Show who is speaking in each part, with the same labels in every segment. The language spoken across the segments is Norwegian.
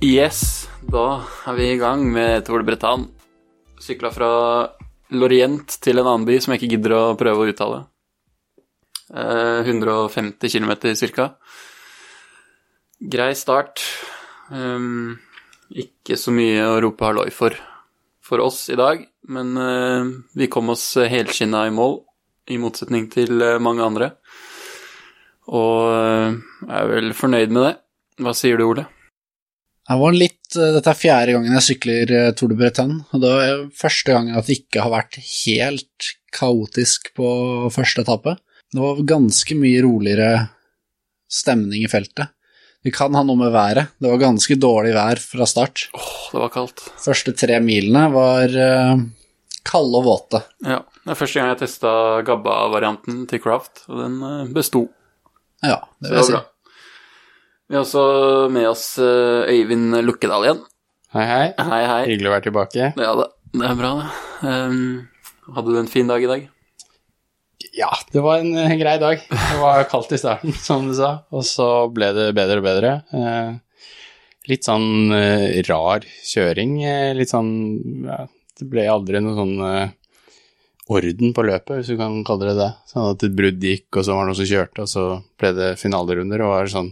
Speaker 1: Yes, da er vi i gang med Tour de Bretagne. Sykla fra Lorient til en annen by som jeg ikke gidder å prøve å uttale. Eh, 150 km ca. Grei start. Um, ikke så mye å rope halloi for for oss i dag, men eh, vi kom oss helskinna i mål, i motsetning til eh, mange andre. Og eh, er vel fornøyd med det. Hva sier du, Ole?
Speaker 2: Jeg var litt, eh, dette er fjerde gangen jeg sykler eh, Tour de Bretagne, og det er første gangen at det ikke har vært helt kaotisk på første etappe. Det var ganske mye roligere stemning i feltet. Vi kan ha noe med været. Det var ganske dårlig vær fra start.
Speaker 1: Åh, det var kaldt.
Speaker 2: første tre milene var eh, kalde og våte.
Speaker 1: Ja, det er første gang jeg testa Gabba-varianten til Craft, og den eh, besto.
Speaker 2: Ja, det
Speaker 1: Så
Speaker 2: vil jeg si.
Speaker 1: Vi har også med oss eh, Øyvind Lukkedal igjen.
Speaker 3: Hei, hei.
Speaker 1: Hei, hei.
Speaker 3: Hyggelig å være tilbake.
Speaker 1: Ja da, det er bra, det. Ehm, hadde du en fin dag i dag?
Speaker 3: Ja, det var en eh, grei dag. Det var kaldt i starten, som du sa, og så ble det bedre og bedre. Eh, Litt sånn eh, rar kjøring. eh, Litt sånn ja, Det ble aldri noe sånn eh, orden på løpet, hvis du kan kalle det det. Sånn at et brudd gikk, og så var det noen som kjørte, og så ble det finalerunder, og var sånn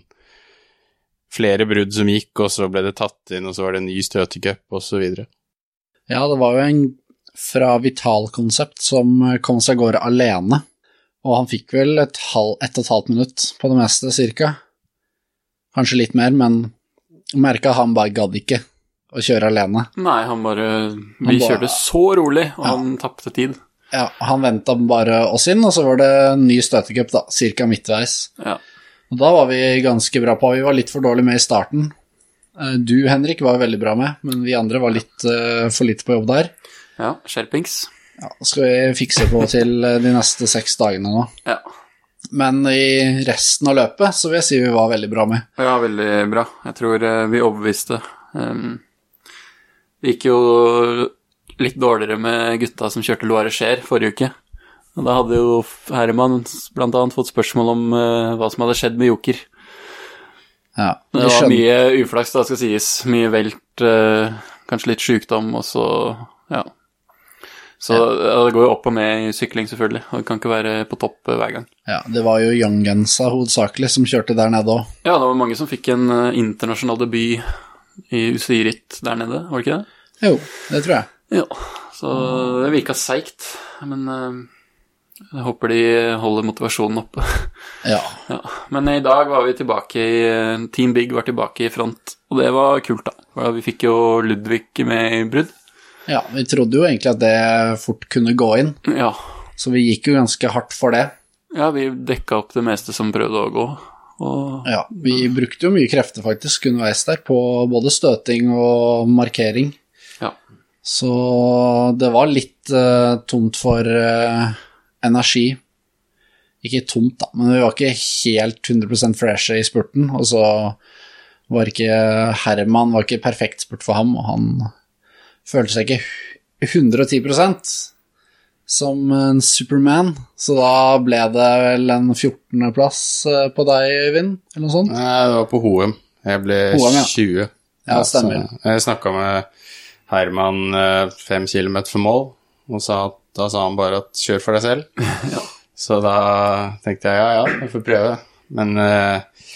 Speaker 3: flere brudd som gikk, og så ble det tatt inn, og så var det en ny støtecup, og så videre.
Speaker 2: Ja, det var jo en fra Vital Konsept som eh, kom seg av gårde alene, og han fikk vel et, halv, et og et halvt minutt på det meste, cirka. Kanskje litt mer, men merka han bare gadd ikke å kjøre alene.
Speaker 1: Nei, han bare Vi
Speaker 2: bare-
Speaker 1: kjørte så rolig, og
Speaker 2: Ja.
Speaker 1: han tapte tid.
Speaker 2: Ja, han venta bare oss inn, og så var det en ny støtecup, da, cirka midtveis.
Speaker 1: Ja.
Speaker 2: Og da var vi ganske bra på. Vi var litt for dårlig med i starten. Eh, Du, Henrik, var veldig bra med, men vi andre var litt eh, for lite på jobb der.
Speaker 1: ja skjerpings.
Speaker 2: Ja, skal vi fikse på til eh, de neste seks dagene nå.
Speaker 1: Ja.
Speaker 2: Men i resten av løpet så vil jeg si vi var veldig bra med.
Speaker 1: Ja, veldig bra. Jeg tror eh, vi overbeviste. Ehm, det gikk jo litt dårligere med gutta som kjørte Loire Cher forrige uke. Og da hadde jo Herman blant annet fått spørsmål om eh, hva som hadde skjedd med Joker.
Speaker 2: Ja, vi
Speaker 1: Det var
Speaker 2: skjønner-
Speaker 1: mye uflaks, da, skal sies. Mye velt, eh, kanskje litt sjukdom, og så ja. Så ja, det går jo opp og ned i sykling, selvfølgelig. Og det kan ikke være på topp eh, hver gang.
Speaker 2: ja, det var jo Young Gensa hovedsakelig som kjørte der nede òg.
Speaker 1: Ja, det var mange som fikk en eh, internasjonal debut i UCI Ritt der nede, var det ikke det?
Speaker 2: Jo, det tror jeg.
Speaker 1: Ja, så det virka seigt, men eh, jeg håper de holder motivasjonen oppe.
Speaker 2: Ja.
Speaker 1: ja. Men i dag var vi tilbake i eh, Team Big var tilbake i front, og det var kult, da. For Vi fikk jo Ludvig med i brudd.
Speaker 2: ja, vi trodde jo egentlig at det fort kunne gå inn,
Speaker 1: Ja.
Speaker 2: så vi gikk jo ganske hardt for det.
Speaker 1: ja, vi dekka opp det meste som prøvde å gå. Og
Speaker 2: Ja, vi brukte jo mye krefter faktisk underveis der på både støting og markering.
Speaker 1: ja.
Speaker 2: Så det var litt eh, tomt for eh, energi. Ikke tomt, da, men vi var ikke helt 100 freshe i spurten. Og så var ikke Herman var ikke perfekt spurt for ham, og han følte seg ikke 110 som en Superman. Så da ble det vel en 14.-plass eh, på deg, Øyvind, eller noe sånt.
Speaker 3: Nei, det var på Hoem. Jeg ble
Speaker 2: Hoem, ja.
Speaker 3: 20.
Speaker 2: Ja, stemmer.
Speaker 3: så Jeg snakka med Herman eh, fem kilometer for mål, og sa, at- da sa han bare at 'kjør for deg selv'. Så da tenkte jeg ja, ja, jeg får prøve. Men eh,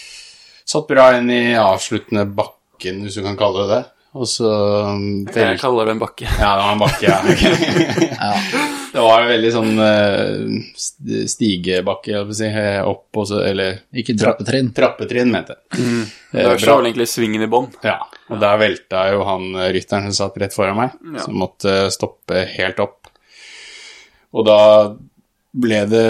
Speaker 3: satt bra inn i avsluttende bakken, hvis du kan kalle det det. Og så eh,
Speaker 1: Jeg kaller det en bakke.
Speaker 3: ja, det var en bakke, ja. Det var en veldig sånn eh, st- stigebakke, jeg vil si, eh, opp og så Eller
Speaker 2: Ikke trappetrinn.
Speaker 3: trappetrinn, mente jeg.
Speaker 1: Det
Speaker 3: Eh,
Speaker 1: var
Speaker 3: bra.
Speaker 1: vel egentlig svingen i bånn.
Speaker 3: Ja, og der velta jo han eh, rytteren som satt rett foran meg,
Speaker 1: Ja.
Speaker 3: som måtte eh, stoppe helt opp. Og da ble det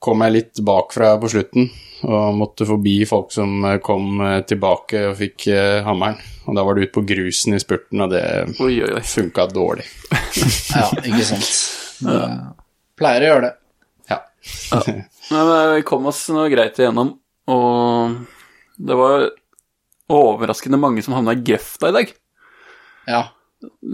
Speaker 3: Kom jeg litt bakfra på slutten og måtte forbi folk som eh, kom eh, tilbake og fikk eh, hammeren. Og da var det ut på grusen i spurten, og det
Speaker 1: Oi, oi, oi.
Speaker 3: funka dårlig.
Speaker 2: Ja, ikke sant. Det pleier å gjøre det.
Speaker 3: Ja.
Speaker 1: Men eh, vi kom oss nå greit igjennom, og det var overraskende mange som havna i grøfta i dag.
Speaker 2: Ja.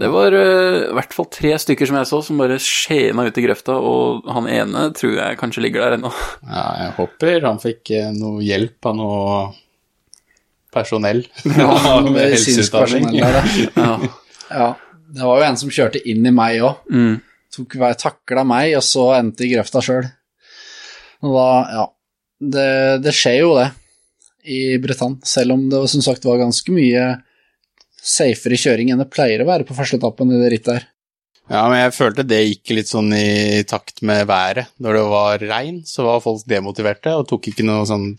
Speaker 1: Det var eh, i hvert fall tre stykker som jeg så, som bare skjena ut i grøfta, og han ene tror jeg kanskje ligger der ennå.
Speaker 3: Ja, jeg håper han fikk eh, noe hjelp av noe personell.
Speaker 2: Ja,
Speaker 3: med
Speaker 2: medisinsk
Speaker 3: helseutdanning.
Speaker 2: personell der, ja.
Speaker 1: Ja.
Speaker 2: ja. Det var jo en som kjørte inn i meg òg.
Speaker 1: Mm.
Speaker 2: Tok hver takla meg, og så endte i grøfta sjøl. Og da, ja det, det skjer jo det i Bretagne, selv om det var, som sagt var ganske mye safere kjøring enn det pleier å være på første etappen i det rittet her.
Speaker 3: Ja, men jeg følte det gikk litt sånn i takt med været. Når det var regn, så var folk demotiverte og tok ikke noe sånn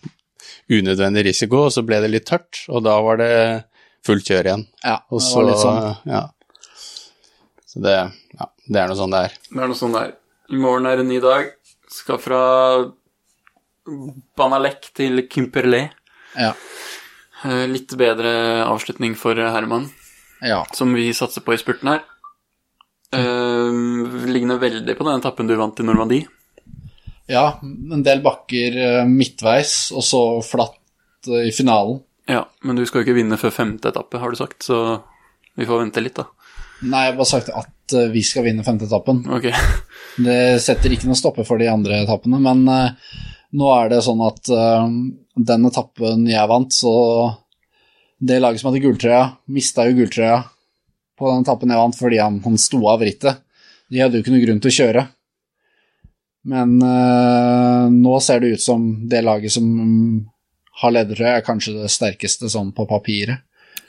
Speaker 3: unødvendig risiko, og så ble det litt tørt, og da var det fullt kjør igjen.
Speaker 2: Ja,
Speaker 3: Og
Speaker 2: det
Speaker 3: så,
Speaker 2: var litt sånn.
Speaker 3: ja. Så det, ja, det er noe sånn det er.
Speaker 1: Det er noe sånn der. I morgen er en ny dag. Skal fra Banalek til Kimperlé.
Speaker 2: Ja.
Speaker 1: Eh, Litt bedre avslutning for Herman,
Speaker 2: ja.
Speaker 1: som vi satser på i spurten her. Eh, ligner veldig på den etappen du vant i Normandie.
Speaker 2: ja, en del bakker eh, midtveis, og så flatt eh, i finalen.
Speaker 1: Ja, men du skal jo ikke vinne før femte etappe, har du sagt, så vi får vente litt, da.
Speaker 2: Nei, jeg har bare sagt at eh, vi skal vinne femte etappen.
Speaker 1: Ok.
Speaker 2: Det setter ikke noe stopper for de andre etappene, men eh, nå er det sånn at eh, den etappen jeg vant, så det laget som hadde gulltrøya, mista jo gulltrøya på den etappen jeg vant fordi han, han sto av rittet. De hadde jo ikke noe grunn til å kjøre. Men eh, nå ser det ut som det laget som mm, har ledertrøya, er kanskje det sterkeste sånn på papiret.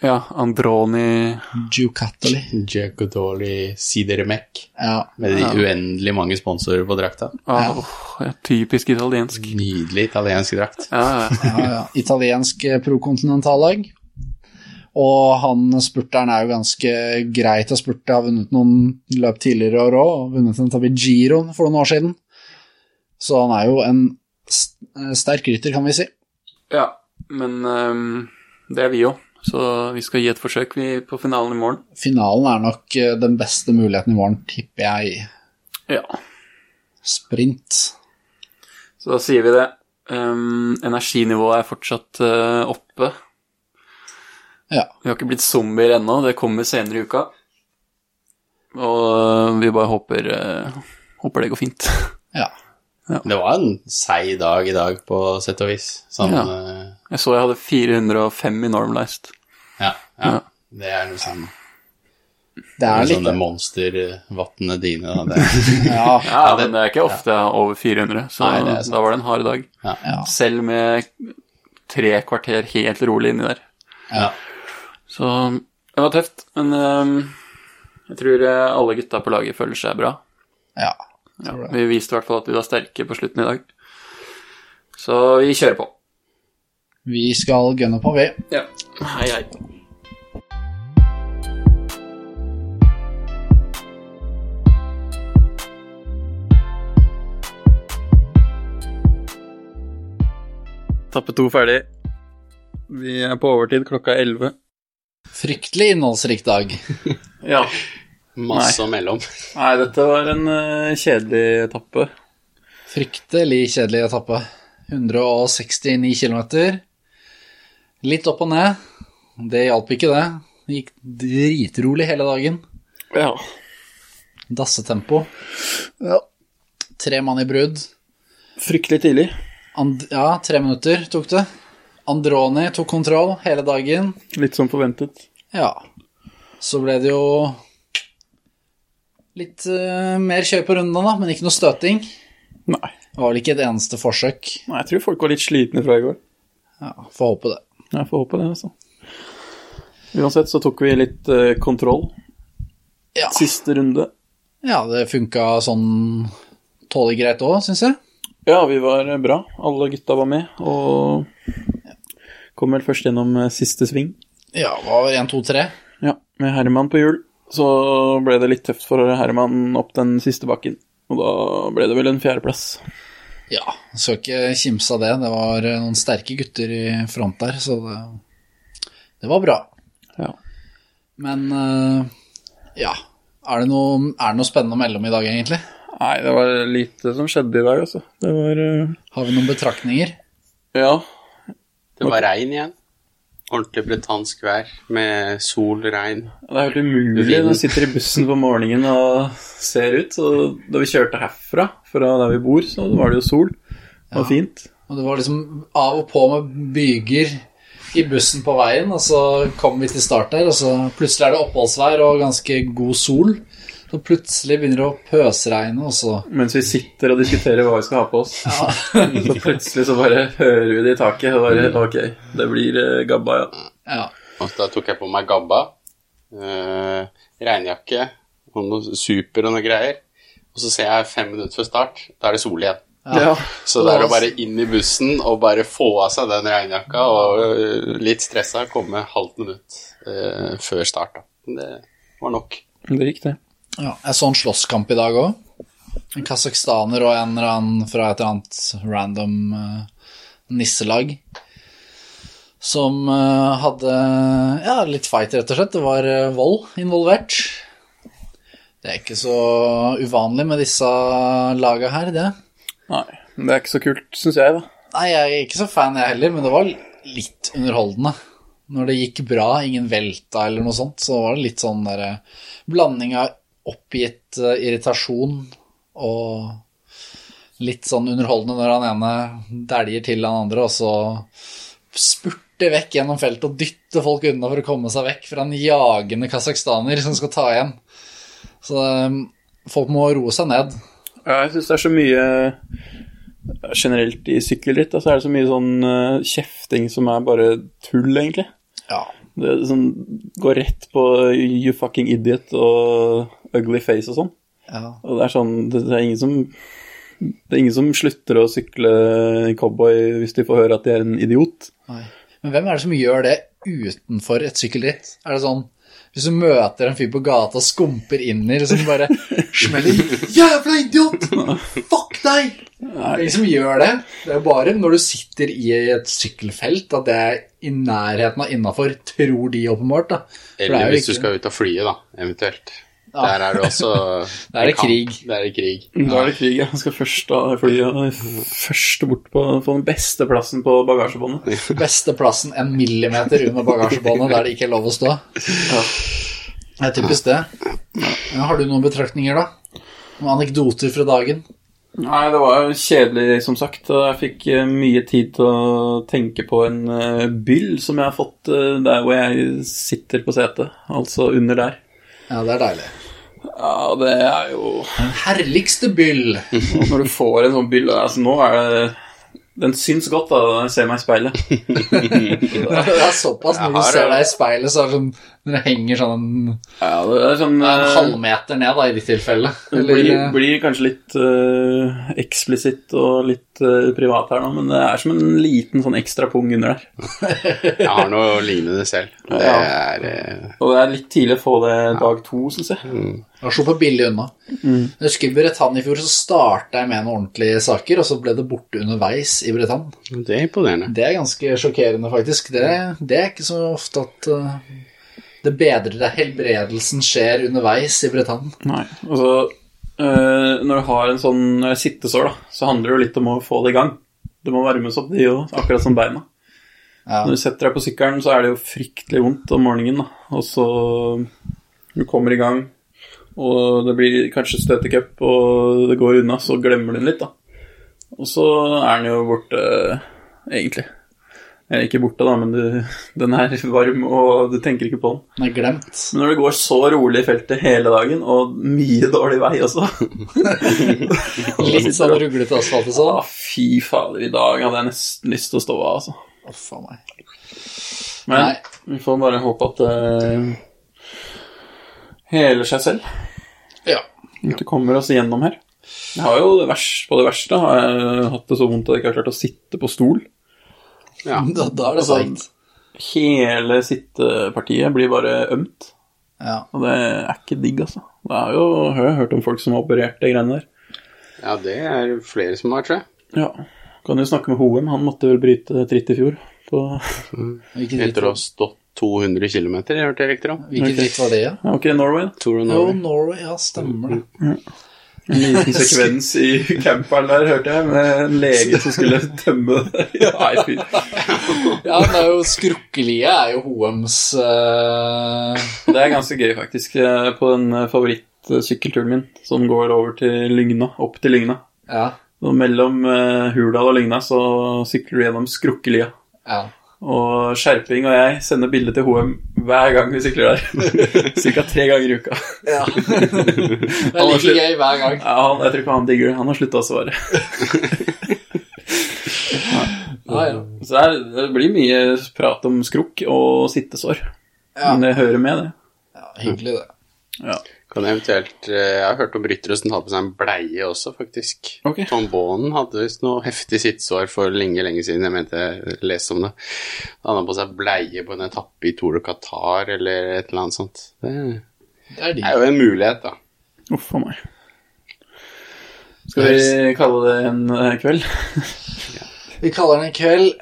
Speaker 1: Ja, Androni
Speaker 2: Ducatoli.
Speaker 3: Jagodoli Sidermek,
Speaker 2: Ja.
Speaker 3: med de
Speaker 1: Ja.
Speaker 3: uendelig mange sponsorer på drakta.
Speaker 1: ah, ja, Typisk italiensk.
Speaker 3: Nydelig italiensk drakt.
Speaker 1: Ja, ja.
Speaker 2: ja, ja. italiensk eh, prokontinentallag. Og han spurteren er jo ganske grei til å spurte, har vunnet noen løp tidligere i år òg, og vunnet en etappe i Giroen for noen år siden. Så han er jo en s- eh, sterk rytter, kan vi si.
Speaker 1: ja men ehm, det er vi òg, så vi skal gi et forsøk vi, på finalen i morgen.
Speaker 2: Finalen er nok eh, den beste muligheten i morgen, tipper jeg.
Speaker 1: Ja,
Speaker 2: Sprint.
Speaker 1: så da sier vi det. Ehm, energinivået er fortsatt eh, oppe.
Speaker 2: Ja.
Speaker 1: Vi har ikke blitt zombier ennå, det kommer senere i uka. Og eh, vi bare håper, eh, håper det går fint.
Speaker 2: ja.
Speaker 3: Det var en seig dag i dag, på sett og vis. Sånn,
Speaker 1: Ja.
Speaker 3: eh,
Speaker 1: Jeg så jeg hadde 405 i normalized.
Speaker 3: ja, ja.
Speaker 1: Ja.
Speaker 3: Det er noe sånn
Speaker 2: Det
Speaker 3: Det
Speaker 2: er
Speaker 3: er sånn,
Speaker 2: litt
Speaker 3: sånne monstervattene dine. Da. Det.
Speaker 2: ja,
Speaker 1: Ja, men det er ikke ofte jeg har over 400, så
Speaker 3: Nei, det er sant.
Speaker 1: da var det en hard dag.
Speaker 2: ja.
Speaker 1: Selv med tre kvarter helt rolig inni der.
Speaker 3: Ja.
Speaker 1: Så det var tøft, men ehm, jeg tror eh, alle gutta på laget føler seg bra.
Speaker 2: ja.
Speaker 1: Ja,
Speaker 2: Tror det.
Speaker 1: vi viste i hvert fall at vi var sterke på slutten i dag. Så vi kjører på.
Speaker 2: Vi skal gunne på, vi.
Speaker 1: Ja. Hei, hei. Tappe to ferdig. Vi er på overtid klokka er 11.
Speaker 2: Fryktelig innholdsrik dag.
Speaker 1: Ja.
Speaker 3: Masse mellom.
Speaker 1: Nei, dette var en eh, kjedelig etappe.
Speaker 2: Fryktelig kjedelig etappe. 169 km. Litt opp og ned. Det hjalp ikke, det. Det gikk dritrolig hele dagen.
Speaker 1: Ja.
Speaker 2: Dassetempo. Tre mann i brudd.
Speaker 1: Fryktelig tidlig.
Speaker 2: And ja, tre minutter tok det. Androni tok kontroll hele dagen.
Speaker 1: Litt som forventet.
Speaker 2: Ja. Så ble det jo litt eh, mer kjør på runden, da, men ikke noe støting.
Speaker 1: Nei.
Speaker 2: Det var vel ikke et eneste forsøk.
Speaker 1: Nei, jeg tror folk var litt slitne fra i går.
Speaker 2: Ja, Får håpe det.
Speaker 1: Jeg får håpe det, altså. Uansett så tok vi litt eh, kontroll.
Speaker 2: Ja.
Speaker 1: Siste runde.
Speaker 2: Ja, det funka sånn tålelig greit òg, syns jeg.
Speaker 1: Ja, vi var eh, bra. Alle gutta var med, og kom vel først gjennom eh, siste sving.
Speaker 2: Ja, hva var 1, 2, 3?
Speaker 1: Ja, med Herman på hjul. Så ble det litt tøft for Herman opp den siste bakken. Og da ble det vel en fjerdeplass.
Speaker 2: Ja, jeg skal ikke kimse av det. Det var eh, noen sterke gutter i front der, så det, det var bra.
Speaker 1: Ja.
Speaker 2: Men eh, ja, er det, noe, er det noe spennende å melde om i dag, egentlig?
Speaker 1: Nei, det var lite som skjedde i dag, altså. Det var eh,
Speaker 2: Har vi noen betraktninger?
Speaker 1: Ja.
Speaker 3: Det var regn igjen. Ordentlig bretansk vær med sol, regn.
Speaker 1: Det er helt umulig når du sitter i bussen på morgenen og ser ut. Så da vi kjørte herfra, fra der vi bor, så var det jo sol. Det var fint.
Speaker 2: Og det var liksom av og på med byger i bussen på veien, og så kom vi til start der, og så plutselig er det oppholdsvær og ganske god sol. Så plutselig begynner det å pøsregne, og så
Speaker 1: Mens vi sitter og diskuterer hva vi skal ha på oss, så plutselig så bare hører vi det i taket, og bare ok, det blir eh, gabba, ja.
Speaker 2: Ja.
Speaker 3: Og da tok jeg på meg gabba, eh, regnjakke og noe super og noe greier. Og så ser jeg fem minutter før start, da er det sol igjen.
Speaker 1: ja.
Speaker 3: Så det er å bare inn i bussen og bare få av seg den regnjakka og eh, litt stressa komme halvt minutt eh, før start, da. Men Det var nok.
Speaker 1: Det gikk, det.
Speaker 2: Ja, jeg så en slåsskamp i dag òg. En kasakhstaner og en eller annen fra et eller annet random eh, nisselag. Som eh, hadde ja, litt fight, rett og slett. Det var eh, vold involvert. Det er ikke så uvanlig med disse laga her, det.
Speaker 1: Nei, men det er ikke så kult, syns jeg, da.
Speaker 2: Nei, jeg er ikke så fan, jeg heller, men det var litt underholdende. Når det gikk bra, ingen velta eller noe sånt, så var det litt sånn der eh, blanding av oppgitt eh, irritasjon og litt sånn underholdende når han ene dæljer til han andre, og så spurter vekk gjennom feltet og dytter folk unna for å komme seg vekk fra en jagende kasakhstaner som skal ta igjen. Så eh, folk må roe seg ned.
Speaker 1: Ja, jeg syns det er så mye Generelt i sykkelritt da, så er det så mye sånn eh, kjefting som er bare tull, egentlig.
Speaker 2: Ja,
Speaker 1: Det er sånn, går rett på you fucking idiot og ugly face og sånn.
Speaker 2: ja.
Speaker 1: Og det er sånn, det det er ingen som det er ingen som slutter å sykle cowboy hvis de får høre at de er en idiot.
Speaker 2: Nei. Men hvem er det som gjør det utenfor et sykkelritt? Er det sånn hvis du møter en fyr på gata og skumper inn i det, så bare smeller Jævla idiot! Fuck deg! Det er ingen som gjør det. Det er bare når du sitter i et sykkelfelt at det er i nærheten av innafor, tror de åpenbart, da. For det er
Speaker 3: Eller
Speaker 2: jo
Speaker 3: hvis du
Speaker 2: ikke-
Speaker 3: skal ut og flyet, da, eventuelt.
Speaker 2: Ja.
Speaker 3: Der er det også
Speaker 2: Der er det
Speaker 3: kamp.
Speaker 2: krig.
Speaker 3: Der er det krig.
Speaker 1: Da er det krig. ja. Han skal først da fly ja, først bort på, på den beste plassen på bagasjebåndet.
Speaker 2: Beste plassen en millimeter under bagasjebåndet der det ikke er lov å stå. Det er typisk det. Men Har du noen betraktninger, da? Noen anekdoter fra dagen?
Speaker 1: Nei, det var jo kjedelig, som sagt. og Jeg fikk eh, mye tid til å tenke på en eh, byll som jeg har fått eh, der hvor jeg sitter på setet. Altså under der.
Speaker 2: Ja, det er deilig.
Speaker 1: Ja, det er jo
Speaker 2: Herligste byll!
Speaker 1: Når du får en sånn byll altså Nå er det Den syns godt da, når jeg ser meg i speilet.
Speaker 2: Det er såpass når
Speaker 3: Jeg har-
Speaker 2: du ser deg i speilet, så er det sånn Når det henger sånn en,
Speaker 1: Ja, det er sånn
Speaker 2: en
Speaker 1: eh,
Speaker 2: halvmeter ned, da, i ditt tilfelle.
Speaker 1: Det
Speaker 2: Eller,
Speaker 1: blir, blir kanskje litt uh, eksplisitt og litt eh, privat her nå, men det er som en liten sånn ekstra pung under der.
Speaker 3: Jeg har noe lignende selv. Det
Speaker 1: Ja.
Speaker 3: er eh,
Speaker 1: Og det er litt tidlig å få det dag to, syns jeg.
Speaker 2: Jeg var så billig unna. Jeg husker i Bretagne i fjor så starta jeg med noen ordentlige saker, og så ble det borte underveis i Bretagne.
Speaker 3: Det er imponerende.
Speaker 2: Det er ganske sjokkerende, faktisk. Det, det er ikke så ofte at eh, det bedrer deg. Helbredelsen skjer underveis i Bretagne.
Speaker 1: Nei. Og så Altså, eh, når du har en sånn eh, sittesår, da, så handler det jo litt om å få det i gang. Det må varmes opp, de òg, akkurat som beina.
Speaker 2: Ja.
Speaker 1: Når du setter deg på sykkelen, så er det jo fryktelig vondt om morgenen. Da. Og så du kommer i gang, og det blir kanskje støtecup, og det går unna, så glemmer du den litt, da. Og så er den jo borte, egentlig. Eller ikke borte, da, men du, den er varm, og du tenker ikke på den.
Speaker 2: Den er glemt.
Speaker 1: Men når det går så rolig i feltet hele dagen, og mye dårlig vei også
Speaker 2: Litt sånn ruglete asfalt og sånn.
Speaker 1: Å, fy fader, i dag hadde jeg nesten lyst til å stå av, altså.
Speaker 2: Å, faen meg.
Speaker 1: Men
Speaker 2: Nei.
Speaker 1: vi får bare håpe at det heler seg selv.
Speaker 2: Ja.
Speaker 1: At det kommer oss igjennom her. Jeg har jo det vers, På det verste har jeg hatt det så vondt at jeg ikke har klart å sitte på stol.
Speaker 3: Ja.
Speaker 2: Da, da er det
Speaker 1: Altså,
Speaker 2: seigt.
Speaker 1: hele sittepartiet blir bare ømt.
Speaker 2: Ja.
Speaker 1: Og det er ikke digg, altså. Det er jo, jeg har jo hørt om folk som har operert de greiene der.
Speaker 3: ja, det er flere som har, tror jeg.
Speaker 1: Ja, Kan jo snakke med Hoem. Han måtte vel bryte tritt i fjor. På,
Speaker 2: Hvilken dritt,
Speaker 3: Etter å ha stått 200 km, hørte jeg riktig om.
Speaker 2: hvilken
Speaker 1: Ok.
Speaker 2: dritt var det, ja?
Speaker 1: ja, ok, Norway. da.
Speaker 3: Tour of
Speaker 2: Jo,
Speaker 3: Norway.
Speaker 2: Norway, ja, stemmer det.
Speaker 1: En liten sekvens i camperen der, hørte jeg, med en lege som skulle tømme det. Nei, fy.
Speaker 2: Ja, det er jo Skrukkelie er jo Hoems eh,
Speaker 1: Det er ganske gøy, faktisk, eh, på den eh, favorittsykkelturen min, som går over til Lygna, opp til Lygna.
Speaker 2: Ja.
Speaker 1: Og mellom eh, Hurdal og Lygna så sykler du gjennom Skrukkelia.
Speaker 2: ja.
Speaker 1: Og Skjerping og jeg sender bilde til HM hver gang vi sykler der. Cirka tre ganger i uka.
Speaker 2: Ja. det er
Speaker 1: Alle
Speaker 2: like
Speaker 1: slutt.
Speaker 2: gøy hver gang.
Speaker 1: Ja, han, jeg tror ikke han digger det. Han har slutta å svare.
Speaker 2: Ja, ja.
Speaker 1: Så det er- det blir mye prat om skrukk og sittesår.
Speaker 2: Ja.
Speaker 1: Men det hører med, det.
Speaker 2: ja hyggelig, det.
Speaker 3: Kan jeg eventuelt eh, Jeg har hørt om brytere som tar på seg en bleie også, faktisk.
Speaker 1: Ok.
Speaker 3: Tombonen hadde visst noe heftig sittesår for lenge, lenge siden. Jeg mente jeg leste om det. Han hadde på seg bleie på en etappe i Tour de Qatar eller et eller annet sånt. Det
Speaker 2: Det er de.
Speaker 3: er jo en mulighet, da.
Speaker 1: Uff a meg. Skal vi kalle det en eh, kveld?
Speaker 2: Vi kaller den en kveld.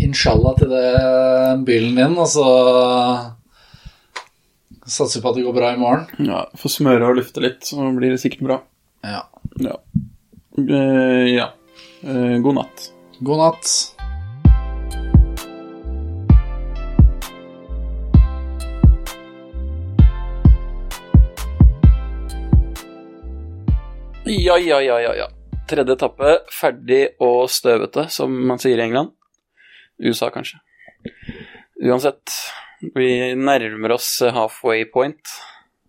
Speaker 2: Inshallah til det bilen din, og så satser vi på at det går bra i morgen.
Speaker 1: Ja, Få smøre og lufte litt, så blir det sikkert bra.
Speaker 2: Ja.
Speaker 1: Ja. Eh, ja. Eh, god natt.
Speaker 2: God natt.
Speaker 1: Ja, ja, ja, ja, ja. Tredje etappe, ferdig og støvete, som man sier i England. USA, kanskje. Uansett, vi nærmer oss halfway point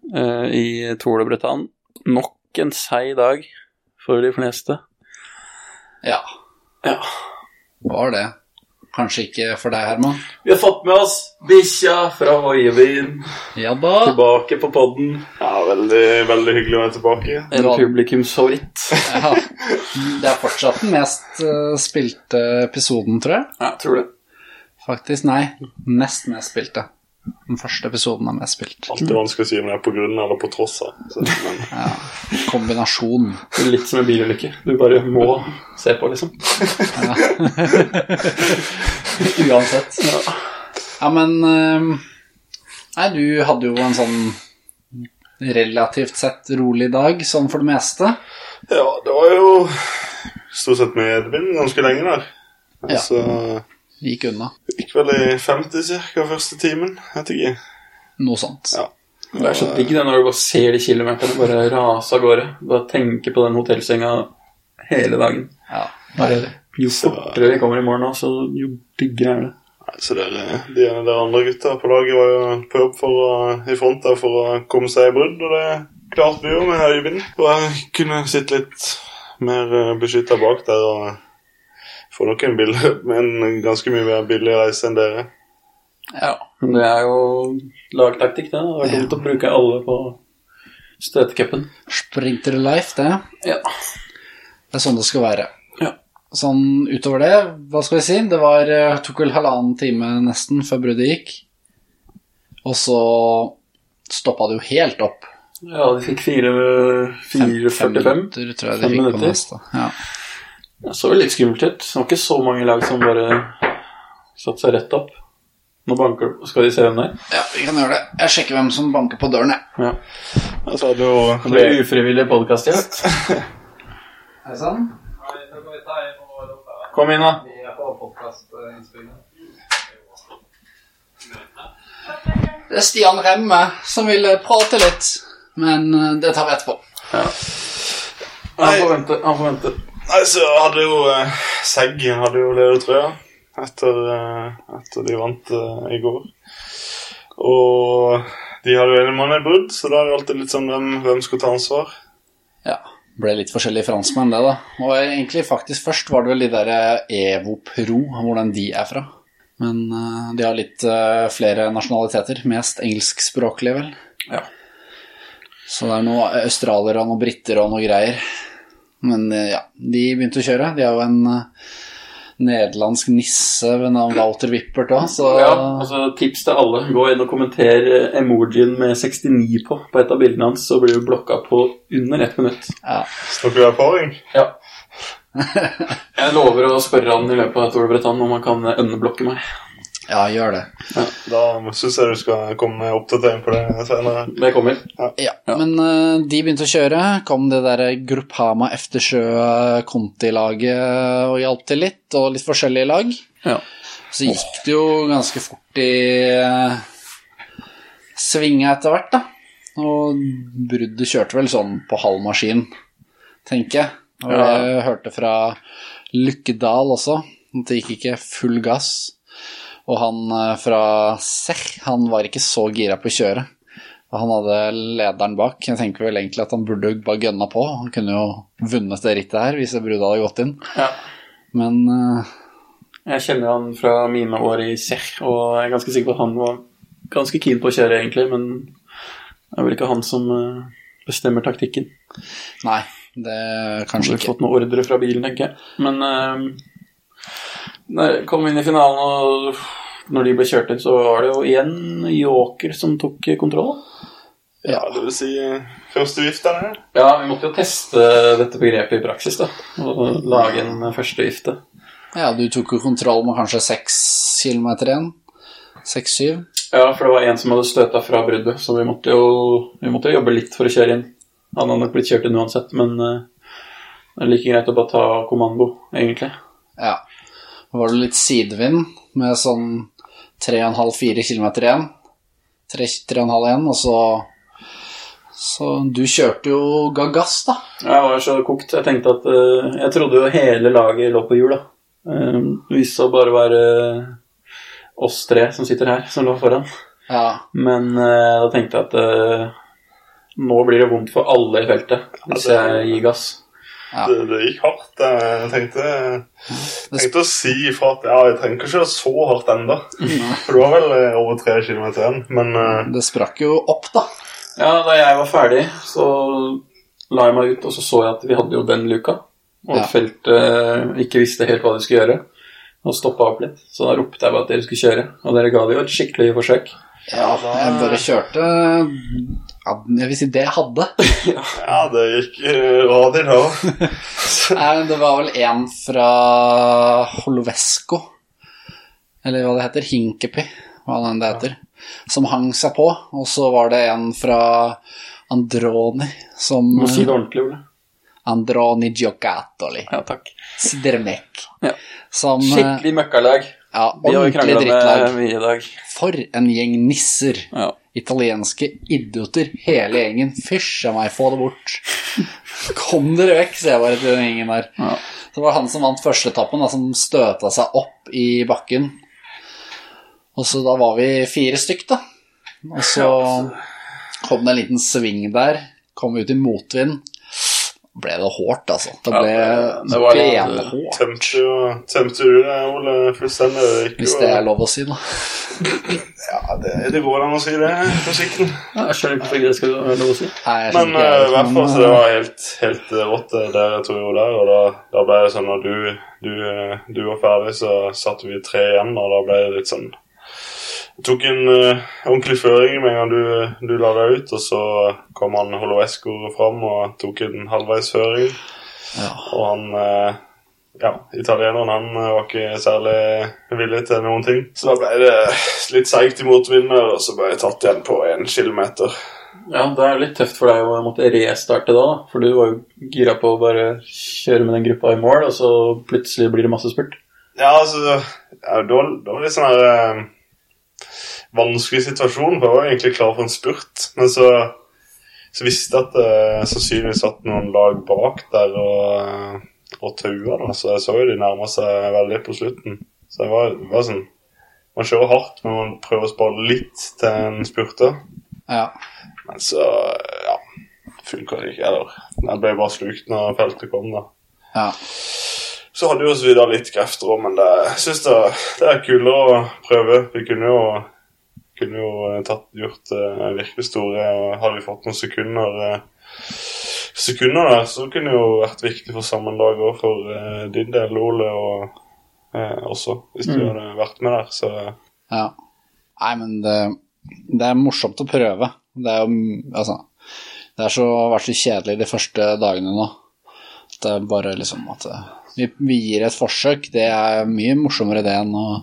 Speaker 1: eh, i Tour de Bretagne. Nok en seig dag for de fleste.
Speaker 2: Ja.
Speaker 1: Ja.
Speaker 2: Var det. Kanskje ikke for deg, Herman.
Speaker 1: Vi har fått med oss bikkja fra Hoiebyen
Speaker 2: Ja da.
Speaker 1: tilbake på podden.
Speaker 4: Ja, veldig, veldig hyggelig å være tilbake.
Speaker 1: En publikumsfavoritt.
Speaker 2: Ja. Det er fortsatt den mest eh, spilte episoden, tror jeg.
Speaker 1: Ja, tror det.
Speaker 2: Faktisk, nei. Nest mest spilte. Den første episoden er mest spilt.
Speaker 4: Alltid vanskelig å si om det er på grunn eller på tross av. Så, men,
Speaker 2: Kombinasjon.
Speaker 1: Det er Litt som en bilulykke. Du bare må se på, liksom.
Speaker 2: Uansett. Ja, men eh, Nei, du hadde jo en sånn relativt sett rolig dag, sånn for det meste.
Speaker 4: ja, det var jo stort sett medvind ganske lenge der.
Speaker 2: Ja.
Speaker 4: Så
Speaker 2: Gikk unna.
Speaker 4: gikk vel i 50 cirka første timen, vet ikke.
Speaker 2: Noe sånt.
Speaker 4: Ja.
Speaker 1: Det er så digg det når du bare ser de kilometerne bare rase av gårde. Bare tenke på den hotellsenga hele dagen.
Speaker 2: Ja.
Speaker 1: Jo
Speaker 4: Så-
Speaker 1: fortere vi kommer i morgen, altså, jo diggere er det.
Speaker 4: Nei, Så dere, de der andre gutta på laget var jo på jobb for å, i front der for å komme seg i brudd, og det klarte vi jo med Øyvind. Og jeg kunne sitte litt mer beskytta bak der og få nok en, bill, en ganske mye mer billig reise enn dere.
Speaker 1: Ja. Men det er jo lagtaktikk, det. da. Det er dumt å bruke alle på støtcupen.
Speaker 2: Sprinter life, det.
Speaker 1: Ja.
Speaker 2: Det er sånn det skal være.
Speaker 1: Ja.
Speaker 2: Sånn utover det, hva skal vi si? Det var, eh, tok vel halvannen time nesten før bruddet gikk. Og så stoppa det jo helt opp.
Speaker 1: ja, de fikk fire fire 45.
Speaker 2: minutter, tror jeg de
Speaker 1: Fem
Speaker 2: fikk på
Speaker 1: minutter.
Speaker 2: neste. Ja.
Speaker 1: Det så jo litt skummelt ut. Det var ikke så mange lag som bare satte seg rett opp. Nå banker du. Skal de se hvem det er?
Speaker 2: ja, vi kan gjøre det. Jeg sjekker hvem som banker på døren, jeg.
Speaker 1: Ja.
Speaker 4: Jeg sa det jo
Speaker 1: Det blir ufrivillig podkastgjest.
Speaker 2: Er det sånn?
Speaker 1: Kom inn, da.
Speaker 2: Det er Stian Remme som vil eh, prate litt, men eh, det tar vi etterpå.
Speaker 1: Han får vente. Han får vente.
Speaker 4: Nei, så hadde jo eh, Seggen hadde jo ledertrøya etter, eh, etter de vant eh, i går. Og de hadde jo en mann i brudd, så da er det alltid litt sånn hvem, hvem skulle ta ansvar.
Speaker 2: Ja, ble litt forskjellige franskmenn det da. Og egentlig faktisk først var det vel de der eh, Evo Pro, hvordan de er fra. Men eh, de har litt eh, flere nasjonaliteter, mest engelskspråklige vel.
Speaker 1: Ja.
Speaker 2: Så det er noen australiere og noen britter og noe greier. Men eh, ja, de begynte å kjøre. De har jo en eh, nederlandsk nisse ved navn Walter Wippert òg, så
Speaker 1: Ja, altså Tips til alle. Gå inn og kommenter eh, emojien med 69 på på et av bildene hans, så blir du blokka på under ett minutt.
Speaker 2: ja.
Speaker 4: Snakker vi erfaring?
Speaker 1: Ja. Jeg lover å spørre han i løpet av Tour de Bretagne om han kan eh, unblokke meg.
Speaker 2: ja, gjør det.
Speaker 4: Da syns jeg du skal komme med oppdatering på det senere.
Speaker 1: Det kommer.
Speaker 2: Ja, men eh, de begynte å kjøre. Kom det der Gruppama Eftersjø Conti-laget og hjalp til litt, og litt forskjellige lag.
Speaker 1: Ja.
Speaker 2: Så gikk det jo ganske fort i eh, svinga etter hvert, da. Og bruddet kjørte vel sånn på halv maskin, tenker jeg. Og
Speaker 1: Ja.
Speaker 2: jeg hørte fra Lykkedal også at det gikk ikke full gass. Og han eh, fra Sech, han var ikke så gira på å kjøre. Og han hadde lederen bak. Jeg tenker vel egentlig at han burde bare gønna på. Han kunne jo vunnet det rittet her hvis Bruda hadde gått inn.
Speaker 1: Ja.
Speaker 2: Men eh,
Speaker 1: Jeg kjenner han fra mine år i Sech, og jeg er ganske sikker på at han var ganske keen på å kjøre, egentlig, men det er vel ikke han som eh, bestemmer taktikken.
Speaker 2: nei, det
Speaker 1: Han
Speaker 2: kanskje
Speaker 1: har
Speaker 2: ikke.
Speaker 1: fått noen ordre fra bilen, tenker jeg. Men eh, når jeg kom inn i finalen, og når de ble kjørt ut, så var det jo igjen Joker som tok kontroll.
Speaker 4: Ja, det vil si eh, første viftene her.
Speaker 1: Ja, vi måtte jo teste dette begrepet i praksis, da. Og lage en førstevifte.
Speaker 2: Ja, du tok jo kontroll med kanskje seks kilometer igjen. Seks-syv.
Speaker 1: Ja, for det var en som hadde støta fra bruddet, så vi måtte jo vi måtte jo jobbe litt for å kjøre inn. Han hadde nok blitt kjørt inn uansett, men eh, det er like greit å bare ta kommando, egentlig.
Speaker 2: Ja. Da var det litt sidevind med sånn 3,5-4 km igjen. Tre- 3,5 igjen, og så Så du kjørte jo ga gass, da.
Speaker 1: Jeg var så kokt. Jeg tenkte at eh, Jeg trodde jo hele laget lå på hjul, da. Eh, Det viste seg å bare være eh, oss tre som sitter her, som lå foran.
Speaker 2: Ja.
Speaker 1: Men eh, da tenkte jeg at eh, nå blir det vondt for alle i feltet hvis
Speaker 4: Ja, det-
Speaker 1: jeg gir gass.
Speaker 2: Ja.
Speaker 4: Det, det gikk hardt. eh, Jeg tenkte, tenkte å si ifra at ja, jeg trenger ikke kjøre så hardt ennå. For det var vel eh, over tre kilometer igjen. Men eh,
Speaker 2: Det sprakk jo opp, da.
Speaker 1: Ja, da jeg var ferdig, så la jeg meg ut, og så så jeg at vi hadde jo den luka. Og
Speaker 2: Ja.
Speaker 1: feltet eh, ikke visste helt hva de skulle gjøre, og stoppa opp litt. Så da ropte jeg bare at dere skulle kjøre, og dere ga det jo et skikkelig forsøk.
Speaker 2: Ja, jeg bare kjørte ja, Jeg vil si det jeg hadde.
Speaker 4: ja, det gikk eh, radig da.
Speaker 2: Nei, Det var vel en fra Holovesko, eller hva det heter, Hinkepy, hva den det heter, som hang seg på. Og så var det en fra Androni som
Speaker 1: Du må si det ordentlig, Ole.
Speaker 2: Androni Giocattoli.
Speaker 1: Ja, takk.
Speaker 2: Sidremek.
Speaker 1: Ja.
Speaker 2: Som eh,
Speaker 1: Skikkelig møkkalag.
Speaker 2: Ja,
Speaker 1: Vi har jo
Speaker 2: ordentlig
Speaker 1: krangla med
Speaker 2: drittlag.
Speaker 1: mye i dag.
Speaker 2: For en gjeng nisser.
Speaker 1: Ja.
Speaker 2: Italienske idioter, hele gjengen. Fysja meg, få det bort. Kom dere vekk, sier jeg bare til den gjengen der.
Speaker 1: Ja.
Speaker 2: Så var det han som vant førsteetappen, da, som støta seg opp i bakken. Og så da var vi fire stykk, da. Og så kom det en liten sving der. Kom ut i motvind. Ble det hårdt, altså. Det
Speaker 1: Ja,
Speaker 2: ble
Speaker 1: det- det var det-
Speaker 2: benhårt,
Speaker 4: Tømte, jo, tømte du det, Ole? Fullstendig. Det gikk
Speaker 2: hvis
Speaker 4: jo-
Speaker 2: det er lov å si, da.
Speaker 4: Ja, det, det går an å si det på sikten.
Speaker 1: Ja, Jeg skjønner ikke hvorfor ikke det skal være lov å si.
Speaker 2: Nei, jeg
Speaker 4: Men
Speaker 2: skjønner ikke
Speaker 4: eh,
Speaker 2: jeg,
Speaker 4: i hvert fall
Speaker 2: men,
Speaker 4: så det var helt, helt eh, rått eh, der jeg tror jo der, og da, da ble det sånn når du, du, eh, du var ferdig, så satt vi tre igjen, og da ble det litt sånn Jeg tok en eh, ordentlig føring med en gang du, du la deg ut, og så kom han Holovesko fram og tok en halvveis føring,
Speaker 2: Ja.
Speaker 4: og han eh, ja, italieneren han eh, var ikke særlig villig til noen ting. Så da ble det litt seigt i motvind, og så ble jeg tatt igjen på én kilometer.
Speaker 1: Ja, det er jo litt tøft for deg å måtte restarte da, da, for du var jo gira på å bare kjøre med den gruppa i mål, og så plutselig blir det masse spurt.
Speaker 4: Ja, altså ja, Det var, det var litt sånn her eh, vanskelig situasjon, for jeg var egentlig klar for en spurt. Men så, så visste jeg at det sannsynligvis satt noen lag bak der og, eh, og taua, da. Så jeg så jo de nærma seg veldig på slutten. Så det var, det var sånn Man kjører hardt, men man prøver å spare litt til en spurter.
Speaker 2: ja.
Speaker 4: Men så, ja Funka det ikke, eller. Jeg ble bare slukt når feltet kom, da.
Speaker 2: ja.
Speaker 4: Så hadde jo vi da litt krefter òg, men det, jeg syns det, det er kulere å prøve. Vi kunne jo, kunne jo tatt, gjort eh, virkelig store og Hadde vi fått noen sekunder eh, Sekunder der, så kunne det jo vært viktig for sammendraget òg, for eh, din del, Ole, og eh, også, hvis du
Speaker 1: Mm.
Speaker 4: hadde vært med der. Så
Speaker 2: Ja. Nei, men det, det er morsomt å prøve. Det er jo altså Det har så, vært så kjedelig de første dagene nå. At det er bare liksom at det- vi, vi gir et forsøk. Det er mye morsommere det enn å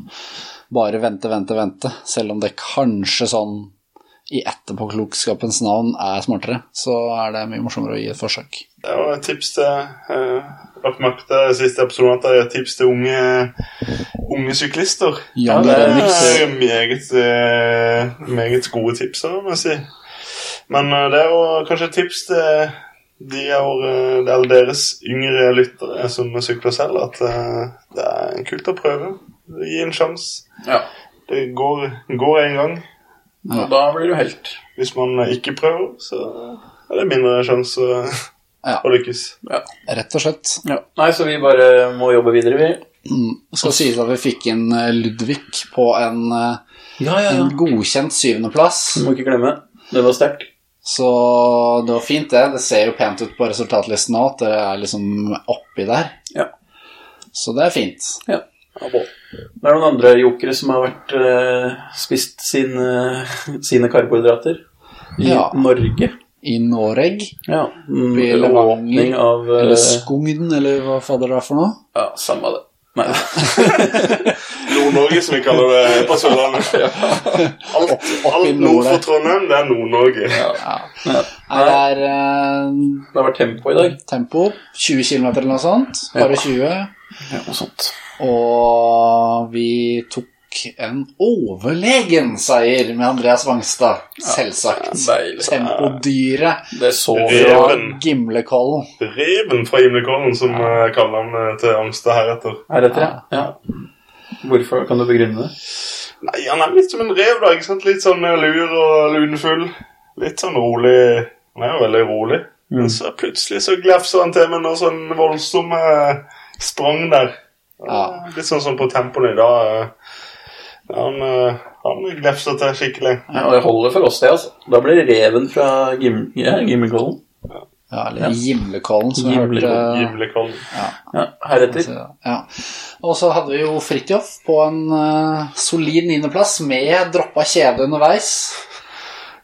Speaker 2: bare vente, vente, vente. Selv om det kanskje sånn i etterpåklokskapens navn er smartere, så er det mye morsommere å gi et forsøk.
Speaker 4: Det var et tips til eh, Lagt merke til siste episode at det er et tips til unge, unge syklister.
Speaker 2: Jan
Speaker 1: Ja, det er-
Speaker 2: Renix.
Speaker 4: Det er meget, eh, meget gode tips, da, må jeg si. Men eh, det er jo kanskje et tips til de av våre- eller deres yngre lyttere som sykler selv, at eh, det er kult å prøve. Gi en sjanse.
Speaker 1: Ja.
Speaker 4: Det går, går en gang.
Speaker 1: Og da blir du helt.
Speaker 4: Hvis man ikke prøver, så er det mindre sjanse
Speaker 2: Ja.
Speaker 4: å lykkes.
Speaker 2: Rett og slett. Mm.
Speaker 1: Ja. Nei, så vi bare må jobbe videre, vi.
Speaker 2: Skal sies at vi fikk inn eh, Ludvig på en, eh,
Speaker 1: Ja, ja,
Speaker 2: en godkjent syvendeplass.
Speaker 1: Må ikke glemme. Det var sterkt.
Speaker 2: Så det var fint, det. Det ser jo pent ut på resultatlisten nå at dere er liksom oppi der.
Speaker 1: Ja.
Speaker 2: Så det er fint.
Speaker 1: Ja, bra. det er noen andre jokere som har vært eh, spist sin, eh, sine karbohydrater i
Speaker 2: Ja.
Speaker 1: Norge.
Speaker 2: I Noreg,
Speaker 1: Ja. Mm,
Speaker 2: I Levanger.
Speaker 1: Åpning av eh,
Speaker 2: eller Skogn, eller hva fader det er for noe.
Speaker 1: Ja, samme det. Nei.
Speaker 4: Nord-Norge, som vi kaller det på Sørlandet. Alt,
Speaker 2: i nord
Speaker 4: alt nord
Speaker 2: der.
Speaker 4: for Trondheim, det er Nord-Norge.
Speaker 2: Nei, det er eh,
Speaker 1: Det har vært tempo i dag.
Speaker 2: tempo. 20 km eller noe sånt. Bare 20.
Speaker 1: Ja, noe sånt.
Speaker 2: Og vi tok en overlegen seier med Andreas Wangstad, selvsagt.
Speaker 1: deilig.
Speaker 2: Tempodyret
Speaker 1: Det så vi.
Speaker 4: Ja.
Speaker 2: fra
Speaker 4: Reven.
Speaker 2: Gimlekollen.
Speaker 4: Reven fra Gimlekollen, som eh, kallenavnet til Amstad heretter.
Speaker 1: Heretter, ja. ja. Hvorfor kan du begrunne det?
Speaker 4: Nei, han er litt som en rev, da. ikke sant? Litt sånn eh, lur og lunefull. Litt sånn rolig. Han er jo veldig rolig.
Speaker 2: Mm.
Speaker 4: Men så plutselig så glefser han til med noe sånn voldsomme sprang der.
Speaker 2: Ja.
Speaker 4: Litt sånn som på tempoen i dag. eh. Han, eh, han glefser til skikkelig.
Speaker 1: Ja, og det holder for oss, det, altså. Da blir det reven fra Gim ja, Gimmelkollen.
Speaker 2: Ja, eller Gimlekollen, som vi
Speaker 1: Gimle-
Speaker 2: hørte.
Speaker 4: Gimlekollen.
Speaker 1: Ja, heretter.
Speaker 2: Ja. Og så hadde vi jo Fridtjof på en eh, solid niendeplass med droppa kjede underveis.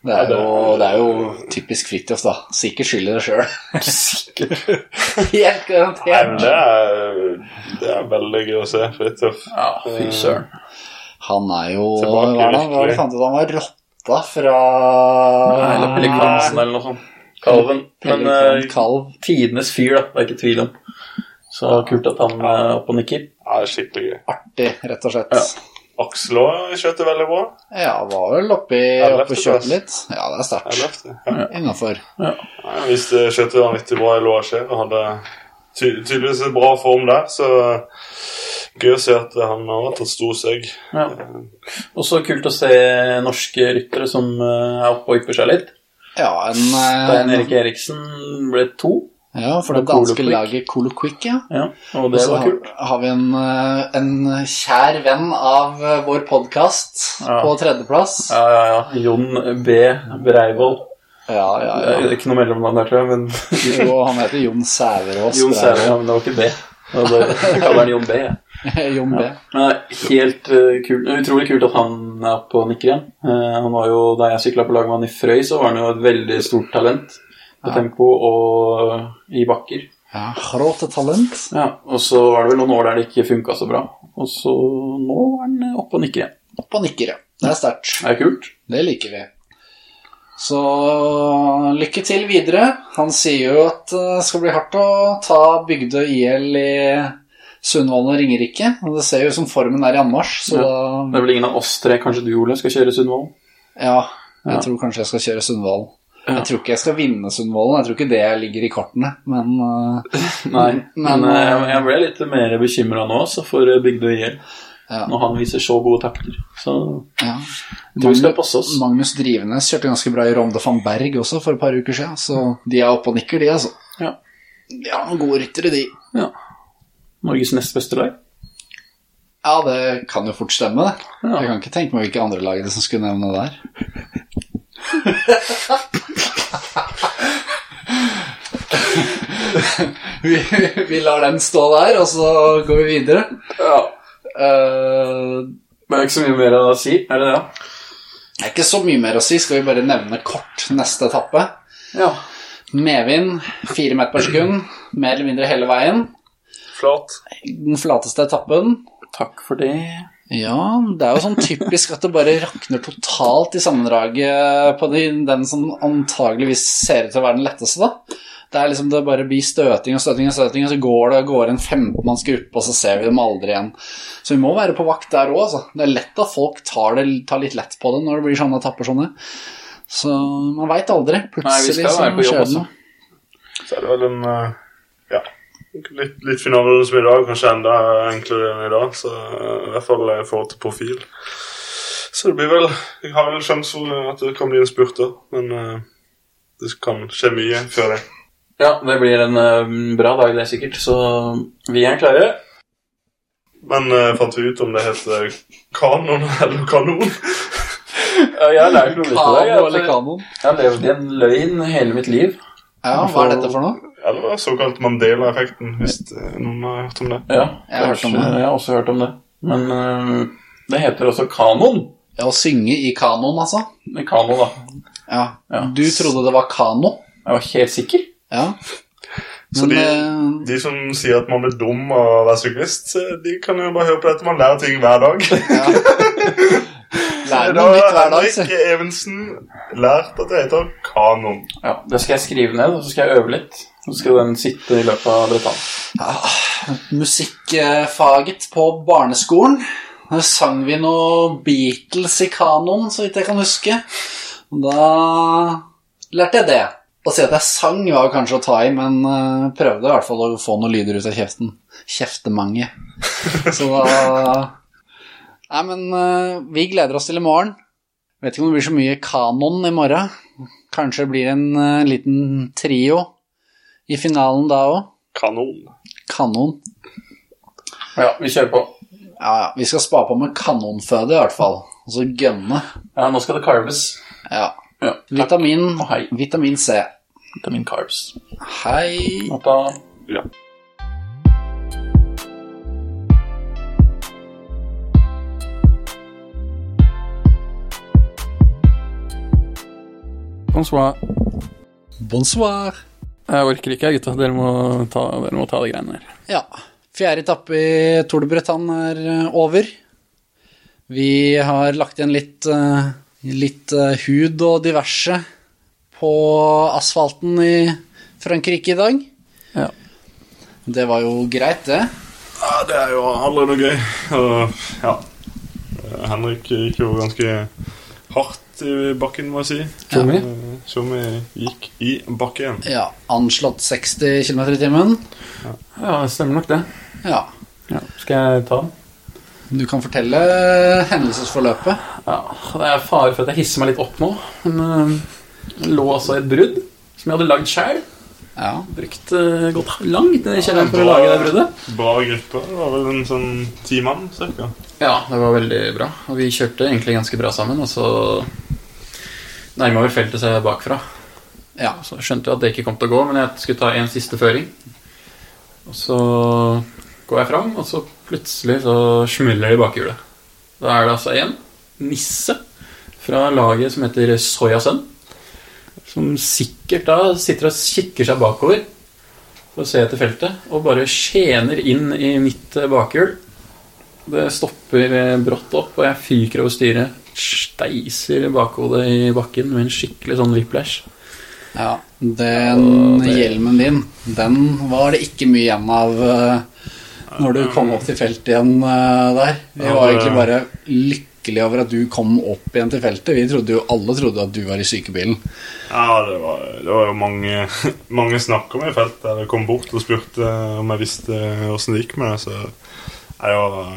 Speaker 2: Det er, jo, det er jo typisk Fridtjof, da. Sikkert skyld i det sjøl. Helt
Speaker 4: Nei, men
Speaker 2: garantert.
Speaker 4: det er, det er veldig gøy å se. Fridtjof.
Speaker 1: Ja, fy søren.
Speaker 2: Han er jo
Speaker 4: Tilbake,
Speaker 2: Hva er det han- hva var det
Speaker 4: virkelig.
Speaker 2: fant ut? Han var rotta fra
Speaker 1: Nei, eller pelikansen eller noe sånt. Kalven. Men
Speaker 2: Pelikan,
Speaker 1: eh,
Speaker 2: kalv.
Speaker 1: tidenes fyr, da. Det er ikke tvil om. Så kult at han er oppe og nikker.
Speaker 4: Ja, det er skikkelig gøy.
Speaker 2: Artig, rett og slett.
Speaker 1: Ja.
Speaker 4: Aksel òg skjøt det veldig bra.
Speaker 2: Ja, var vel oppi,
Speaker 4: det
Speaker 2: oppi
Speaker 4: lefteplass.
Speaker 2: kjøpet litt. Ja, det er
Speaker 4: Jeg
Speaker 2: sterkt.
Speaker 4: løfter. Ja.
Speaker 2: Innafor.
Speaker 4: Nei, Han visste skjøt det vanvittig bra i Loaché og hadde ty tydeligvis en bra form der. Så gøy å se at han har tatt stor steg.
Speaker 1: Ja. Eh, Også kult å se norske ryttere som eh, er oppe og ypper seg litt.
Speaker 2: Ja, en, eh,
Speaker 1: Dan Erik Eriksen ble to.
Speaker 2: ja, for det
Speaker 1: Og Kolo
Speaker 2: danske
Speaker 1: Quick.
Speaker 2: laget Kolo Quick, ja.
Speaker 1: Ja, og
Speaker 2: Og
Speaker 1: det
Speaker 2: så
Speaker 1: var
Speaker 2: har,
Speaker 1: kult.
Speaker 2: har vi en, eh, en kjær venn av eh, vår podkast
Speaker 1: Ja.
Speaker 2: på tredjeplass.
Speaker 1: Ja, ja, ja. Jon B. Breivoll.
Speaker 2: Ja, ja,
Speaker 1: Det
Speaker 2: ja.
Speaker 1: er ikke noe mellomnavn der, tror jeg, men
Speaker 2: Jo, han heter Jon Sæverås.
Speaker 1: Jon
Speaker 2: det er
Speaker 1: Sæver, ja, men det var ikke B. Og det- Jeg kaller han Jon B. jeg.
Speaker 2: jo- Jon B.
Speaker 1: Men det er helt eh, kult, utrolig kult at han er oppe og nikker igjen. Eh, han var jo, Da jeg sykla på lag med han i Frøy, så var han jo et veldig stort talent på tempo og i bakker.
Speaker 2: Ja, Gråte talent.
Speaker 1: Ja, Og så var det vel noen år der det ikke funka så bra. Og så nå er han oppe og nikker igjen.
Speaker 2: Opp og nikker, ja. Det er sterkt.
Speaker 1: Det er kult.
Speaker 2: Det liker vi. Så lykke til videre. Han sier jo at eh, det skal bli hardt å ta Bygdøy IL i Sundvolden og Ringerike. Og det ser jo ut som formen er i anmarsj, så
Speaker 1: Ja. Det
Speaker 2: da
Speaker 1: er vel ingen av oss tre, kanskje du, Ole, skal kjøre Sundvolden?
Speaker 2: Ja, jeg
Speaker 1: Ja.
Speaker 2: tror kanskje jeg skal kjøre Sundvolden.
Speaker 1: Ja.
Speaker 2: Jeg tror ikke jeg skal vinne Sundvolden, jeg tror ikke det ligger i kortene, men eh,
Speaker 1: Nei,
Speaker 2: Men,
Speaker 1: men eh, jeg- jeg ble litt mer bekymra nå, altså, for eh, Bygdøy IL.
Speaker 2: Ja.
Speaker 1: Når han viser så gode takter. Så
Speaker 2: ja.
Speaker 1: jeg tror vi skal passe oss.
Speaker 2: Magnus Drivenes kjørte ganske bra i Ronde van Berg også for et par uker siden, så de er oppe og nikker, de, altså.
Speaker 1: Ja.
Speaker 2: De har noen gode ryttere, de.
Speaker 1: Ja. Norges nest beste lag.
Speaker 2: Ja, det kan jo fort stemme, det.
Speaker 1: Ja.
Speaker 2: Jeg kan ikke tenke meg hvilke andre lag det som skulle nevne der. vi, vi lar den stå der, og så går vi videre.
Speaker 1: Ja.
Speaker 2: Eh,
Speaker 1: Det er ikke så mye mer å si, er det det?
Speaker 2: det er ikke så mye mer å si, skal vi bare nevne kort neste etappe.
Speaker 1: Ja.
Speaker 2: Medvind, fire meter per sekund, mer eller mindre hele veien.
Speaker 4: Flat.
Speaker 2: Den flateste etappen.
Speaker 1: Takk for det.
Speaker 2: Ja, det er jo sånn typisk at det bare rakner totalt i sammendraget på de, den som antageligvis ser ut til å være den letteste, da. Det er liksom det bare blir støting og støting og støting, og så går det og går en 15-manns gruppe, og så ser vi dem aldri igjen. Så vi må være på vakt der òg, altså. Det er lett at folk tar, det, tar litt lett på det når det blir sånne etapper sånne. Så man veit aldri.
Speaker 1: Nei, vi
Speaker 2: Plutselig
Speaker 1: skal være på
Speaker 2: så
Speaker 1: jobb
Speaker 2: skjer det
Speaker 1: også.
Speaker 2: noe.
Speaker 4: Så er det vel en eh, ja, Litt, litt finalere som i dag, kanskje enda enklere enn i dag. Så eh, i hvert fall i forhold til profil. Så det blir vel Jeg har vel sjanse for at det kan bli en spurt òg, men eh, det kan skje mye før det.
Speaker 5: Ja, det blir en eh, bra dag, det, sikkert. Så vi er klare.
Speaker 4: Men eh, fant vi ut om det heter kanon eller kanon?
Speaker 5: Ja, jeg har lært noe nytt i dag.
Speaker 2: Kano
Speaker 5: at
Speaker 2: eller kanon?
Speaker 5: Jeg har levd i en løgn hele mitt liv.
Speaker 2: Ja, hva er dette for noe?
Speaker 4: Eller såkalt Mandela-effekten, hvis eh, noen har hørt om det.
Speaker 5: Ja,
Speaker 2: Jeg har hørt om det.
Speaker 5: kanskje- Jeg har også hørt om det. Men eh, det heter også kanon.
Speaker 2: Ja, å synge i kanoen, altså.
Speaker 5: Det er Kano, da.
Speaker 2: Ja.
Speaker 5: Ja.
Speaker 2: Du trodde det var kano?
Speaker 5: Jeg var helt sikker.
Speaker 2: Ja.
Speaker 4: Så
Speaker 2: Men eh,
Speaker 4: De som sier at man blir dum av å være syklist, eh, de kan jo bare høre på dette. Man lærer ting hver dag.
Speaker 2: lær
Speaker 4: Da
Speaker 2: noe nytt hver
Speaker 4: har
Speaker 2: dag. så.
Speaker 4: Henrik Evensen lært at det heter kanon.
Speaker 5: Ja, Det skal jeg skrive ned, og så skal jeg øve litt. Så skal den sitte i løpet av brettanen.
Speaker 2: Ah, Musikkfaget på barneskolen. Da sang vi noe Beatles i kanoen, så vidt jeg kan huske. Og Da lærte jeg det. Å si at jeg sang var kanskje å ta i, men eh, prøvde i hvert fall å få noen lyder ut av kjeften. Kjeftemange. Så da Nei, men eh, vi gleder oss til i morgen. Vet ikke om det blir så mye kanon i morgen. Kanskje det blir en eh, liten trio i finalen da òg.
Speaker 4: Kanon.
Speaker 2: Kanon.
Speaker 5: Ja, vi kjører på.
Speaker 2: Ja, ja. Vi skal spa på med kanonføde, i hvert fall. Og så gønne.
Speaker 5: Ja, nå skal det carves.
Speaker 2: Ja.
Speaker 5: Ja, takk.
Speaker 2: Vitamin,
Speaker 5: og hei.
Speaker 2: vitamin C.
Speaker 5: Vitamin carbs.
Speaker 2: Hei.
Speaker 5: Natta.
Speaker 1: Bonsoir.
Speaker 2: Bonsoir.
Speaker 1: Jeg orker ikke, gutta. Dere må ta, dere må ta de greiene her.
Speaker 2: Ja. Fjerde etappe i Tour de Bretagne er eh, over. Vi har lagt igjen litt, eh, litt eh, hud og diverse på asfalten i Frankrike i dag.
Speaker 1: Ja.
Speaker 2: Det var jo greit, det.
Speaker 4: Ja, det er jo aldri noe gøy. Og, ja. Eh, Henrik gikk jo ganske hardt i bakken, må jeg si.
Speaker 5: Tjommi.
Speaker 4: Eh, Tjommi gikk i bakken.
Speaker 2: Ja, Anslått 60 km i timen.
Speaker 1: Ja, det stemmer nok, det.
Speaker 2: Ja.
Speaker 1: Skal jeg ta den?
Speaker 2: Du kan fortelle eh, hendelsesforløpet.
Speaker 1: Ja, Det er fare for at jeg hisser meg litt opp nå. Men eh, jeg lå altså i et brudd som jeg hadde lagd sjøl.
Speaker 2: Ja.
Speaker 1: Brukt uh, gått langt ned i kjelleren for å lage det bruddet.
Speaker 4: Bra gruppe. Det var vel en sånn ti mann, cirka.
Speaker 1: Ja, det var veldig bra. Og vi kjørte egentlig ganske bra sammen. Og så nærma vel feltet seg bakfra.
Speaker 2: Ja.
Speaker 1: Så skjønte jeg at det ikke kom til å gå, men jeg skulle ta en siste føring. Og så går jeg fram, og så plutselig så smeller det i bakhjulet. Da er det altså en nisse fra laget som heter Soyasønn, som sikkert da sitter og kikker seg bakover for å se etter feltet, og bare skjener inn i mitt eh, bakhjul. Det stopper eh, brått opp, og jeg fyker over styret. Steiser bakhodet i bakken med en skikkelig sånn whiplash.
Speaker 2: Ja, den
Speaker 1: det-
Speaker 2: hjelmen din, den var det ikke mye igjen av eh, når du kom opp til feltet igjen eh, der. Vi
Speaker 4: Ja,
Speaker 2: var
Speaker 4: det-
Speaker 2: egentlig bare lykkelige over at du kom opp igjen til feltet. Vi trodde jo, Alle trodde at du var i sykebilen.
Speaker 4: Ja, det var, det var jo mange, mange snakk om i feltet. Jeg kom bort og spurte om jeg visste åssen det gikk med det. Så jeg var,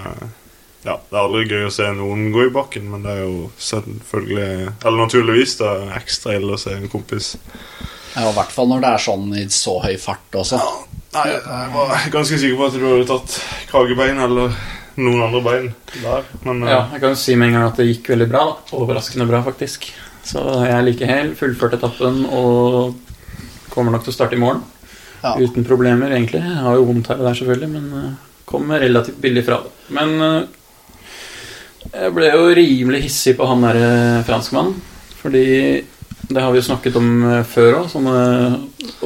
Speaker 4: ja, det er aldri gøy å se noen gå i bakken, men det er jo selvfølgelig Eller naturligvis da, ekstra ille å se en kompis.
Speaker 2: Ja, og I hvert fall når det er sånn i så høy fart også.
Speaker 4: Nei, jeg var ganske sikker på at du hadde tatt kragebein eller noen andre bein der, men eh,
Speaker 1: Ja, jeg kan jo si med en gang at det gikk veldig bra. da. Overraskende bra, faktisk. Så jeg er like hel, fullførte etappen og kommer nok til å starte i morgen.
Speaker 2: Ja.
Speaker 1: Uten problemer, egentlig. Jeg har jo vondt her og der, selvfølgelig, men eh, kommer relativt billig fra det. Men eh, jeg ble jo rimelig hissig på han derre franskmannen, fordi det har vi jo snakket om eh, før òg, sånn eh,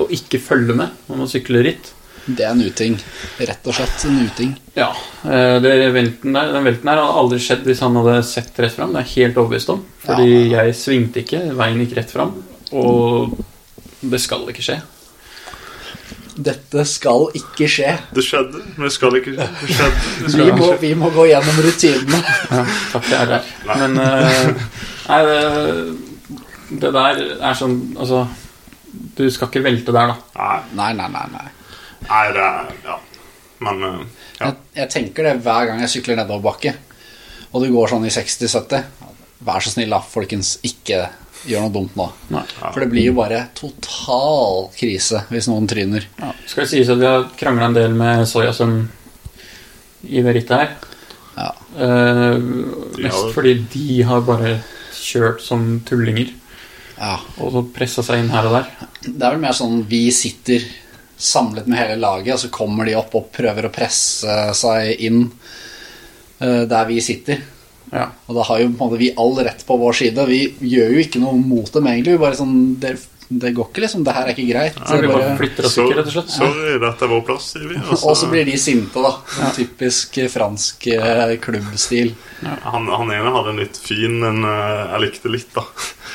Speaker 1: å ikke følge med når man sykler ritt.
Speaker 2: Det er en uting. Rett og slett en uting.
Speaker 1: Ja. eh, Det velten der, den velten der hadde aldri skjedd hvis han hadde sett rett fram. Det er jeg helt overbevist om. Fordi jeg svingte ikke, veien gikk rett fram. Og det skal ikke skje.
Speaker 2: Dette skal ikke skje.
Speaker 4: det skjedde. Men det skal ikke skje. Det skjedde. Det
Speaker 2: Vi
Speaker 4: skal ikke
Speaker 2: må,
Speaker 4: skje.
Speaker 2: vi må gå gjennom rutinene.
Speaker 1: Takk, jeg er der. Men eh, Nei, det, det der er sånn Altså, du skal ikke velte der, da.
Speaker 4: Nei,
Speaker 2: Nei, nei, nei. nei.
Speaker 4: Nei, det er Ja. Men eh, ja.
Speaker 2: Jeg, jeg tenker det hver gang jeg sykler nedoverbakke, og du går sånn i 60-70. Vær så snill, da, folkens. Ikke gjør noe dumt nå. For det blir jo bare total krise hvis noen tryner.
Speaker 1: Skal det sies at vi har krangla en del med soya som i det rittet her.
Speaker 2: Ja.
Speaker 1: Eh, mest
Speaker 4: Ja.
Speaker 1: fordi de har bare kjørt som tullinger
Speaker 2: Ja.
Speaker 1: og så pressa seg inn her og der.
Speaker 2: Det er vel mer sånn vi sitter samlet med hele laget, og så kommer de opp og prøver å presse seg inn eh, der vi sitter.
Speaker 1: Ja.
Speaker 2: Og da har jo på en måte vi all rett på vår side. Vi gjør jo ikke noe mot dem, egentlig. Vi bare sånn Det, det går ikke, liksom. Det her er ikke greit.
Speaker 1: Så
Speaker 2: Det
Speaker 1: vi
Speaker 2: er
Speaker 1: bare
Speaker 2: bare...
Speaker 1: flytter oss
Speaker 4: Sorry,
Speaker 1: ikke, rett og slett.
Speaker 4: sorry, dette er vår plass, sier vi. og så-
Speaker 2: Og så blir de sinte, da. Sånn typisk eh, fransk eh, klubbstil.
Speaker 4: Han, han ene hadde en litt fin en eh, jeg likte litt, da.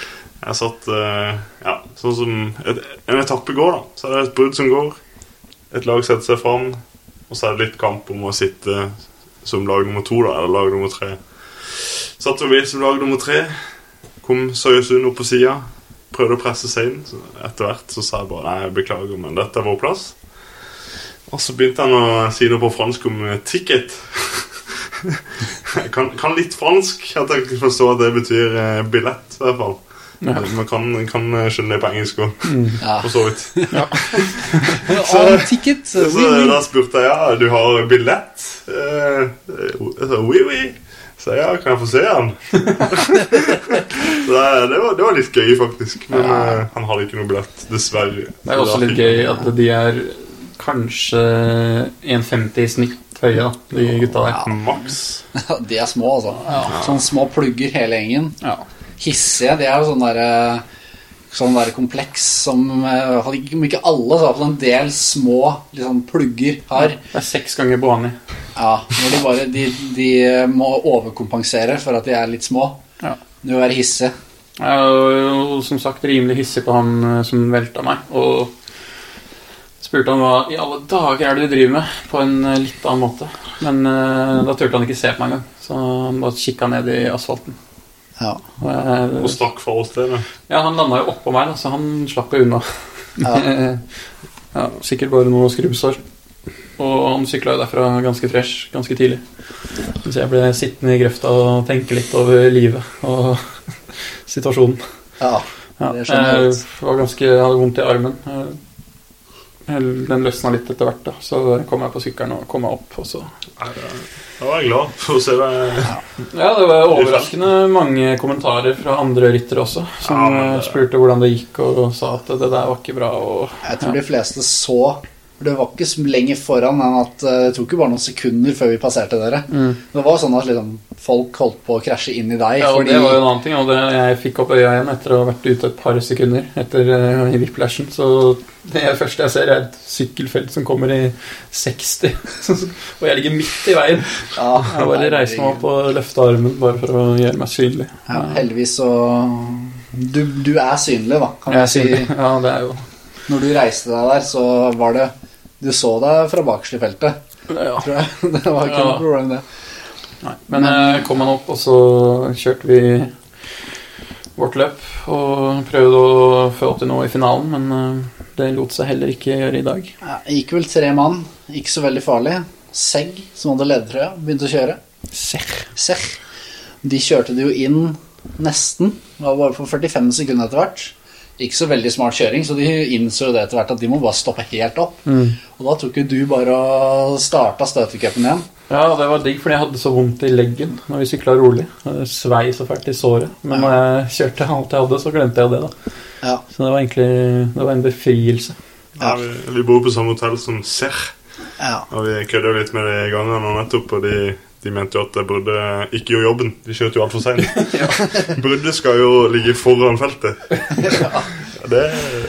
Speaker 4: Jeg satt eh, Ja, sånn som et, En etappe går, da. Så er det et brudd som går. Et lag setter seg fram, og så er det litt kamp om å sitte som lag nummer to, da, eller lag nummer tre. Satt jo vi som lag nummer tre. Kom Søyesund opp på sida. Prøvde å presse seg inn. Så etter hvert så sa jeg bare nei, jeg beklager, men dette er vår plass. Og så begynte han å si noe på fransk om eh, 'ticket'. Jeg kan, kan litt fransk. At jeg ikke forstår at det betyr eh, billett, i hvert fall. Man kan, kan skjønne det på engelsk òg,
Speaker 2: Ja.
Speaker 4: for så vidt.
Speaker 2: On ticket!
Speaker 4: Så
Speaker 2: Oui, oui.
Speaker 4: da spurte jeg ja, du har billett. Eh, Jeg sa oui, oui. Så jeg, ja, kan jeg få se han? så det, det, var, det var litt gøy, faktisk. Men eh, han hadde ikke noe billett, dessverre.
Speaker 1: Det er jo også litt gøy at de er kanskje 1,50 i snitt høye, da, de gutta der.
Speaker 4: Maks.
Speaker 2: Ja, De er små, altså. Sånne små plugger hele gjengen.
Speaker 1: Ja.
Speaker 2: Hissige. De er jo sånn derre Sånn der kompleks som eh, Om ikke alle, så i hvert fall en del små liksom, plugger har.
Speaker 1: Det er seks ganger Bohani.
Speaker 2: Ja, når de bare de, de eh, må overkompensere for at de er litt små.
Speaker 1: Ja.
Speaker 2: De må være hissige.
Speaker 1: Jeg var jo som sagt rimelig hissig på han eh, som velta meg, og spurte han hva i alle dager er det du driver med, på en eh, litt annen måte. Men eh, da turte han ikke se på meg engang, så han bare kikka ned i asfalten.
Speaker 2: Ja.
Speaker 1: Og jeg,
Speaker 4: Og stakk fra åstedet.
Speaker 1: ja, han landa jo oppå meg, da, så han slapp jo unna.
Speaker 2: Ja.
Speaker 1: ja, sikkert bare noe skrubbsår. Og han sykla jo derfra ganske fresh ganske tidlig. Så jeg ble sittende i grøfta og tenke litt over livet og situasjonen.
Speaker 2: ja.
Speaker 1: Ja,
Speaker 2: Det
Speaker 1: jeg
Speaker 2: skjønner jeg godt.
Speaker 1: var ganske, jeg hadde vondt i armen. Eh, Den løsna litt etter hvert, da. så kom jeg på sykkelen og kom meg opp. Og så.
Speaker 4: Da var jeg glad for å se deg.
Speaker 1: Ja, Det var overraskende mange kommentarer fra andre ryttere også, som
Speaker 4: Ja, men det-
Speaker 1: eh, spurte hvordan det gikk, og sa at det der var ikke bra. Og,
Speaker 2: Jeg tror de fleste så for Det var ikke så lenger foran enn at eh, Det tok jo bare noen sekunder før vi passerte dere.
Speaker 1: Mm.
Speaker 2: Det var sånn at liksom, folk holdt på å krasje inn i deg
Speaker 1: ja, og
Speaker 2: fordi
Speaker 1: det var jo en annen ting. Og det, jeg fikk opp øya igjen etter å ha vært ute et par sekunder etter eh, i whiplashen. Så det første jeg ser, er et sykkelfelt som kommer i 60, og jeg ligger midt i veien.
Speaker 2: ja,
Speaker 1: Jeg bare reiste meg opp og løfta armen bare for å gjøre meg synlig.
Speaker 2: Ja, heldigvis så du, du er synlig, da, kan
Speaker 1: Jeg
Speaker 2: jeg
Speaker 1: er
Speaker 2: si.
Speaker 1: synlig. Ja, det er jo
Speaker 2: Når du reiste deg der, så var det Du så deg fra bakerst i feltet,
Speaker 1: ja.
Speaker 2: tror jeg. Det var ikke
Speaker 1: Ja.
Speaker 2: noe problem, det.
Speaker 1: Men eh, kom han opp, og så kjørte vi vårt løp. Og prøvde å få opp til noe i finalen, men eh, det lot seg heller ikke gjøre i dag.
Speaker 2: Ja, det gikk vel tre mann, ikke så veldig farlig. Segg, som hadde ledertrøya, begynte å kjøre. Segg. De kjørte det jo inn nesten. Det var bare på 45 sekunder etter hvert. Ikke så veldig smart kjøring, så de innså jo det etter hvert at de må bare stoppe helt opp. Og da tok jo du bare og starta støtecupen igjen.
Speaker 1: Ja, det var digg, fordi jeg hadde så vondt i leggen når vi sykla rolig. Det svei så fælt i såret. Men når jeg kjørte alt jeg hadde, så glemte jeg det, da.
Speaker 2: Ja.
Speaker 1: Så det var egentlig det var en befrielse.
Speaker 4: Ja, vi, vi bor på samme hotell som Serre.
Speaker 2: ja.
Speaker 4: Og vi kødda jo litt med det i gangen nå nettopp, og de, de mente jo at jeg burde ikke gjøre jobben. De kjørte jo altfor seint. Bruddet skal jo ligge foran feltet. Det,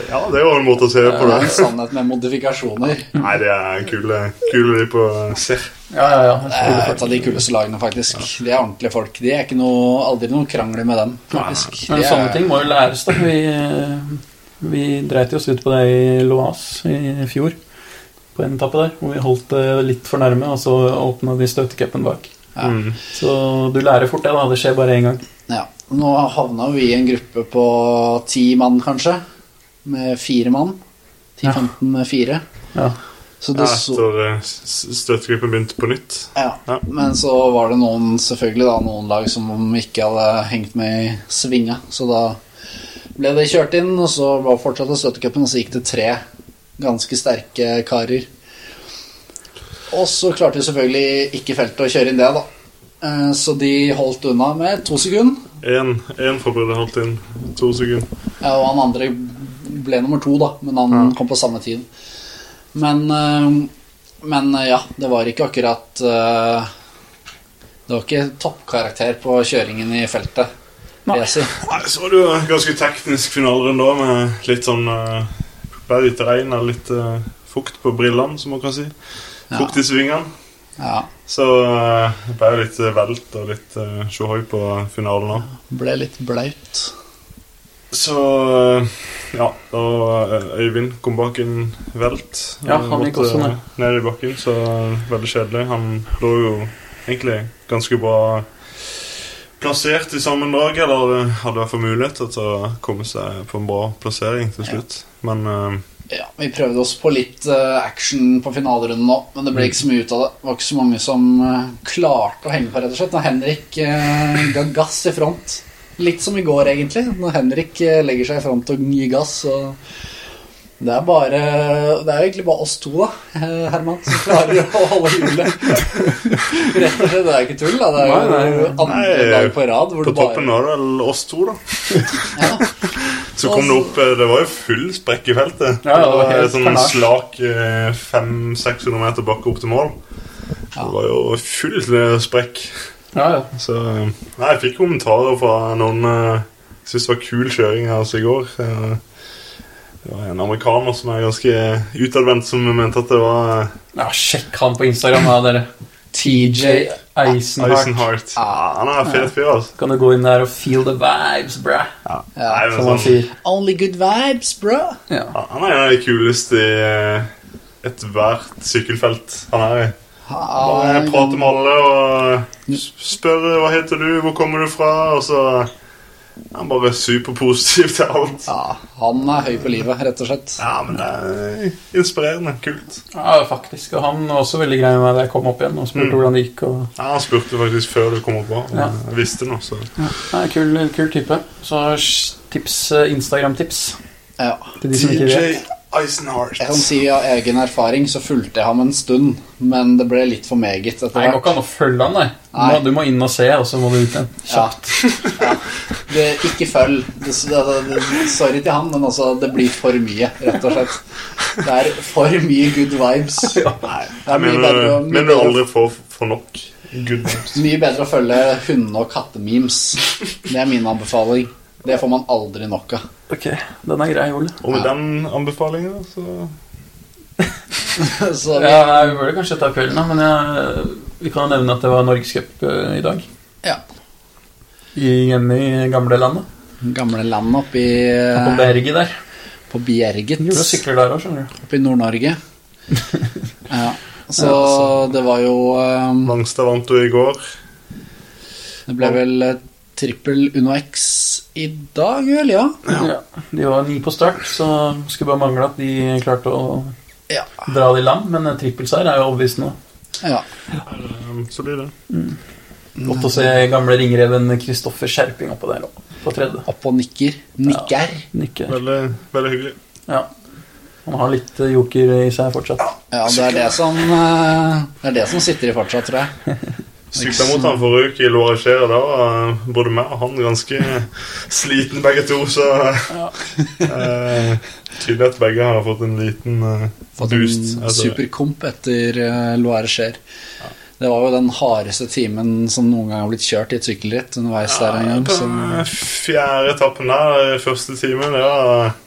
Speaker 4: ja, det var en måte å se det på.
Speaker 2: Det er
Speaker 4: det.
Speaker 2: en sannhet med modifikasjoner.
Speaker 4: Nei, det er kule, kule de på Serre.
Speaker 1: Ja, ja, ja.
Speaker 2: Det er et av de kuleste lagene, faktisk. De er ordentlige folk. De er ikke noe, aldri noe krangler med dem, faktisk.
Speaker 1: Men
Speaker 2: De er-
Speaker 1: sånne ting må jo læres, da. Vi, vi dreit jo oss ut på det i Loas i fjor. På en etappe der, hvor vi holdt det litt for nærme, og så åpna de støtecupen bak.
Speaker 2: Ja.
Speaker 4: Mm.
Speaker 1: Så du lærer fort det, da. Det skjer bare én gang.
Speaker 2: Ja, nå havna vi i en gruppe på ti mann, kanskje. Med fire mann.
Speaker 1: Ja.
Speaker 2: 10-15 med fire.
Speaker 1: Ja.
Speaker 2: Så
Speaker 4: Ja,
Speaker 2: det så
Speaker 4: etter eh, s- støttegruppen begynte på nytt.
Speaker 2: Ja,
Speaker 4: Ja.
Speaker 2: men så var det noen, selvfølgelig da, noen lag som ikke hadde hengt med i svinga, så da ble det kjørt inn, og så bare fortsatte støttecupen, og så gikk det tre ganske sterke karer. Og så klarte jo selvfølgelig ikke feltet å kjøre inn det, da. Eh, Så de holdt unna med to sekunder,
Speaker 4: Én fra Brille holdt inn to sekunder.
Speaker 2: ja, og han andre ble nummer to, da, men han kom på samme tid. Men, eh, men eh, ja, det var ikke akkurat eh, Det var ikke toppkarakter på kjøringen i feltet, vil jeg si.
Speaker 4: Nei, så var det jo en ganske teknisk finalerunde òg, med litt sånn eh, bedre terreng og litt eh, fukt på brillene, som man kan si. Fukt i svingene.
Speaker 2: Ja,
Speaker 4: Så eh, det ble jo litt eh, velt og litt eh, tjohoi på finalen òg.
Speaker 2: ble litt blaut.
Speaker 4: Så eh, ja, da eh, Øyvind kom bak en velt. Eh,
Speaker 1: Ja, han gikk
Speaker 4: måtte
Speaker 1: også ned.
Speaker 4: ned i bakken, så eh, veldig kjedelig. Han lå jo egentlig ganske bra plassert i sammendraget, eller eh, hadde i hvert fall muligheter til å komme seg på en bra plassering til slutt. Men eh,
Speaker 2: Ja, Vi prøvde oss på litt eh, action på finalerunden nå, men det ble ikke så mye ut av det. Det var ikke så mange som eh, klarte å henge på, rett og slett. Når Henrik eh, ga gass i front. Litt som i går, egentlig. Når Henrik eh, legger seg i front og gir gass, så det er bare Det er jo egentlig bare oss to, da, eh, Herman, som klarer å holde hjulet. Rett og slett. Det er ikke tull, da. Det er jo
Speaker 1: Nei, nei.
Speaker 2: andre
Speaker 4: Nei,
Speaker 2: dag på rad hvor
Speaker 4: på
Speaker 2: du
Speaker 4: toppen
Speaker 2: bare
Speaker 4: var det vel oss to, da.
Speaker 2: Ja.
Speaker 4: Så kom det opp eh, Det var jo full sprekk i feltet.
Speaker 1: Ja, det var
Speaker 4: Eh,
Speaker 1: helt
Speaker 4: sånn
Speaker 1: karnasj.
Speaker 4: slak eh, 500-600 meter bakke opp til mål. Det var jo full eh, sprekk.
Speaker 1: Ja, ja.
Speaker 4: Så eh, Nei, jeg fikk kommentarer fra noen eh, Jeg synes det var kul kjøring her altså, i går. Eh, Det var en amerikaner som er ganske utadvendt, som mente at det var eh,
Speaker 1: ja sjekk han på Instagram, da, dere. TJ Eisenhardt.
Speaker 4: Eisenhardt.
Speaker 2: Ah.
Speaker 4: Ja, han er en fet fyr, altså.
Speaker 1: Kan du gå inn der og feel the vibes, bra?
Speaker 4: Nei,
Speaker 2: ja.
Speaker 4: men
Speaker 1: Som han
Speaker 4: sånn,
Speaker 1: sier.
Speaker 2: Only good vibes, bro.
Speaker 4: ja, han er en av de kuleste i eh, ethvert sykkelfelt han er i.
Speaker 2: Ah,
Speaker 4: Bare prate med alle og
Speaker 2: Mm.
Speaker 4: spørre hva heter du, hvor kommer du fra, og så er han bare superpositiv til alt.
Speaker 2: Ja, han er høy på livet, rett og slett.
Speaker 4: Ja, men det er inspirerende. Kult.
Speaker 1: Ja, faktisk. Og han var også veldig grei med meg da jeg kom opp igjen og spurte
Speaker 2: Mm.
Speaker 1: hvordan det gikk. Og...
Speaker 4: Ja, han spurte faktisk før du kom opp òg.
Speaker 1: Ja.
Speaker 4: Jeg visste noe, så
Speaker 1: Nei, kul, kul type. Så sj- tips, eh, Instagram-tips
Speaker 2: Ja.
Speaker 1: til de som ikke vet.
Speaker 4: Eisenhardt.
Speaker 2: Jeg kan si av egen erfaring så fulgte jeg ham en stund, men det ble litt for meget etter
Speaker 1: Nei, det går
Speaker 2: hvert.
Speaker 1: ikke an å følge han, nei. Du må,
Speaker 2: Nei.
Speaker 1: du må inn og se, og så må du ut igjen.
Speaker 2: Ja. Ja. Det, ikke følg. Det, det, det, sorry til han, men altså, det blir for mye, rett og slett. Det er for mye good vibes. Det er mye
Speaker 4: mener,
Speaker 2: bedre, å-
Speaker 4: du-
Speaker 2: mye
Speaker 4: mener du
Speaker 2: bedre,
Speaker 4: aldri får for nok? Good vibes.
Speaker 2: å- mye bedre å følge hunde- og kattememes. Det er min anbefaling. Det får man aldri nok av.
Speaker 1: Ok, den er grei, Ole.
Speaker 4: Og med den anbefalingen så
Speaker 2: Så vi,
Speaker 1: Ja, nei, vi burde kanskje ta kvelden, da, men jeg, vi kan jo nevne at det var Norgescup eh, i dag.
Speaker 2: ja.
Speaker 1: I, hjemme i gamlelandet.
Speaker 2: Gamle land oppi
Speaker 1: På berget der.
Speaker 2: på Bjerget.
Speaker 1: Du sykler der òg, skjønner du.
Speaker 2: oppe i Nord-Norge. Ja. Så det var jo eh,
Speaker 4: Langstad vant du i går.
Speaker 2: Det ble vel eh, trippel Uno X i dag, vel? Ja.
Speaker 1: Ja. De var ni på start, så skulle bare mangle at de klarte å
Speaker 2: Ja.
Speaker 1: dra det i land, men eh, trippelseier er jo overbevisende.
Speaker 2: ja.
Speaker 4: Um, Så blir det.
Speaker 1: Godt å se gamle ringreven Kristoffer Skjerping oppå der òg, på tredje.
Speaker 2: Opp og nikker. Nikker.
Speaker 1: Nikke.
Speaker 4: Veldig, veldig hyggelig.
Speaker 1: Ja. Han har litt eh, joker i seg fortsatt.
Speaker 2: Ja, det er det som eh, Det er det som sitter i fortsatt, tror jeg.
Speaker 4: Sykla mot han forrige uke i Lorager, da var eh, både meg og han ganske sliten begge to, så eh, Tydelig at begge har fått en liten eh,
Speaker 2: Fått
Speaker 4: boost. Altså,
Speaker 2: en
Speaker 4: etter det.
Speaker 2: superkomp etter uh, Loire Cher. Det var jo den hardeste timen som noen gang har blitt kjørt i et sykkelritt underveis der en gang. Så
Speaker 4: Den fjerde etappen der, første timen, det var eh,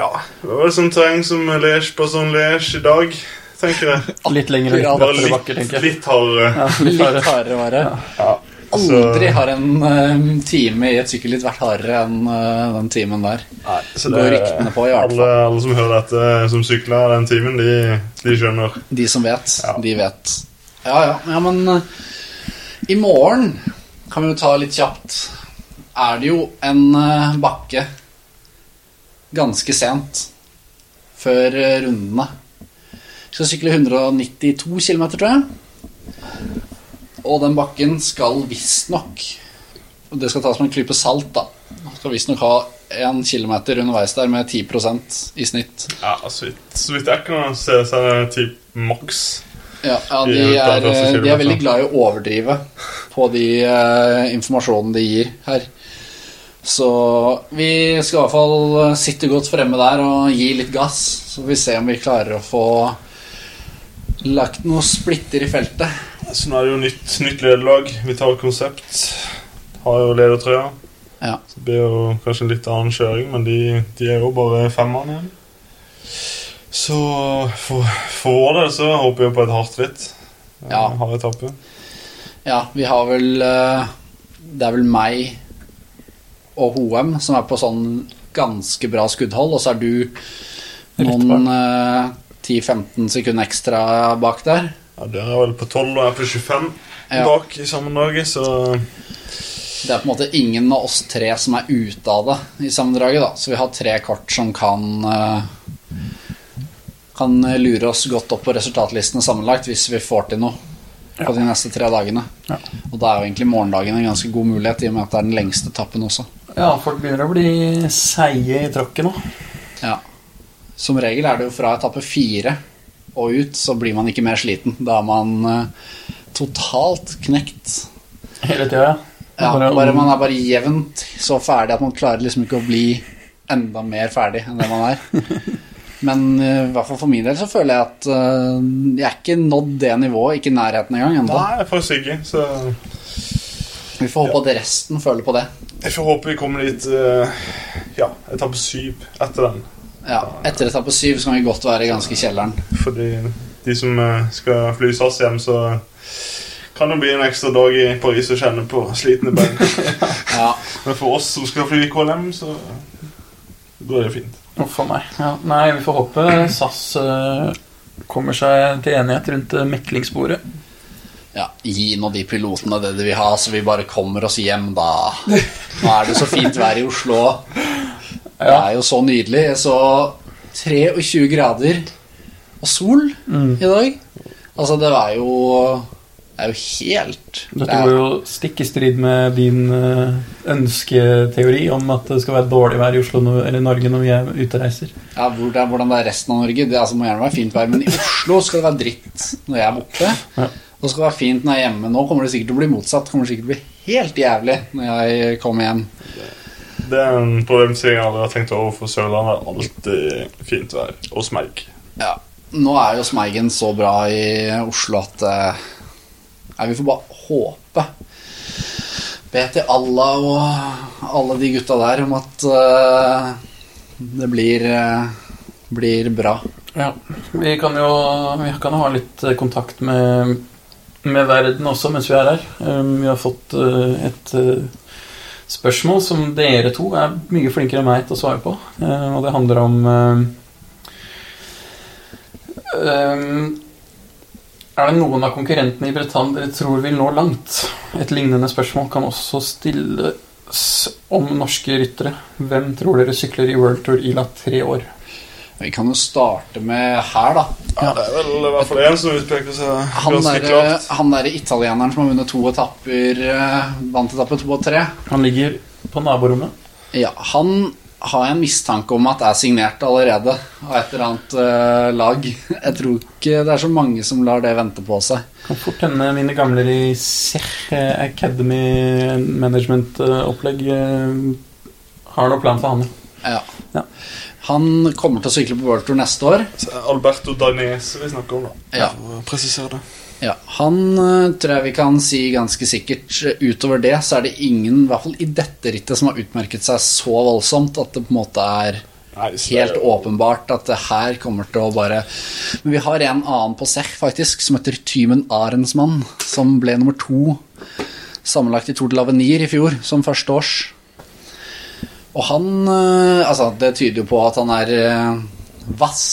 Speaker 4: Ja, det var sånn terreng som Liège på sånn Liège i dag, tenker jeg.
Speaker 1: Litt lengre
Speaker 2: Ja,
Speaker 4: Bare
Speaker 1: bratte bakker,
Speaker 4: litt,
Speaker 1: tenker jeg.
Speaker 4: litt eh, hardere.
Speaker 1: Ja, litt
Speaker 2: litt
Speaker 1: hardere.
Speaker 2: hardere var det.
Speaker 4: Så-
Speaker 2: Aldri har en eh, time i et sykkelritt vært hardere enn eh, den timen der.
Speaker 4: Så
Speaker 2: går ryktene på, i hvert fall.
Speaker 4: alle, alle som hører dette, eh, som sykler den timen, de, de skjønner.
Speaker 2: De som vet,
Speaker 4: Ja.
Speaker 2: de vet. Ja, ja. ja men eh, i morgen kan vi jo ta litt kjapt. Er det jo en eh, bakke ganske sent før eh, rundene Skal sykle 192 km, tror jeg. Og den bakken skal visstnok og Det skal tas med en klype salt, da. Skal visstnok ha 1 km underveis der med 10 i snitt.
Speaker 4: Ja, så vidt, så vidt jeg kan se, så er det typ maks.
Speaker 2: Ja, ja de,
Speaker 4: I uka,
Speaker 2: er, eh,
Speaker 4: første
Speaker 2: de er
Speaker 4: kilometer.
Speaker 2: veldig glad i å overdrive på de eh, informasjonen de gir her. Så vi skal i hvert fall eh, sitte godt fremme der og gi litt gass, så får vi se om vi klarer å få lagt noen splitter i feltet.
Speaker 4: Så nå er det jo nytt, nytt lederlag. Vi tar konsept. Har jo ledertrøya.
Speaker 2: Ja.
Speaker 4: Så det blir jo kanskje en litt annen kjøring, men de, de er jo bare femmerne igjen. Så for, for vår del så håper vi på et hardt ritt.
Speaker 2: Ja.
Speaker 4: Eh, Hard etappe.
Speaker 2: Ja, vi har vel eh, Det er vel meg og Hoem som er på sånn ganske bra skuddhold, og så er du noen eh, 10-15 sekunder ekstra bak der.
Speaker 4: Ja, Dere er vel på 12 og jeg på 25
Speaker 2: Ja.
Speaker 4: bak i sammendraget, så
Speaker 2: Det er på en måte ingen av oss tre som er ute av det i sammendraget, da. Så vi har tre kort som kan eh, kan lure oss godt opp på resultatlistene sammenlagt hvis vi får til noe på de neste tre dagene. Og da er jo egentlig morgendagen en ganske god mulighet, i og med at det er den lengste etappen også.
Speaker 1: Ja, folk begynner å bli seige i tråkket nå.
Speaker 2: Ja. Som regel er det jo fra etappe fire og ut, så blir man ikke mer sliten. Da er man eh, totalt knekt.
Speaker 1: Hele tida, ja.
Speaker 2: Ja,
Speaker 1: Bare-
Speaker 2: bare man er bare jevnt så ferdig at man klarer liksom ikke å bli enda mer ferdig enn det man er. Men eh, i hvert fall for min del så føler jeg at eh, jeg er ikke nådd det nivået, ikke i nærheten engang ennå.
Speaker 4: Nei, faktisk ikke. Så
Speaker 2: Vi får håpe at resten føler på det.
Speaker 4: jeg får håpe vi kommer dit eh, Ja, etappe 7 etter den.
Speaker 2: Ja, Etter etappe syv så kan vi godt være ganske i kjelleren.
Speaker 4: Fordi de som eh, skal fly SAS hjem, så kan det bli en ekstra dag i Paris og kjenne på slitne bein.
Speaker 2: Ja,
Speaker 4: Men for oss som skal fly i KLM, så går det fint.
Speaker 1: Uff a meg. Ja. Nei, vi får håpe SAS eh, kommer seg til enighet rundt eh, meklingsbordet.
Speaker 2: ja, Gi nå de pilotene det de vil ha, så vi bare kommer oss hjem, da. Nå er det så fint vær i Oslo. Det
Speaker 1: Ja.
Speaker 2: er jo så nydelig. Jeg så 23 grader og sol
Speaker 1: Mm.
Speaker 2: i dag. Altså, det var jo Det er jo helt det
Speaker 1: Dette
Speaker 2: er,
Speaker 1: går jo stikk i strid med din eh, ønsketeori om at det skal være dårlig vær i Oslo nå- eller Norge når vi er ute og reiser.
Speaker 2: ja, hvor det er, Hvordan det er resten av Norge Det altså, må gjerne være fint vær, men i Oslo skal det være dritt når jeg er borte.
Speaker 1: Ja.
Speaker 2: Og skal det være fint når jeg er hjemme. Nå kommer det sikkert til å bli motsatt. Det kommer sikkert til å bli helt jævlig når jeg kommer hjem.
Speaker 4: Det er en problemstilling jeg aldri har tenkt over, for Sørlandet er alltid fint vær og smeik.
Speaker 2: Ja, nå er jo Smeigen så bra i Oslo at eh, Nei, vi får bare håpe. Be til Allah og alle de gutta der om at eh, det blir, eh, blir bra.
Speaker 1: Ja. Vi kan jo vi kan ha litt eh, kontakt med, med verden også mens vi er her. Um, vi har fått eh, et eh, spørsmål som dere to er mye flinkere enn meg til å svare på. Eh, og det handler om eh, um, Er det noen av konkurrentene i Britannia dere tror vil nå langt? Et lignende spørsmål kan også stilles om norske ryttere. Hvem tror dere sykler i World Tour Ila tre år?
Speaker 2: Vi kan jo starte med her, da.
Speaker 4: Ja, det er vel i hvert fall én som utpeker seg
Speaker 2: Han
Speaker 4: ganske
Speaker 2: derre
Speaker 4: klart.
Speaker 2: der italieneren som har vunnet to etapper, eh, vant etappe to og tre.
Speaker 1: Han ligger på naborommet.
Speaker 2: Ja, han har jeg en mistanke om at er signert allerede av et eller annet eh, lag. Jeg tror ikke det er så mange som lar det vente på seg.
Speaker 1: Kan fort hende mine gamler i Sech Academy Management-opplegg eh, har noe plan for han.
Speaker 2: Ja.
Speaker 1: Ja.
Speaker 2: Han kommer til å sykle på World Tour neste år.
Speaker 4: Så er det Alberto Danese vi snakker om, da.
Speaker 2: Ja.
Speaker 4: For å presisere det.
Speaker 2: Ja, han eh, tror jeg vi kan si ganske sikkert. eh, Utover det så er det ingen, i hvert fall i dette rittet, som har utmerket seg så voldsomt at det på en måte er
Speaker 4: Nei, så det er
Speaker 2: helt
Speaker 4: jo-
Speaker 2: åpenbart at det her kommer til å bare Men vi har en annen på Sech, faktisk, som heter Tymen Arensmann, som ble nummer to sammenlagt i Tour de Lavenir i fjor, som førsteårs. Og han eh, Altså, det tyder jo på at han er eh, vass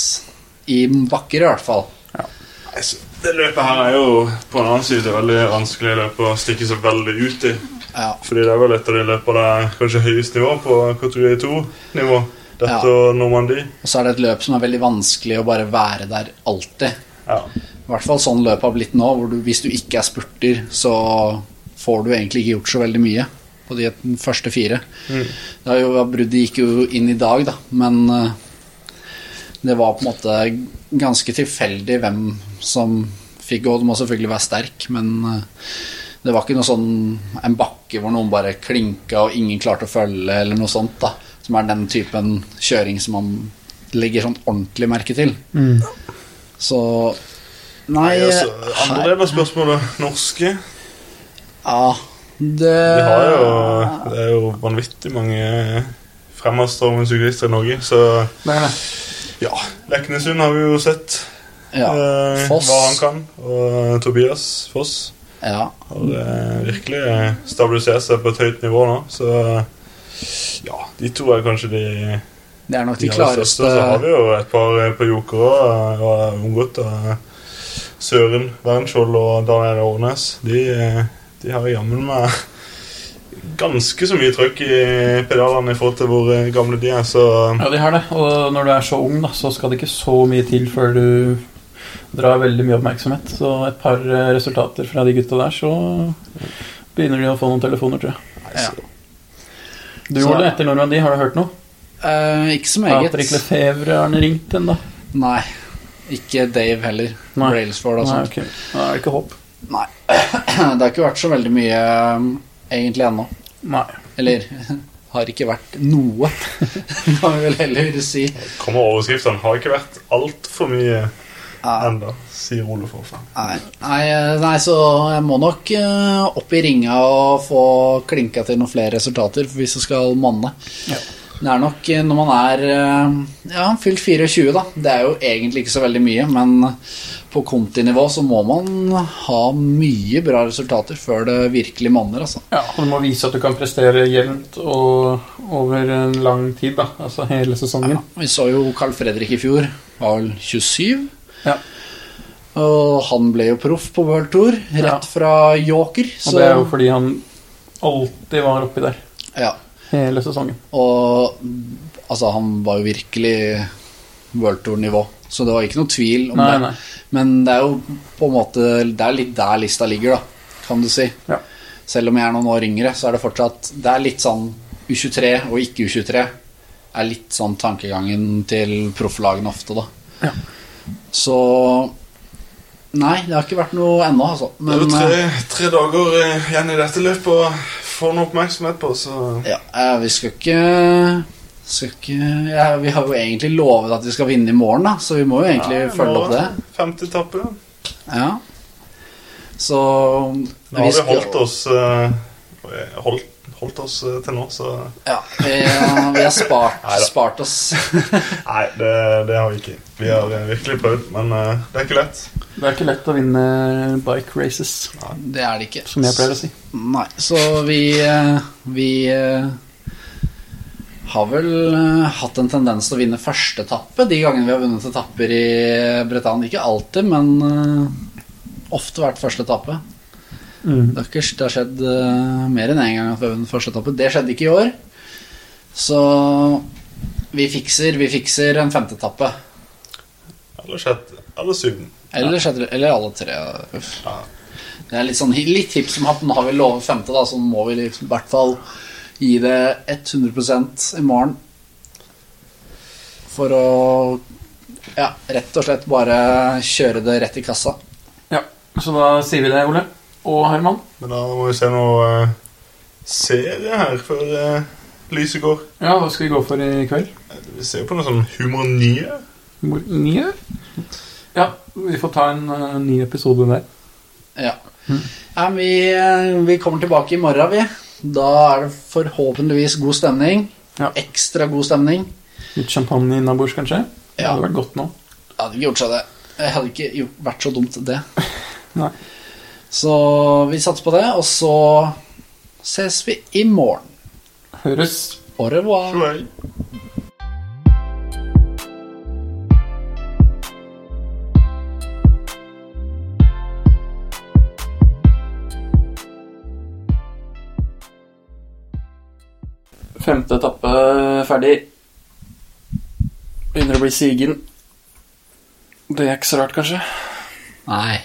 Speaker 2: i bakker, i hvert fall.
Speaker 4: Nei, så Det løpet her er jo på en annen side veldig vanskelig løp å stikke seg veldig ut i.
Speaker 2: Ja.
Speaker 4: Fordi det er vel et av de løpene det er kanskje høyest nivå på kategori 2-nivå. Dette
Speaker 2: Ja.
Speaker 4: og Normandie.
Speaker 2: Og så er det et løp som er veldig vanskelig å bare være der alltid.
Speaker 4: Ja.
Speaker 2: I hvert fall sånn løpet har blitt nå, hvor du, hvis du ikke er spurter, så får du egentlig ikke gjort så veldig mye på de første fire. Det er jo, Bruddet gikk jo inn i dag, da, men eh, det var på en måte ganske tilfeldig hvem som fikk gå. Du må selvfølgelig være sterk, men eh, det var ikke noe sånn en bakke hvor noen bare klinka og ingen klarte å følge, eller noe sånt, da. Som er den typen kjøring som man legger sånn ordentlig merke til. Så Nei, eh,
Speaker 4: Nei, altså, andre
Speaker 2: her-
Speaker 4: del av spørsmålet. Norske.
Speaker 2: Ja, det
Speaker 4: Vi har jo Det er jo vanvittig mange fremadstormende syklister i Norge, så Ja. Leknesund har vi jo sett
Speaker 2: ja,
Speaker 4: eh,
Speaker 2: Foss.
Speaker 4: hva han kan. Og eh, Tobias Foss
Speaker 2: ja,
Speaker 4: har eh, virkelig stabilisert seg på et høyt nivå nå, så ja, de to er kanskje de,
Speaker 2: det er nok de
Speaker 4: aller
Speaker 2: klareste
Speaker 4: største. Så har vi jo et par eh, på Joker òg, og har unngått eh, Søren Wernskjold og Daniel Årnes. De, eh, de har jammen meg ganske så mye trøkk i pedalene i forhold til hvor eh, gamle de er, så
Speaker 1: Ja, de har det. Og når du er så ung, da, så skal det ikke så mye til før du drar veldig mye oppmerksomhet. Så et par eh, resultater fra de gutta der, så begynner de å få noen telefoner, tror jeg.
Speaker 2: Ja.
Speaker 1: Du,
Speaker 2: Så-
Speaker 1: Ole, etter Normandie, har du hørt noe?
Speaker 2: Eh, Ikke så meget.
Speaker 1: Patrick Lefebvre, har han ringt ennå?
Speaker 2: Nei. Ikke Dave heller.
Speaker 1: Nei.
Speaker 2: Brailsford og
Speaker 1: Nei,
Speaker 2: sånt.
Speaker 1: ok. Da er det ikke håp.
Speaker 2: Nei. Det har ikke vært så veldig mye um, egentlig ennå.
Speaker 1: Nei.
Speaker 2: Eller har ikke vært noe, kan vi vel heller si.
Speaker 4: kommer overskriftene. Har ikke vært altfor mye
Speaker 2: Nei,
Speaker 4: enda, sier Ole Forfang.
Speaker 2: nei, nei, eh, nei, så jeg må nok eh, opp i ringa og få klinka til noen flere resultater for hvis jeg skal manne.
Speaker 1: Ja.
Speaker 2: Det er nok eh, når man er eh, ja, fylt 24, da. Det er jo egentlig ikke så veldig mye, men på kontinivå så må man ha mye bra resultater før det virkelig manner, altså.
Speaker 1: Ja, og du må vise at du kan prestere jevnt og over en lang tid, da. Altså hele sesongen.
Speaker 2: Ja, vi så jo Carl Fredrik i fjor, var vel 27.
Speaker 1: Ja.
Speaker 2: Og han ble jo proff på World Tour, rett
Speaker 1: Ja.
Speaker 2: fra Joker.
Speaker 1: Og det er jo fordi han alltid var oppi der.
Speaker 2: ja.
Speaker 1: Hele sesongen.
Speaker 2: Og altså, han var jo virkelig World Tour-nivå, så det var ikke noe tvil om
Speaker 1: Nei,
Speaker 2: det.
Speaker 1: nei.
Speaker 2: Men det er jo på en måte Det er litt der lista ligger, da, kan du si.
Speaker 1: Ja.
Speaker 2: Selv om jeg er noen år yngre, så er det fortsatt Det er litt sånn U23 og ikke U23 er litt sånn tankegangen til profflagene ofte, da. Så Nei, det har ikke vært noe ennå, altså.
Speaker 4: Det er jo
Speaker 2: Men
Speaker 4: tre,
Speaker 2: eh,
Speaker 4: tre dager eh, igjen i dette løpet å få noe oppmerksomhet på, så
Speaker 2: ja, eh, vi skal ikke skal ikke, ja, Vi har jo egentlig lovet at vi skal vinne i morgen, da, så vi må jo egentlig
Speaker 4: Ja,
Speaker 2: følge
Speaker 4: nå-
Speaker 2: opp det.
Speaker 4: Femte etappe.
Speaker 2: Ja. Så
Speaker 4: Nå har vi
Speaker 2: skal-
Speaker 4: holdt oss eh, holdt, holdt oss eh, til nå, så
Speaker 2: Ja, vi, eh, vi har spart,
Speaker 4: Neida.
Speaker 2: spart oss.
Speaker 4: Nei, det, det har vi ikke. Vi har eh, virkelig prøvd, men eh, det er ikke lett.
Speaker 1: Det er ikke lett å vinne bike races,
Speaker 2: Det er det ikke.
Speaker 1: som jeg pleier å si.
Speaker 2: Nei, så vi eh, Vi eh, har vel eh, hatt en tendens til å vinne første etappe de gangene vi har vunnet etapper i Bretagne. Ikke alltid, men eh, ofte vært første etappe. Det har, ikke, det har skjedd eh, mer enn én gang at vi har vunnet første etappe. Det skjedde ikke i år. Så vi fikser, vi fikser en femte etappe.
Speaker 4: Eller sjette. Eller syvende.
Speaker 2: Eller, sjette- eller alle tre. Uff.
Speaker 4: Ja.
Speaker 2: Det er litt, sånn, litt hipp som happ. Nå har vi lovet femte, da, så må vi liksom, i hvert fall gi det 100 i morgen. For å ja, rett og slett bare kjøre det rett i kassa.
Speaker 1: Ja, så da sier vi det, Ole. Og Herman.
Speaker 4: Men da må vi se noe eh, serie her før eh, lyset går.
Speaker 1: Ja, hva skal vi gå for i kveld?
Speaker 4: Vi ser jo på noe sånn humor nye.
Speaker 1: Humor nye? Ja, vi får ta en eh, ny episode der.
Speaker 2: Ja. ja men vi, eh, vi kommer tilbake i morgen, vi. Da er det forhåpentligvis god stemning.
Speaker 1: Ja.
Speaker 2: Ekstra god stemning.
Speaker 1: Litt champagne innabords, kanskje? Det
Speaker 2: Ja.
Speaker 1: hadde vært godt nå.
Speaker 2: Jeg hadde ikke gjort seg det. Jeg hadde ikke gjort, vært så dumt det.
Speaker 1: Nei.
Speaker 2: Så vi satser på det, og så ses vi i morgen.
Speaker 1: Høres.
Speaker 2: Au revoir.
Speaker 4: Right.
Speaker 1: Femte etappe ferdig. Begynner å bli sigen. Det er ikke så rart, kanskje.
Speaker 2: Nei.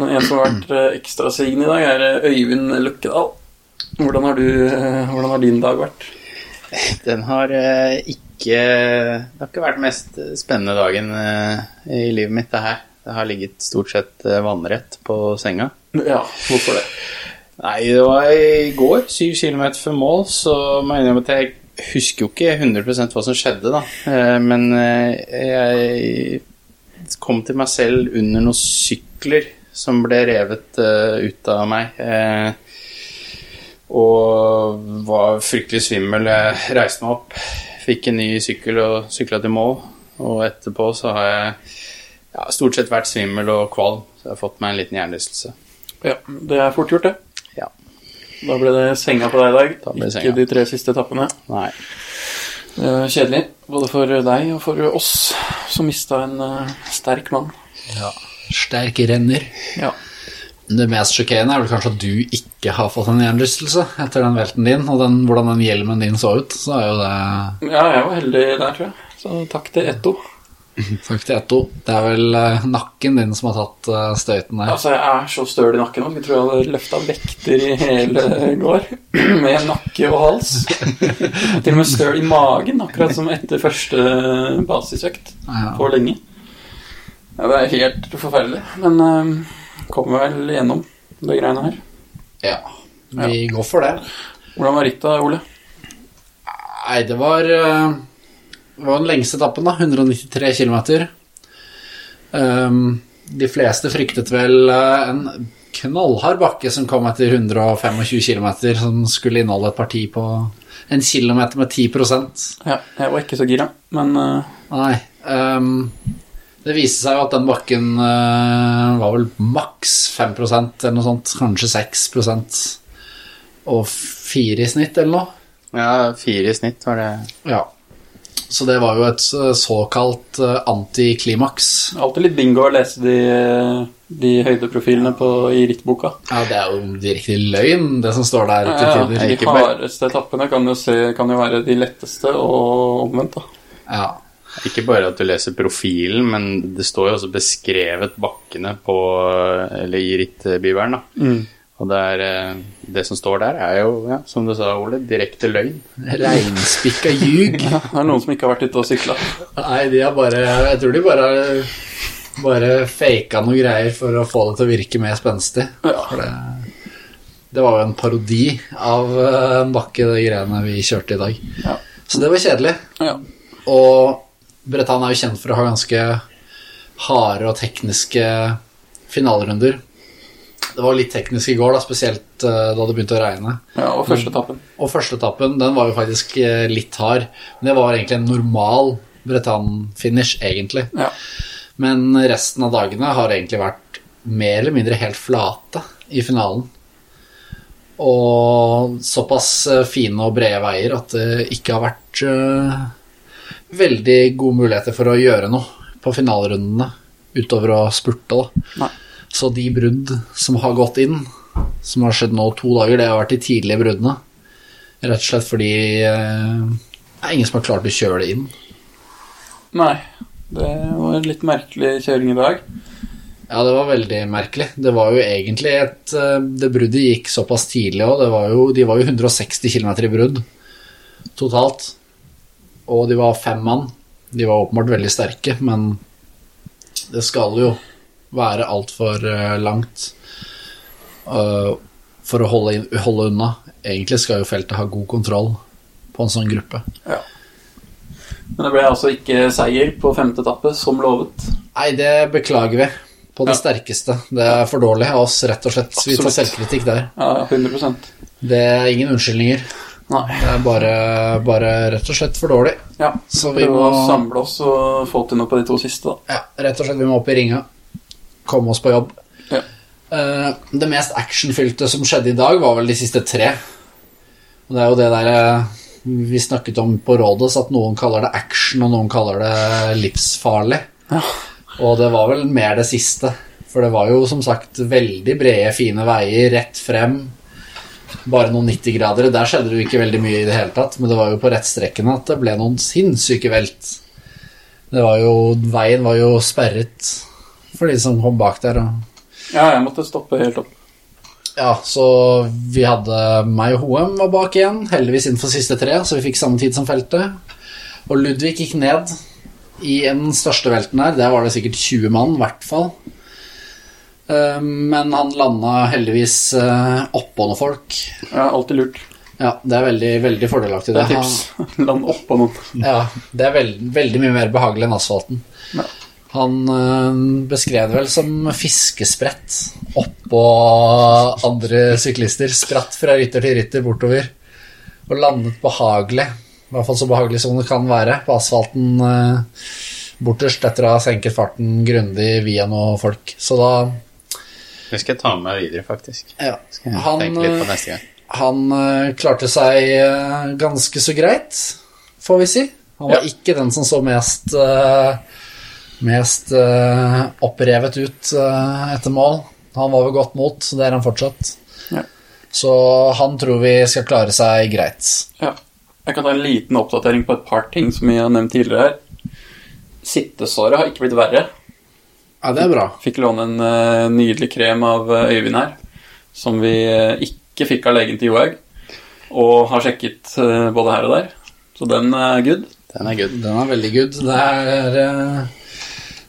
Speaker 6: Men en som har vært eh, ekstra sigende i dag, er eh, Øyvind Løkkedal. Hvordan har, du, eh, hvordan har din dag vært?
Speaker 3: Den har eh, ikke Det har ikke vært den mest spennende dagen eh, i livet mitt, det her. Det har ligget stort sett eh, vannrett på senga.
Speaker 6: Ja, hvorfor det?
Speaker 3: Nei, det var i går, syv kilometer før mål, så må jeg innrømme at jeg husker jo ikke 100 hva som skjedde, da. Eh, Men eh, jeg kom til meg selv under noen sykler som ble revet eh, ut av meg. eh, Og var fryktelig svimmel. Jeg reiste meg opp, fikk en ny sykkel og sykla til mål. Og etterpå så har jeg ja, stort sett vært svimmel og kvalm, så jeg har fått meg en liten hjernerystelse.
Speaker 6: Ja, Det er fort gjort, det.
Speaker 3: Ja.
Speaker 6: Da ble det senga på deg i dag.
Speaker 3: Da ble det senga.
Speaker 6: Ikke de tre siste etappene.
Speaker 3: Nei.
Speaker 6: Det var Kjedelig. Både for deg og for oss som mista en eh, sterk mann.
Speaker 2: Ja. Sterk renner.
Speaker 6: Ja.
Speaker 2: Det mest sjokkerende er vel kanskje at du ikke har fått en hjernerystelse etter den velten din, og den, hvordan den hjelmen din så ut. Så er jo det
Speaker 6: ja, jeg var heldig der, tror jeg. Så takk til Etto.
Speaker 2: Takk til Etto. Det er vel eh, nakken din som har tatt eh, støyten der.
Speaker 6: Altså, jeg er så støl i nakken nå. Jeg tror jeg hadde løfta vekter i hele går. Med nakke og hals. Til og med støl i magen, akkurat som etter første basisøkt
Speaker 2: Ja.
Speaker 6: på lenge. Ja, det er helt forferdelig. Men øhm, kommer vel gjennom det greiene her.
Speaker 2: ja. Vi går for det.
Speaker 6: Hvordan var rittet, Ole?
Speaker 2: Nei, det var, eh, det var den lengste etappen, da. 193 km. Ehm, de fleste fryktet vel eh, en knallhard bakke som kom etter 125 km, som skulle inneholde et parti på en kilometer med 10
Speaker 6: Ja, jeg var ikke så gira, men øh,
Speaker 2: Nei. ehm, det viste seg jo at den bakken eh, var vel maks 5 eller noe sånt. Kanskje 6 og fire i snitt, eller noe.
Speaker 3: Ja, fire i snitt var det.
Speaker 2: Ja. Så det var jo et eh, såkalt eh, antiklimaks.
Speaker 6: alltid litt bingo å lese de, de høydeprofilene på, i rittboka.
Speaker 2: Ja, det er jo direkte løgn, det som står der
Speaker 6: Ja,
Speaker 2: til
Speaker 6: ja,
Speaker 2: tider.
Speaker 6: de
Speaker 3: Ikke bare-
Speaker 6: hardeste etappene kan jo, se, kan jo være de letteste, og omvendt, da.
Speaker 2: Ja.
Speaker 3: Ikke bare at du leser profilen, men det står jo også beskrevet bakkene på Eller i rittbibelen, da. Og det, er, eh, det som står der, er jo, ja, som du sa, Ole, direkte løgn.
Speaker 2: Reinspikka ljug.
Speaker 6: Ja, det er noen som ikke har vært ute og sykla.
Speaker 2: Nei, de har bare Jeg tror de bare har bare faka noen greier for å få det til å virke mer spenstig.
Speaker 6: Ja.
Speaker 2: For det, det var jo en parodi av eh, en bakke, de greiene vi kjørte i dag.
Speaker 6: Ja.
Speaker 2: Så det var kjedelig.
Speaker 6: Ja.
Speaker 2: Og Bretagne er jo kjent for å ha ganske harde og tekniske finalerunder. Det var litt teknisk i går, da, spesielt eh, da det begynte å regne.
Speaker 6: ja, og første etappen.
Speaker 2: Og førsteetappen, den var jo faktisk eh, litt hard. Men det var egentlig en normal Bretagne-finish, egentlig.
Speaker 6: Ja.
Speaker 2: Men resten av dagene har egentlig vært mer eller mindre helt flate i finalen. Og såpass eh, fine og brede veier at det ikke har vært eh, veldig gode muligheter for å gjøre noe på finalerundene utover å spurte, da.
Speaker 6: Nei.
Speaker 2: Så de brudd som har gått inn, som har skjedd nå to dager, det har vært de tidlige bruddene. Rett og slett fordi eh, det er ingen som har klart å kjøre det inn.
Speaker 6: Nei, det var en litt merkelig kjøring i dag.
Speaker 2: Ja, det var veldig merkelig. Det var jo egentlig et eh, Det bruddet gikk såpass tidlig òg. De var jo 160 km i brudd totalt. Og de var fem mann. De var åpenbart veldig sterke, men det skal jo være altfor langt eh, for å holde, inn- holde unna. Egentlig skal jo feltet ha god kontroll på en sånn gruppe.
Speaker 6: Men det ble altså ikke seier på femte etappe, som lovet.
Speaker 2: Nei, det beklager vi på det
Speaker 6: Ja.
Speaker 2: sterkeste. Det er for dårlig av oss, rett og slett. Vi tar
Speaker 6: Absolutt.
Speaker 2: selvkritikk der.
Speaker 6: Ja, 100
Speaker 2: Det er ingen unnskyldninger.
Speaker 6: Nei.
Speaker 2: Det er bare, bare rett og slett for dårlig.
Speaker 6: Ja,
Speaker 2: Så vi
Speaker 6: prøve
Speaker 2: må,
Speaker 6: å samle oss og få til noe på de to siste, da.
Speaker 2: ja, rett og slett, vi må opp i ringa. Komme oss på jobb.
Speaker 6: Ja.
Speaker 2: Eh, det mest actionfylte som skjedde i dag, var vel de siste tre. Og det er jo det der eh, vi snakket om på rådet, så at noen kaller det action, og noen kaller det livsfarlig. Og det var vel mer det siste. For det var jo som sagt veldig brede, fine veier, rett frem. Bare noen 90-gradere. Der skjedde det jo ikke veldig mye i det hele tatt, men det var jo på rettstrekkene at det ble noen sinnssyke velt. Det var jo Veien var jo sperret for de som kom bak der. Og
Speaker 6: Ja, jeg måtte stoppe helt opp.
Speaker 2: Ja, så vi hadde meg og Hoem var bak igjen, heldigvis innenfor siste tre, så vi fikk samme tid som feltet. Og Ludvig gikk ned i den største velten her, der var det sikkert 20 mann, i hvert fall. Eh, Men han landa heldigvis eh, oppå noen folk.
Speaker 6: Ja, alltid lurt.
Speaker 2: Ja, det er veldig, veldig fordelaktig.
Speaker 6: Det er
Speaker 2: Han-
Speaker 6: tips. Land oppå noen.
Speaker 2: ja, det er veld, veldig mye mer behagelig enn asfalten.
Speaker 6: Ja.
Speaker 2: Han øh, beskrev det vel som fiskesprett oppå andre syklister. Spratt fra rytter til rytter bortover og landet behagelig. I hvert fall så behagelig som det kan være på asfalten øh, borterst etter å ha senket farten grundig via noe folk. Så da
Speaker 3: Det skal jeg ta med meg videre, faktisk.
Speaker 2: ja,
Speaker 3: Skal jeg
Speaker 2: han,
Speaker 3: tenke litt på
Speaker 2: øh,
Speaker 3: neste gang.
Speaker 2: han øh, klarte seg øh, ganske så greit, får vi si. Han var ikke den som så mest øh, mest eh, opprevet ut eh, etter mål. Han var ved godt mot, så det er han fortsatt.
Speaker 6: Ja.
Speaker 2: Så han tror vi skal klare seg greit.
Speaker 6: Ja. Jeg kan ta en liten oppdatering på et par ting som jeg har nevnt tidligere her. Sittesåret har ikke blitt verre.
Speaker 2: Ja, det er bra.
Speaker 6: Fikk låne en eh, nydelig krem av eh, Øyvind her, som vi eh, ikke fikk av legen til Johaug. Og har sjekket eh, både her og der. Så den er good.
Speaker 3: Den er good.
Speaker 2: Den er veldig good. Det er, eh,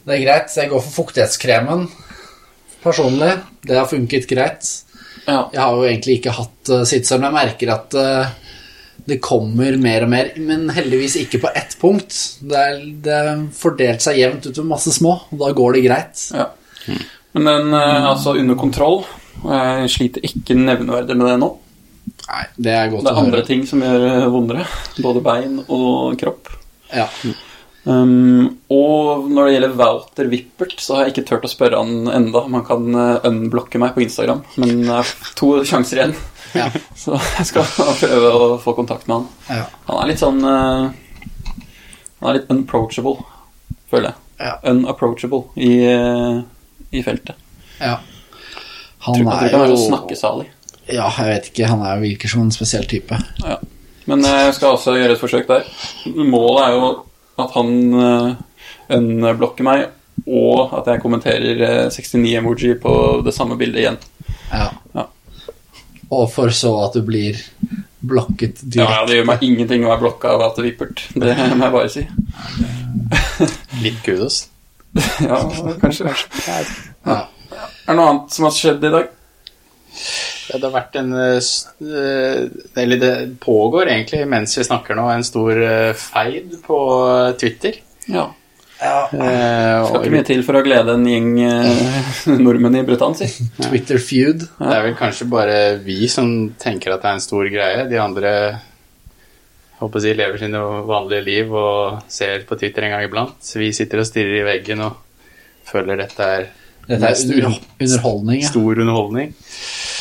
Speaker 2: det er greit. Jeg går for fuktighetskremen personlig. Det har funket greit.
Speaker 6: Ja.
Speaker 2: Jeg har jo egentlig ikke hatt uh, sittesøvn, men jeg merker at eh, det kommer mer og mer, men heldigvis ikke på ett punkt. Det er, det er fordelt seg jevnt utover masse små, og da går det greit.
Speaker 6: ja. Men den eh, er altså under kontroll. Og jeg sliter ikke nevneverdig med det nå.
Speaker 2: Nei, det er godt
Speaker 6: Det
Speaker 2: å
Speaker 6: er andre
Speaker 2: høre.
Speaker 6: ting som gjør eh, vondere. Både bein og kropp.
Speaker 2: Ja.
Speaker 6: Um, og når det gjelder Wouter Wippert, så har jeg ikke turt å spørre han enda Man kan eh, unblokke meg på Instagram, men det er to sjanser igjen.
Speaker 2: Ja.
Speaker 6: Så jeg skal prøve å få kontakt med han.
Speaker 2: Ja.
Speaker 6: Han er litt sånn eh, Han er litt unapproachable, føler jeg.
Speaker 2: Ja.
Speaker 6: Unapproachable i, eh, i feltet.
Speaker 2: ja.
Speaker 6: Jeg
Speaker 2: Han
Speaker 6: tror, jeg tror
Speaker 2: er
Speaker 6: ikke han er så
Speaker 2: jo
Speaker 6: snakkesalig.
Speaker 2: Ja, jeg vet ikke. Han er jo virker som en spesiell type.
Speaker 6: Ja. Men eh, jeg skal også gjøre et forsøk der. Målet er jo at han eh, unblokker meg, og at jeg kommenterer eh, 69-emoji på det samme bildet igjen.
Speaker 2: Ja.
Speaker 6: Ja.
Speaker 2: Og for så at du blir blokket
Speaker 6: Ja, ja,
Speaker 2: direkte.
Speaker 6: Det gjør meg ingenting å være blokka av Walter Wippert, det må jeg bare si.
Speaker 3: Litt kudos.
Speaker 6: Ja, kanskje, kanskje.
Speaker 2: Ja.
Speaker 6: Er det noe annet som har skjedd i dag?
Speaker 3: Ja, Det har vært en eh, s- eh, Eller det pågår egentlig, mens vi snakker nå, en stor eh, feid på eh, Twitter.
Speaker 6: Ja.
Speaker 3: Eh,
Speaker 6: Skal
Speaker 3: og
Speaker 6: ikke mye til for å glede en gjeng eh, nordmenn i Britannia, si.
Speaker 2: Twitter feud.
Speaker 3: det er vel kanskje bare vi som tenker at det er en stor greie. De andre jeg håper jeg, lever sine vanlige liv og ser på Twitter en gang iblant. Vi sitter og stirrer i veggen og føler dette er
Speaker 2: Dette er under, underholdning, ja.
Speaker 3: stor underholdning.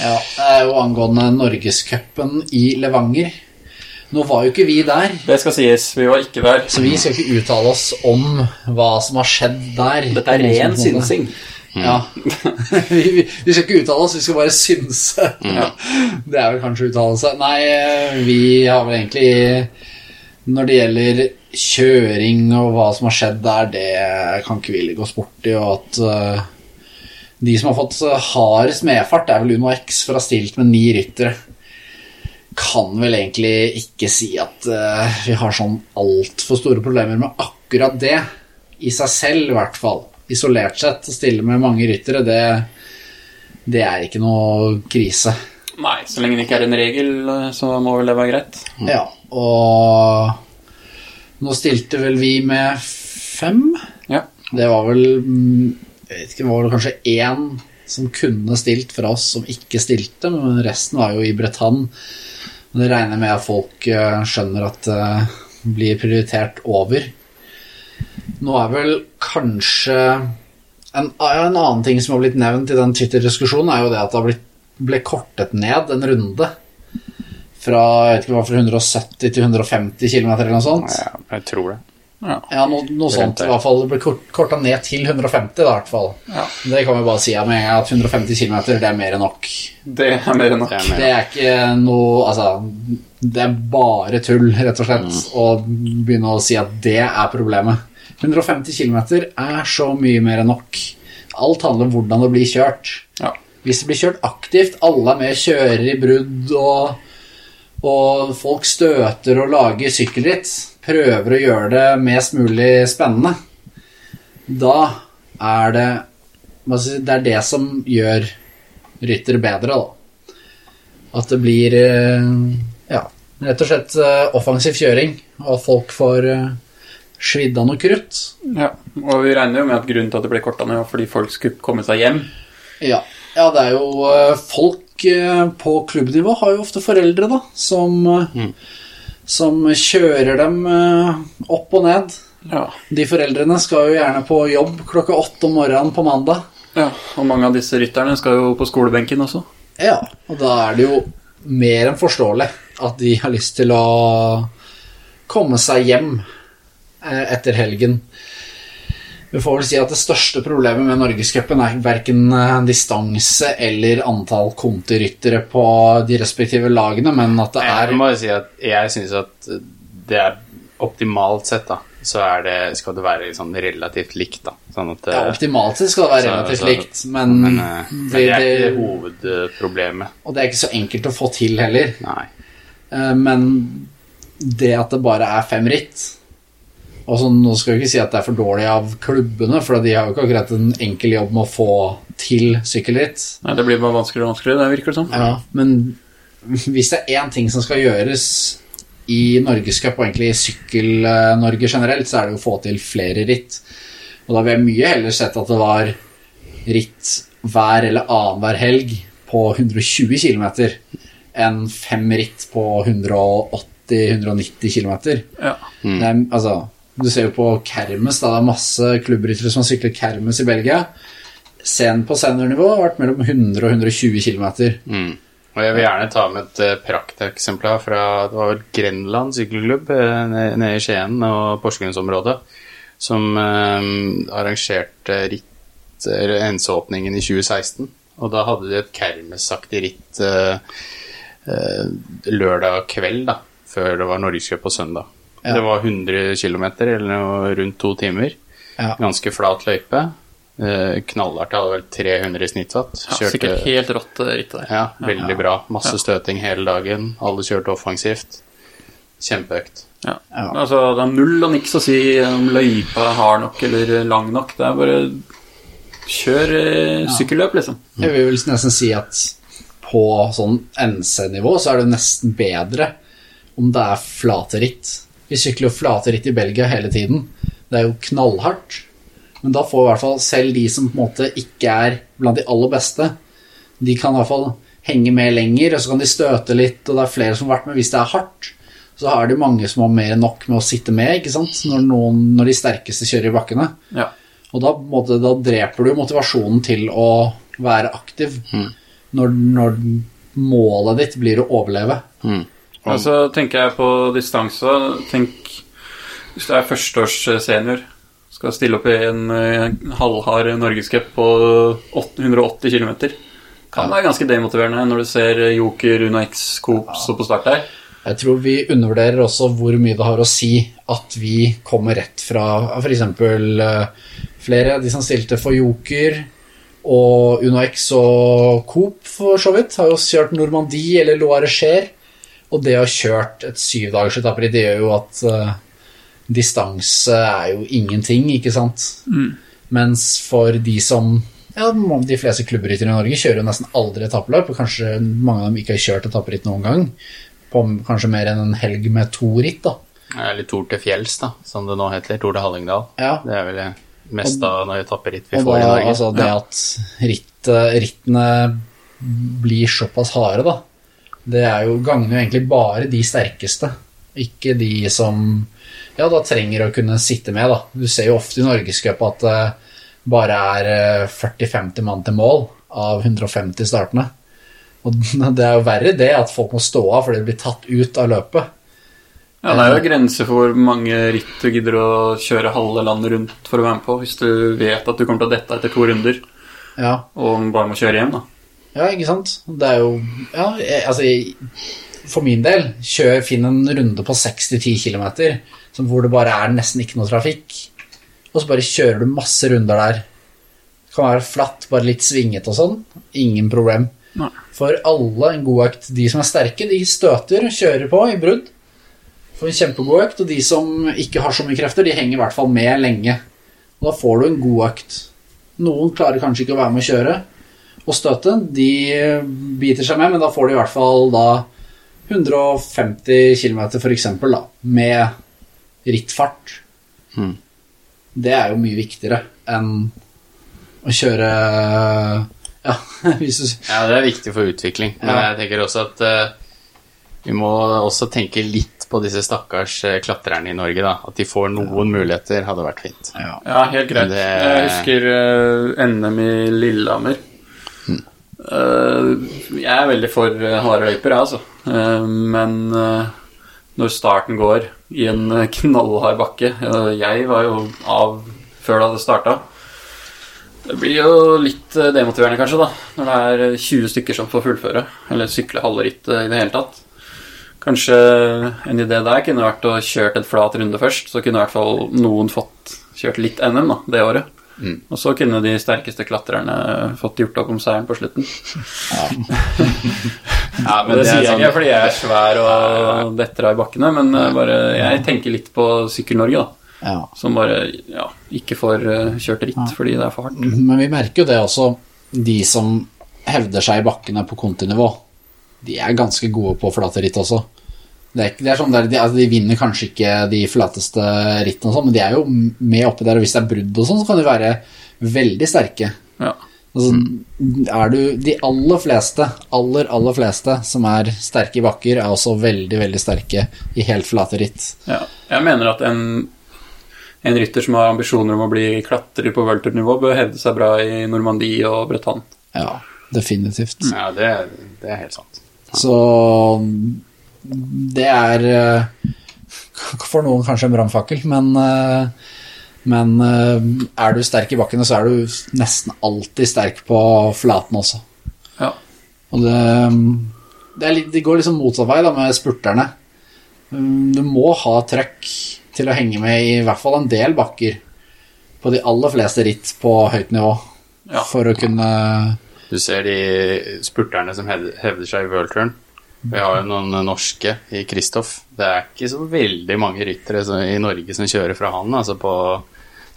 Speaker 2: ja. Det er jo angående Norgescupen i Levanger. Nå var jo ikke vi der,
Speaker 6: Det skal sies, vi var ikke der.
Speaker 2: så vi skal ikke uttale oss om hva som har skjedd der.
Speaker 6: Dette er ren synsing.
Speaker 2: Ja. vi, vi- vi skal ikke uttale oss, vi skal bare synse. Det er vel kanskje uttalelse. Nei, eh, vi har vel egentlig Når det gjelder kjøring og hva som har skjedd der, det kan ikke vi ligge oss borti. Og at eh, de som har fått eh, hardest medfart, er vel Uno X, for å ha stilt med ni ryttere. Kan vel egentlig ikke si at eh, vi har sånn altfor store problemer med akkurat det. I seg selv, i hvert fall. Isolert sett, å stille med mange ryttere, det, det er ikke noe krise.
Speaker 6: Nei, så lenge det ikke er en regel, eh, så må vel det være greit.
Speaker 2: Ja, og nå stilte vel vi med fem.
Speaker 6: Ja.
Speaker 2: Det var vel mm, jeg vet ikke, det var vel kanskje én som kunne stilt fra oss, som ikke stilte, men resten var jo i Bretagne. Men Det regner med at folk eh, skjønner at det blir prioritert over. Nå er vel kanskje en, en annen ting som har blitt nevnt i den Twitter-diskusjonen, er jo det at det har blitt, ble kortet ned en runde. Fra jeg vet ikke hva, fra 170 til 150 km eller noe sånt.
Speaker 3: Ja, jeg tror det.
Speaker 2: Ja, noe, noe sånt i
Speaker 3: der.
Speaker 2: hvert fall. Det ble kort, korta ned til 150 da, i hvert fall. Det kan vi bare si ja, med en gang, at 150 km det er mer enn nok.
Speaker 6: Det er mer enn nok.
Speaker 3: Det er med.
Speaker 2: Det er ikke noe Altså, det er bare tull, rett og slett, å begynne å si at det er problemet. 150 km er så mye mer enn nok. Alt handler om hvordan det blir kjørt.
Speaker 6: Ja.
Speaker 2: Hvis det blir kjørt aktivt, alle er med, kjører i brudd, og, og folk støter og lager sykkelritt, prøver å gjøre det mest mulig spennende, da er det hva skal jeg si, Det er det som gjør ryttere bedre, da. At det blir eh, ja, rett og slett eh, offensiv kjøring, og at folk får eh, svidd av noe krutt.
Speaker 6: Ja, og vi regner jo med at grunnen til at det ble korta ned, var fordi folk skulle komme seg hjem.
Speaker 2: Ja. ja, det er jo eh, folk eh, på klubbnivå har jo ofte foreldre, da, som, eh, som kjører dem eh, opp og ned.
Speaker 6: Ja.
Speaker 2: De foreldrene skal jo gjerne på jobb klokka åtte om morgenen på mandag.
Speaker 6: ja. Og mange av disse rytterne skal jo på skolebenken også.
Speaker 2: Ja, og da er det jo mer enn forståelig at de har lyst til å komme seg hjem eh, etter helgen. Vi får vel si at det største problemet med Norgescupen er verken eh, distanse eller antall kontiryttere på de respektive lagene, men at det
Speaker 3: Jeg
Speaker 2: er
Speaker 3: må jo si at jeg syns at det er optimalt sett, da. Så er det, skal det være sånn relativt likt, da. Sånn at det,
Speaker 2: ja, Optimalt sett skal det være
Speaker 3: Så-
Speaker 2: relativt
Speaker 3: så-
Speaker 2: likt, men,
Speaker 3: men, eh, men
Speaker 2: det,
Speaker 3: det er ikke
Speaker 2: det,
Speaker 3: hovedproblemet.
Speaker 2: og det er ikke så enkelt å få til heller.
Speaker 3: Nei.
Speaker 2: Eh, Men det at det bare er fem ritt Og så Nå skal vi ikke si at det er for dårlig av klubbene, for de har jo ikke akkurat en enkel jobb med å få til sykkelritt.
Speaker 6: Nei, det blir bare vanskeligere og vanskeligere, det virker det som.
Speaker 2: Ja, liksom. men hvis det er én ting som skal gjøres i Norgescup, og egentlig i Sykkel-Norge generelt, så er det jo å få til flere ritt. Og da vil jeg mye heller sett at det var ritt hver eller annenhver helg på 120 km enn fem ritt på 180-190 km.
Speaker 6: Ja.
Speaker 2: Det er, altså, du ser jo på Kermes, da, det er masse klubbryttere som har syklet Kermes i Belgia. Sen på seniornivå har vært mellom 100 og 120 km.
Speaker 3: Mm. Og jeg vil gjerne ta med et eh, prakteksemplar fra det var vel Grenland sykkelklubb eh, nede nede i Skien og Porsgrunnsområdet, som eh, arrangerte ritt eh, ensåpningen i 2016. Og da hadde de et kermesaktig ritt eh, eh, lørdag kveld, da, før det var norgescup på søndag.
Speaker 2: Ja.
Speaker 3: Det var 100 km, eller noe rundt to timer.
Speaker 2: Ja.
Speaker 3: Ganske flat løype. Eh, Knallhardt. Jeg hadde vel 300 i snittfatt.
Speaker 6: Ja, sikkert helt rått eh, ritt der.
Speaker 3: Ja, veldig bra. Masse støting hele dagen. Alle kjørte offensivt. Kjempeøkt.
Speaker 6: Ja.
Speaker 2: Ja.
Speaker 6: Altså, det er null og niks å si om løypa er hard nok eller lang nok. Det er bare kjør eh, sykkelløp, liksom.
Speaker 2: Jeg vil vel nesten si at på sånn NC-nivå så er det nesten bedre om det er flate ritt. Vi sykler jo flate ritt i Belgia hele tiden. Det er jo knallhardt. Men da får i hvert fall selv de som på en måte ikke er blant de aller beste, de kan i hvert fall henge med lenger, og så kan de støte litt, og det er flere som har vært med. Hvis det er hardt, så er det jo mange som har mer enn nok med å sitte med, ikke sant? Når, noen, når de sterkeste kjører i bakkene.
Speaker 6: Ja.
Speaker 2: Og da, på en måte, da dreper du motivasjonen til å være aktiv når, når målet ditt blir å overleve.
Speaker 6: Og så tenker jeg på distanse. Tenk hvis du er førsteårs senior, skal stille opp i en eh, halvhard norgescup på 180 km. Kan være ganske demotiverende når du ser Joker, Una X, Coop stå på start der.
Speaker 2: Jeg tror vi undervurderer også hvor mye det har å si at vi kommer rett fra f.eks. flere av de som stilte for Joker og UnoX og Coop for så vidt, har jo kjørt Normandie eller Loire Cher. Og det å ha kjørt et syvdagers etapper, det gjør jo at eh, distanse er jo ingenting, ikke sant? Mens for de som ja, De fleste klubberyttere i Norge kjører jo nesten aldri etappeløp, og kanskje mange av dem ikke har kjørt etapperitt noen gang på m- kanskje mer enn en helg med to ritt, da.
Speaker 3: Eller Tor til fjells, da, som det nå heter. Tor til Hallingdal.
Speaker 2: Ja.
Speaker 3: Det er vel det mest av når vi tapper ritt vi
Speaker 2: Og
Speaker 3: får i
Speaker 2: da,
Speaker 3: Norge.
Speaker 2: altså det at ritt, rittene blir såpass harde, da, det er jo ganger jo egentlig bare de sterkeste, ikke de som ja, da trenger å kunne sitte med, da. Du ser jo ofte i Norgescup at det bare er eh, 40-50 mann til mål av 150 startende. Og det er jo verre det at folk må stå av fordi de blir tatt ut av løpet.
Speaker 6: Ja, Det er jo grenser for hvor mange ritt du gidder å kjøre halve landet rundt for å være med på, hvis du vet at du kommer til å dette etter to runder
Speaker 2: Ja.
Speaker 6: og bare må kjøre hjem, da.
Speaker 2: Ja, ikke sant? Det er jo Ja, jeg, altså jeg- For min del, kjør, finn en runde på 6-10 km hvor det bare er nesten ikke noe trafikk, og så bare kjører du masse runder der. Kan være flatt, bare litt svinget og sånn. Ingen problem.
Speaker 6: Nei.
Speaker 2: For alle en god økt. De som er sterke, de støter, kjører på i brudd. Får en kjempegod økt. Og de som ikke har så mye krefter, de henger i hvert fall med lenge. Og da får du en god økt. Noen klarer kanskje ikke å være med å kjøre og støte. De biter seg med, men da får de i hvert fall da 150 km for eksempel, da, med rittfart.
Speaker 3: Mhm.
Speaker 2: Det er jo mye viktigere enn å kjøre Ja, hvis du
Speaker 3: Ja, det er viktig for utvikling. Men
Speaker 2: Ja.
Speaker 3: jeg tenker også at eh, vi må også tenke litt på disse stakkars eh, klatrerne i Norge, da. At de får noen muligheter, hadde vært fint.
Speaker 2: ja.
Speaker 6: Ja, helt greit.
Speaker 3: Det-
Speaker 6: Jeg husker eh, NM i Lillehammer. Eh, jeg er veldig for eh, harde løyper, jeg, altså. Eh, men eh, når starten går i en eh, knallhard bakke eh, Jeg var jo av før det hadde starta. Det blir jo litt eh, demotiverende, kanskje, da. Når det er eh, 20 stykker som får fullføre, eller sykle halve rittet i det hele tatt. Kanskje en idé der kunne vært å kjørt et flat runde først, så kunne i hvert fall noen fått kjørt litt NM da, det året.
Speaker 3: Mm.
Speaker 6: Og så kunne de sterkeste klatrerne fått gjort opp om seieren på slutten.
Speaker 3: Ja,
Speaker 6: Men det, sier jeg
Speaker 3: sånn-
Speaker 6: ikke fordi jeg er svær og detter av i bakkene, men eh, bare, jeg tenker litt på Sykkel-Norge, da.
Speaker 2: ja.
Speaker 6: Som bare ja, ikke får eh, kjørt ritt fordi det er for hardt.
Speaker 2: Men vi merker jo det også. De som hevder seg i bakkene på kontinivå, de er ganske gode på flate ritt også. Det er, ikke- det er sånn der, de, altså, de vinner kanskje ikke de flateste rittene, og sånn, men de er jo med oppi der. Og hvis det er brudd og sånn, så kan de være veldig sterke.
Speaker 6: Ja.
Speaker 2: Altså, er du, de aller fleste, aller, aller fleste som er sterke i bakker, er også veldig, veldig sterke i helt flate ritt.
Speaker 6: Ja, jeg mener at en, en rytter som har ambisjoner om å bli klatrer på worldtour-nivå, bør hevde seg bra i Normandie og Bretagne.
Speaker 2: Ja, definitivt.
Speaker 3: Ja, det, det er helt sant.
Speaker 2: Så det er eh, for noen kanskje en brannfakkel, men, eh, men eh, er du sterk i bakkene, så er du nesten alltid sterk på flaten også.
Speaker 6: Ja.
Speaker 2: Og det, det, er litt, det går liksom motsatt vei da, med spurterne. Mm, Du må ha trøkk til å henge med i hvert fall en del bakker på de aller fleste ritt på høyt nivå
Speaker 6: Ja.
Speaker 2: for å kunne
Speaker 3: Du ser de spurterne som hevder, hevder seg i worldturn. Vi har jo noen norske i Kristoff. Det er ikke så veldig mange ryttere som- i Norge som kjører fra han, altså på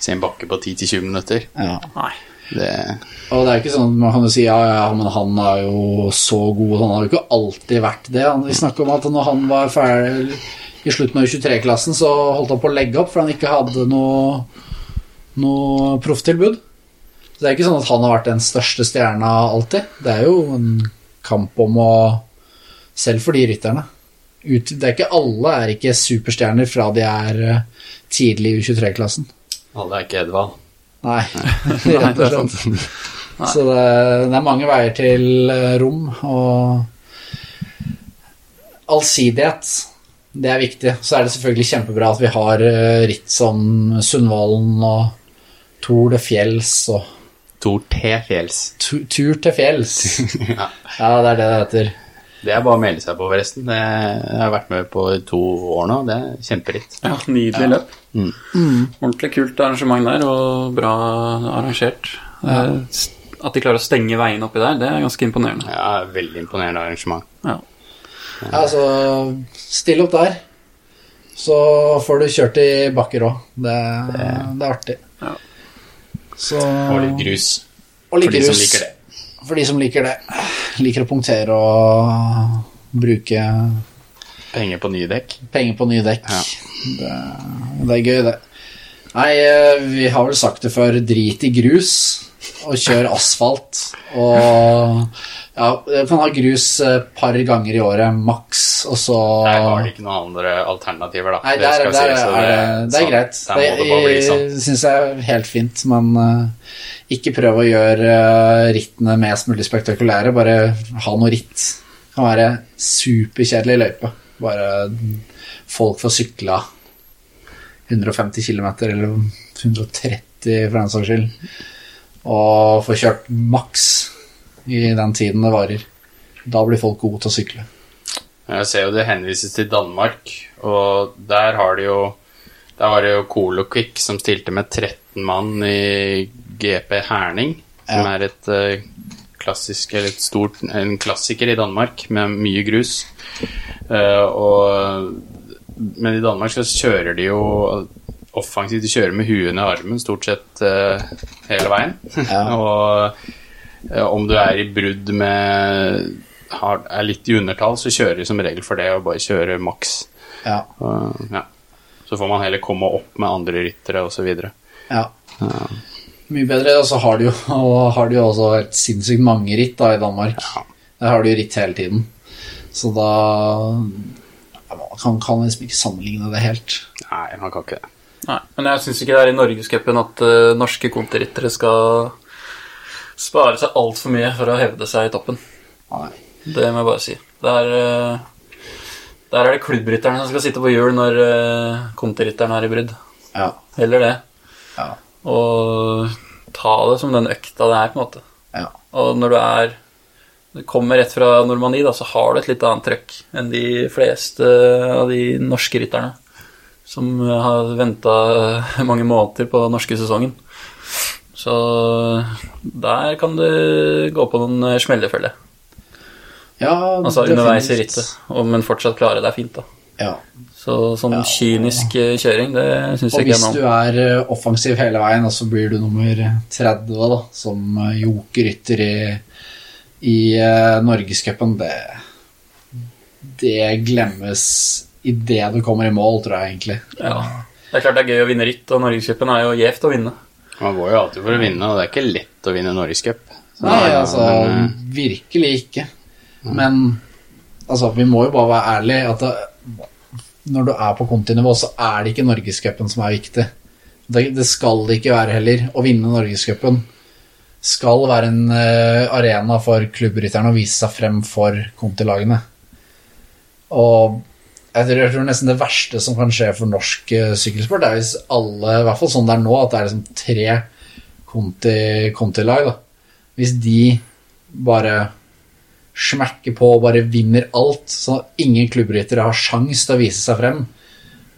Speaker 3: si en bakke på 10-20 minutter.
Speaker 2: ja.
Speaker 6: Nei.
Speaker 3: Det,
Speaker 2: Og det er ikke sånn at man kan jo si ja, ja, men han er jo så god, han har jo ikke alltid vært det. Han- Vi snakker om at når han var ferdig i slutten av 23-klassen, så holdt han på å legge opp fordi han ikke hadde noe, noe profftilbud. Så det er ikke sånn at han har vært den største stjerna alltid. Det er jo en kamp om å Selv for de rytterne. Ut, det er ikke alle er ikke superstjerner fra de er eh, tidlig i U23-klassen.
Speaker 3: alle er ikke Edvald.
Speaker 2: Nei, rett og slett. Så det, det er mange veier til eh, rom, og allsidighet, det er viktig. Så er det selvfølgelig kjempebra at vi har eh, ritt som Sundvolden og Tour de Fjells og
Speaker 3: Tor T. Fjells.
Speaker 2: tu, Tur til fjells.
Speaker 3: Ja.
Speaker 2: Ja, det er det det heter.
Speaker 3: Det er bare å melde seg på, forresten. Det, jeg har vært med på i to år nå. Det er kjemperitt.
Speaker 6: Ja, nydelig løp.
Speaker 3: Mm.
Speaker 6: Ordentlig kult arrangement der, og bra arrangert. Eh, s- At de klarer å stenge veien oppi der, det er ganske imponerende.
Speaker 3: Ja, veldig imponerende arrangement.
Speaker 6: Ja.
Speaker 2: Ja, altså, still opp der, så får du kjørt i bakker òg. Det, det er artig.
Speaker 6: Ja.
Speaker 2: Så,
Speaker 3: Og litt grus.
Speaker 2: og litt
Speaker 3: for de som
Speaker 2: grus.
Speaker 3: liker det.
Speaker 2: For de som liker det. Liker å punktere og bruke
Speaker 3: Penger på nye dekk.
Speaker 2: penger på nye dekk.
Speaker 3: Ja.
Speaker 2: Det, det er gøy, det. Nei, eh, vi har vel sagt det før. Drit i grus, og kjør asfalt. Og ja, man kan ha grus et par ganger i året, maks, og så
Speaker 3: Der har de ikke noen andre alternativer, da.
Speaker 2: Nei,
Speaker 3: Det
Speaker 2: der,
Speaker 3: skal
Speaker 2: der
Speaker 3: sies, så
Speaker 2: er det, det er
Speaker 3: sånn.
Speaker 2: greit.
Speaker 3: Der må det bare bli sånn.
Speaker 2: syns jeg er helt fint, men eh, ikke prøv å gjøre eh, rittene mest mulig spektakulære. Bare ha noe ritt. Det kan være superkjedelig løype. Bare folk får sykla 150 km, eller 130 for den saks skyld, og får kjørt maks i den tiden det varer. Da blir folk gode til å sykle.
Speaker 3: Jeg ser jo det henvises til Danmark, og der har de jo Der var det jo Colo Quick som stilte med 13 mann i GP Herning. som er et eh, klassisk, eller et stort, en klassiker i Danmark med mye grus. Eh, og, men i Danmark så kjører de jo offensivt, de kjører med huet ned armen stort sett eh, hele veien.
Speaker 2: Ja.
Speaker 3: og eh, om du er i brudd med har, er litt i undertall, så kjører de som regel for det og bare kjører maks.
Speaker 2: Ja.
Speaker 3: Og, ja. Så får man heller komme opp med andre ryttere osv.
Speaker 2: ja. Mye bedre. Og så har de jo, og har de jo også helt sinnssykt mange ritt da, i Danmark. Der har de jo ritt hele tiden. Så da ja, Man kan, kan liksom ikke sammenligne det helt.
Speaker 3: Nei, man kan ikke det.
Speaker 6: Nei, men jeg syns ikke det er i norgescupen at eh, norske kontriryttere skal spare seg altfor mye for å hevde seg i toppen.
Speaker 2: Nei.
Speaker 6: Det må jeg bare si. Det er, eh, der er det klubbrytterne som skal sitte på hjul når eh, kontrirytteren er i brudd.
Speaker 2: Ja.
Speaker 6: Heller det.
Speaker 2: Ja.
Speaker 6: Og ta det som den økta det er, på en måte.
Speaker 2: Ja.
Speaker 6: Og når du er du kommer rett fra Normandie, da, så har du et litt annet trøkk enn de fleste av de norske rytterne som har venta mange måneder på den norske sesongen. Så der kan du gå på noen smellefeller.
Speaker 2: ja
Speaker 6: Altså
Speaker 2: definitivt.
Speaker 6: underveis i rittet, og- men fortsatt klare deg fint, da.
Speaker 2: Ja.
Speaker 6: Så sånn
Speaker 2: Ja.
Speaker 6: kynisk eh, kjøring, det syns
Speaker 2: Og
Speaker 6: jeg ikke
Speaker 2: hvis
Speaker 6: er
Speaker 2: du
Speaker 6: noe om.
Speaker 2: er eh, offensiv hele veien, og så blir du nummer 30 da, som eh, jokerrytter i, i eh, Norgescupen, det Det glemmes idet du kommer i mål, tror jeg egentlig.
Speaker 6: Ja. Det er klart det er gøy å vinne ritt, og Norgescupen er jo gjevt å vinne.
Speaker 3: Man går jo alltid for å vinne, og det er ikke lett å vinne Norgescup. Så
Speaker 2: Nei,
Speaker 3: det er-
Speaker 2: altså
Speaker 3: men, eh,
Speaker 2: Virkelig ikke. Men altså, vi må jo bare være ærlige at det, når du er på kontinivå, så er det ikke Norgescupen som er viktig. Det, det skal det ikke være heller. Å vinne Norgescupen skal være en eh, arena for klubbrytterne å vise seg frem for kontilagene. Og jeg tror, jeg tror nesten det verste som kan skje for norsk eh, sykkelsport, er hvis alle, i hvert fall sånn det er nå, at det er liksom tre konti- kontilag, da. Hvis de bare smekker på og bare vinner alt, så ingen klubbryttere har sjans til å vise seg frem,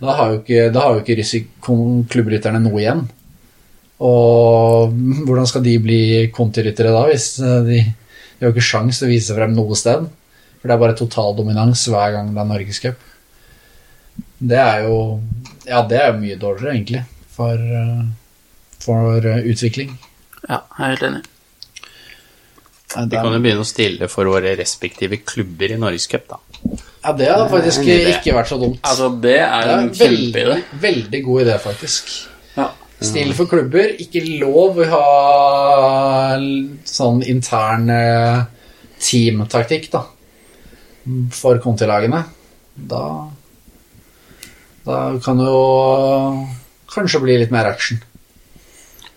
Speaker 2: da har jo ikke, da har jo ikke risik- kon- klubbrytterne noe igjen. Og hvordan skal de bli kontiryttere da, hvis eh, de, de har jo ikke sjans til å vise seg frem noe sted? For det er bare total dominans hver gang det er Norgescup. Det er jo Ja, det er jo mye dårligere, egentlig, for, eh, for eh, utvikling.
Speaker 6: Ja, jeg er helt enig.
Speaker 2: Nei, det
Speaker 3: Vi
Speaker 2: er-
Speaker 3: kan jo begynne å stille for våre respektive klubber i Norgescup, da.
Speaker 2: Ja, det hadde faktisk
Speaker 3: Det er Eh, en idé.
Speaker 2: ikke vært så dumt.
Speaker 6: Altså, det er
Speaker 2: det er
Speaker 6: en
Speaker 2: en
Speaker 6: kjempeidé.
Speaker 2: veldig, veldig god idé, faktisk.
Speaker 6: Ja.
Speaker 2: Snill for klubber, ikke lov å ha l- sånn intern eh, teamtaktikk, da. For kontilagene. Da Da kan det jo kanskje bli litt mer action.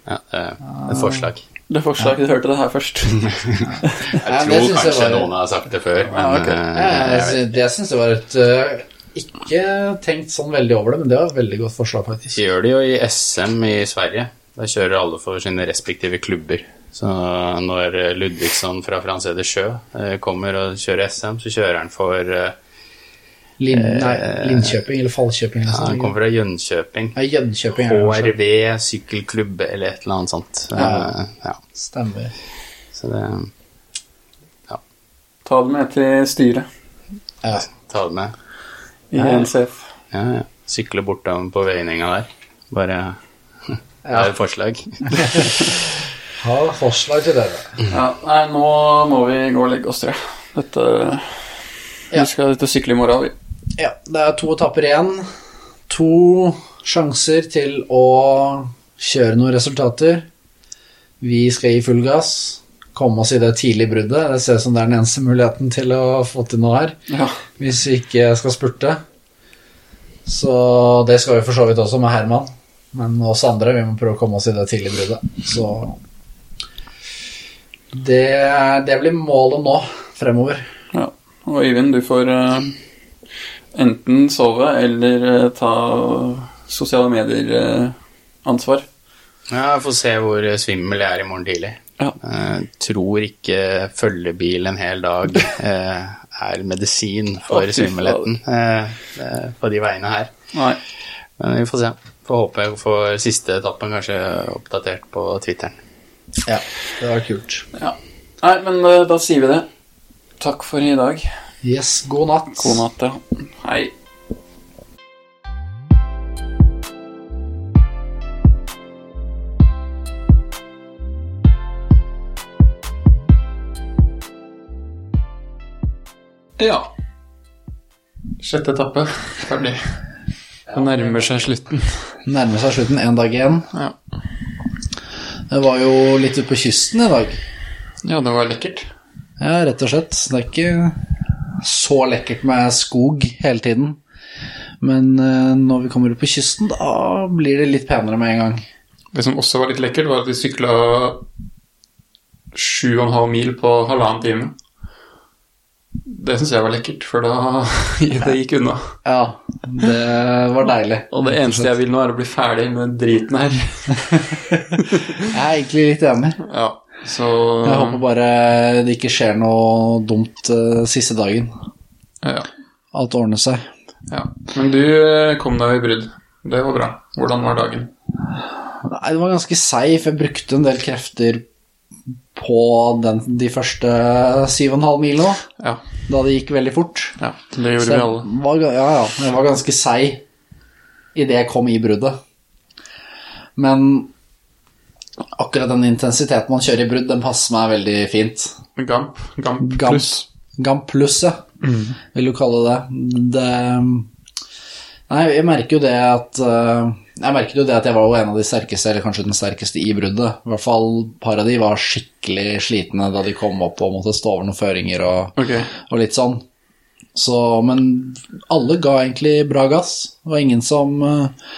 Speaker 3: Ja, det er
Speaker 2: Ah.
Speaker 3: et forslag.
Speaker 6: Det forslaget du hørte det her først.
Speaker 3: Jeg
Speaker 2: Ja, det
Speaker 3: tror
Speaker 2: synes jeg
Speaker 3: kanskje
Speaker 2: var-
Speaker 3: noen har sagt det før, men
Speaker 6: Ja, ok.
Speaker 3: eh,
Speaker 2: Jeg,
Speaker 3: jeg vet
Speaker 2: sy- det syns jeg var et eh, Ikke tenkt sånn veldig over det, men det var et veldig godt forslag, faktisk.
Speaker 3: ikke. gjør det jo i SM i Sverige. Da kjører alle for sine respektive klubber. Så når Ludvigsson fra Frans Eder Sjø eh, kommer og kjører SM, så kjører han for eh,
Speaker 2: Lin,
Speaker 6: Eh,
Speaker 2: nei, Linköping eller Fallkjøping. eller sånn.
Speaker 3: Han
Speaker 2: sånt.
Speaker 3: kommer fra Jönköping.
Speaker 2: Ja, Jönköping er det kanskje.
Speaker 3: HRV sykkelklubb eller et eller annet sånt.
Speaker 2: Ja.
Speaker 3: Eh, ja.
Speaker 2: Stemmer.
Speaker 3: Så det
Speaker 6: Ta det med til styret
Speaker 2: Ja.
Speaker 3: ta det med.
Speaker 6: i NCF.
Speaker 3: Ja, ja. Sykle bortom på veininga der. Bare Det er et forslag.
Speaker 2: Ha forslag til dere.
Speaker 6: Ja, nei, nå må vi gå og legge oss, tror jeg. Dette
Speaker 2: Ja.
Speaker 6: Vi skal ut og sykle i morgen, vi.
Speaker 2: Ja, det er to etapper igjen. To sjanser til å kjøre noen resultater. Vi skal gi full gass. Komme oss i det tidlige bruddet. Det ser ut som det er den eneste muligheten til å få til noe her.
Speaker 6: Ja.
Speaker 2: Hvis vi ikke skal spurte. Så det skal vi for så vidt også med Herman. Men oss andre, vi må prøve å komme oss i det tidlige bruddet. Så det, det blir målet nå fremover.
Speaker 6: ja. Og Øyvind, du får eh, enten sove eller eh, ta sosiale eh, medier-ansvar.
Speaker 3: Ja, jeg får se hvor svimmel jeg er i morgen tidlig.
Speaker 6: Ja.
Speaker 3: Eh, tror ikke følgebil en hel dag eh, er medisin for
Speaker 6: Å, fy
Speaker 3: svimmelheten eh, eh, på de veiene her.
Speaker 6: Nei.
Speaker 3: Men vi får se. Får håpe jeg får siste etappen kanskje oppdatert på Twitteren.
Speaker 2: Ja, det var kult.
Speaker 6: Nei, men eh, da sier vi det. Takk for i dag.
Speaker 2: Yes, god natt.
Speaker 6: God natt, ja. Hei. Ja. Sjette etappe. Ferdig. Det nærmer seg slutten.
Speaker 2: Nærmer seg slutten en dag igjen.
Speaker 6: Ja.
Speaker 2: Det var jo litt ute på kysten i dag.
Speaker 6: Ja, det var lekkert.
Speaker 2: Ja, rett og slett. Det er ikke så lekkert med skog hele tiden. Men eh, når vi kommer ut på kysten, da blir det litt penere med en gang.
Speaker 6: Det som også var litt lekkert, var at vi sykla 7,5 mil på halvannen time. Det syns jeg var lekkert, for da det gikk unna.
Speaker 2: Ja, det var deilig.
Speaker 6: Og det eneste jeg vil nå, er å bli ferdig med driten her.
Speaker 2: Jeg er egentlig litt enig.
Speaker 6: Ja, så
Speaker 2: Jeg håper bare det ikke skjer noe dumt eh, siste dagen.
Speaker 6: ja,
Speaker 2: Alt ordner seg.
Speaker 6: ja. Men du eh, kom deg i brudd. Det var bra. Hvordan var dagen?
Speaker 2: Nei, det var ganske seif. Jeg brukte en del krefter på den, de første 7,5 milene, da.
Speaker 6: Ja.
Speaker 2: da det gikk veldig fort.
Speaker 6: Ja, det
Speaker 2: Så
Speaker 6: gjorde vi
Speaker 2: jeg
Speaker 6: alle.
Speaker 2: var, ga- ja, ja, jeg var ganske seig idet jeg kom i bruddet. Men akkurat den intensiteten man kjører i brudd, den passer meg veldig fint.
Speaker 6: Gamp, gamp,
Speaker 2: Gamp.
Speaker 6: pluss. Mm.
Speaker 2: Gamp pluss, ja. Vil du kalle det det. Nei, jeg merker jo det at eh, Jeg merket jo det at jeg var jo en av de sterkeste, eller kanskje den sterkeste, i bruddet. I hvert fall et par av de var skikkelig slitne da de kom opp og måtte stå over noen føringer og,
Speaker 6: Ok.
Speaker 2: og litt sånn. Så, men alle ga egentlig bra gass. Det var ingen som eh,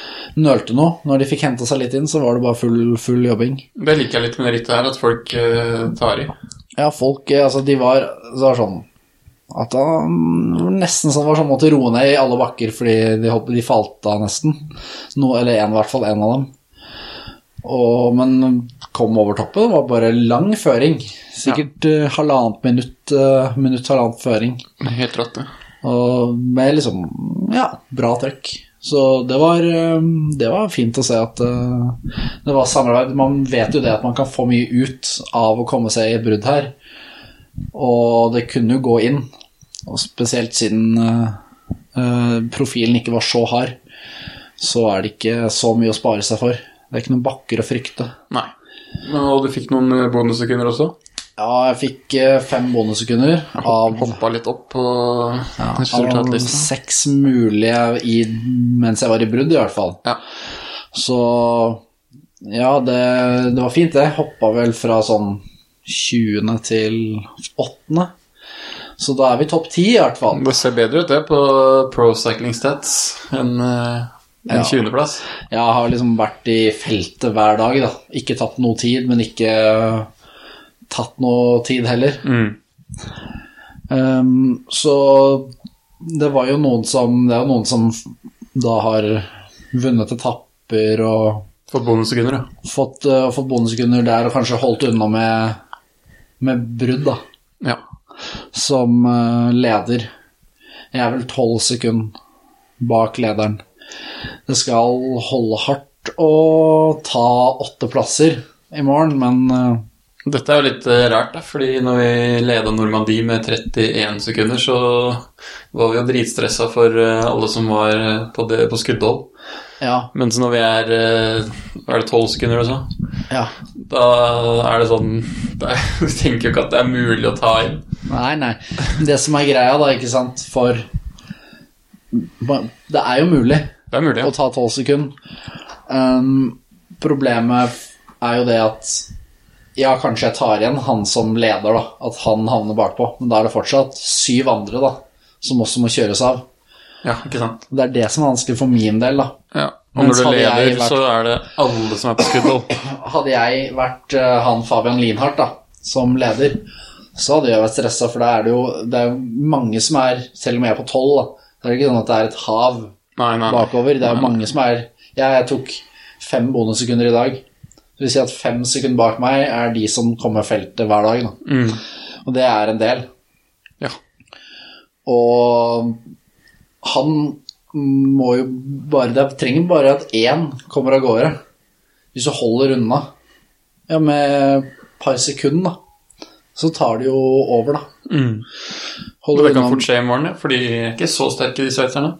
Speaker 2: nølte noe. Når de fikk henta seg litt inn, så var det bare full, full jobbing.
Speaker 6: Det liker jeg litt med det rittet her, at folk eh, tar i.
Speaker 2: Ja, folk eh, Altså, de var, det var sånn At han var nesten sånn var sånn måtte roe ned i alle bakker fordi de, hopp- de falt av nesten. No, eller en, i hvert fall en av dem. Og, men kom over toppen. Det var bare lang føring. Sikkert eh, halvannet minutt, eh, minutt, halvannet føring.
Speaker 6: Helt rått, det.
Speaker 2: Og med liksom ja, bra trøkk. Så det var, eh, det var fint å se at eh, det var samarbeid. Man vet jo det at man kan få mye ut av å komme seg i et brudd her. Og det kunne jo gå inn. Og spesielt siden eh, eh, profilen ikke var så hard, så er det ikke så mye å spare seg for. Det er ikke noen bakker å frykte.
Speaker 6: Nei. Og du fikk noen eh, bonussekunder også?
Speaker 2: Ja, jeg fikk eh, fem bonussekunder av
Speaker 6: Hoppa litt opp på
Speaker 2: Av
Speaker 6: resultatlisten.
Speaker 2: seks mulige i, mens jeg var i brudd, i hvert fall.
Speaker 6: Ja.
Speaker 2: Så ja, det, det var fint, det. Hoppa vel fra sånn 20. til 8. Så da er vi topp 10, i hvert fall.
Speaker 6: Det ser bedre ut, det, på Pro Cycling Stats enn eh, en
Speaker 2: Ja.
Speaker 6: 20.-plass.
Speaker 2: Jeg har liksom vært i feltet hver dag, da. Ikke tapt noe tid, men ikke tatt noe tid heller. Ehm, så det var jo noen som Det er jo noen som da har vunnet etapper og
Speaker 6: For bonussekunder, ja.
Speaker 2: fått, eh, fått bonussekunder der og kanskje holdt unna med, med brudd, da,
Speaker 6: ja.
Speaker 2: som eh, leder. Jeg er vel tolv sekunder bak lederen. Det skal holde hardt å ta åtte plasser i morgen, men eh,
Speaker 6: Dette er jo litt eh, rart, da, fordi når vi leda Normandie med 31 sekunder, så var vi jo dritstressa for eh, alle som var eh, på, det, på skuddhold.
Speaker 2: ja,
Speaker 6: Mens når vi er eh, Hva er det 12 sekunder eller så?
Speaker 2: ja.
Speaker 6: Da er det sånn det er, Du tenker jo ikke at det er mulig å ta inn.
Speaker 2: Nei, nei. Det som er greia, da, ikke sant, for Det er jo mulig
Speaker 6: Det er mulig.
Speaker 2: å
Speaker 6: Ja.
Speaker 2: ta tolv sekunder. Um, problemet er jo det at Ja, kanskje jeg tar igjen han som leder, da. At han havner bakpå. Men da er det fortsatt syv andre, da, som også må kjøres av.
Speaker 6: ja, ikke sant.
Speaker 2: Det er det som er vanskelig for min del, da.
Speaker 6: Ja. Og
Speaker 2: Mens
Speaker 6: når du
Speaker 2: hadde jeg
Speaker 6: leder,
Speaker 2: vært-
Speaker 6: så er det alle som er på skuddhold.
Speaker 2: hadde jeg vært eh, han Fabian Lienhardt da, som leder, så hadde jeg vært stressa, for da er det jo det er jo mange som er Selv om jeg er på tolv, da, så er det ikke sånn at det er et hav
Speaker 6: Nei, nei, nei.
Speaker 2: bakover. Det er jo mange som er Jeg, jeg tok fem bonussekunder i dag. Det vil si at fem sekunder bak meg er de som kommer feltet hver dag, da.
Speaker 6: Mm.
Speaker 2: Og det er en del.
Speaker 6: Ja.
Speaker 2: Og han må jo bare Det trenger bare at én kommer av gårde. Hvis du holder unna, Ja, med et par sekunder, da. Så tar det jo over, da. Holder
Speaker 6: Mm. Det kan
Speaker 2: unna-
Speaker 6: fort skje i morgen, ja, for de er ikke så sterke, de sveitserne.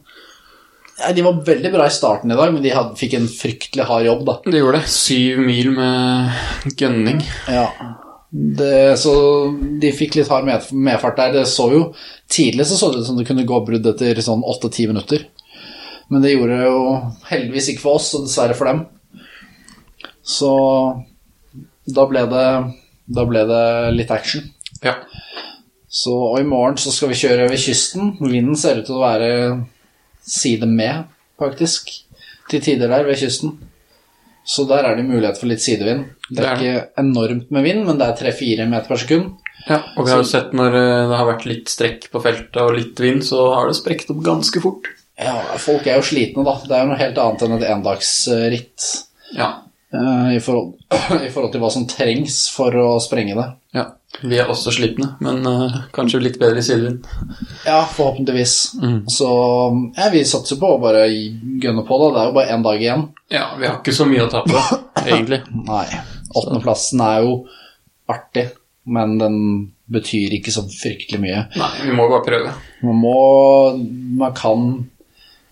Speaker 2: Nei, de var veldig bra i starten i dag, men de hadde, fikk en fryktelig hard jobb, da.
Speaker 6: De gjorde det. Syv mil med gønning.
Speaker 2: Ja. Det, så de fikk litt hard med, medfart der. Det så jo Tidlig så, så det ut som det kunne gå brudd etter sånn åtte-ti minutter. Men det gjorde det jo heldigvis ikke for oss, og dessverre for dem. Så da ble det, da ble det litt action.
Speaker 6: Ja.
Speaker 2: Så, og i morgen så skal vi kjøre over kysten. Vinden ser ut til å være side med, faktisk, til tider der ved kysten. Så der er det mulighet for litt sidevind. Det er
Speaker 6: Det
Speaker 2: ikke enormt med vind, men det er 3-4 meter per sekund.
Speaker 6: ja. Og vi har jo sett når eh, det har vært litt strekk på feltet og litt vind, så har det sprukket opp ganske fort.
Speaker 2: Ja, folk er jo slitne, da. Det er jo noe helt annet enn et endagsritt
Speaker 6: Ja.
Speaker 2: eh, i, forhold, i forhold til hva som trengs for å sprenge det.
Speaker 6: ja. Vi er også slitne, men eh, kanskje litt bedre i sidevind.
Speaker 2: Ja, forhåpentligvis. Så ja, vi satser på å bare gønne på, da. Det er jo bare én dag igjen.
Speaker 6: Ja, vi har ikke så mye å tape, egentlig.
Speaker 2: Nei. Åttendeplassen er jo artig, men den betyr ikke så fryktelig mye.
Speaker 6: Nei, vi må bare prøve.
Speaker 2: Man må Man kan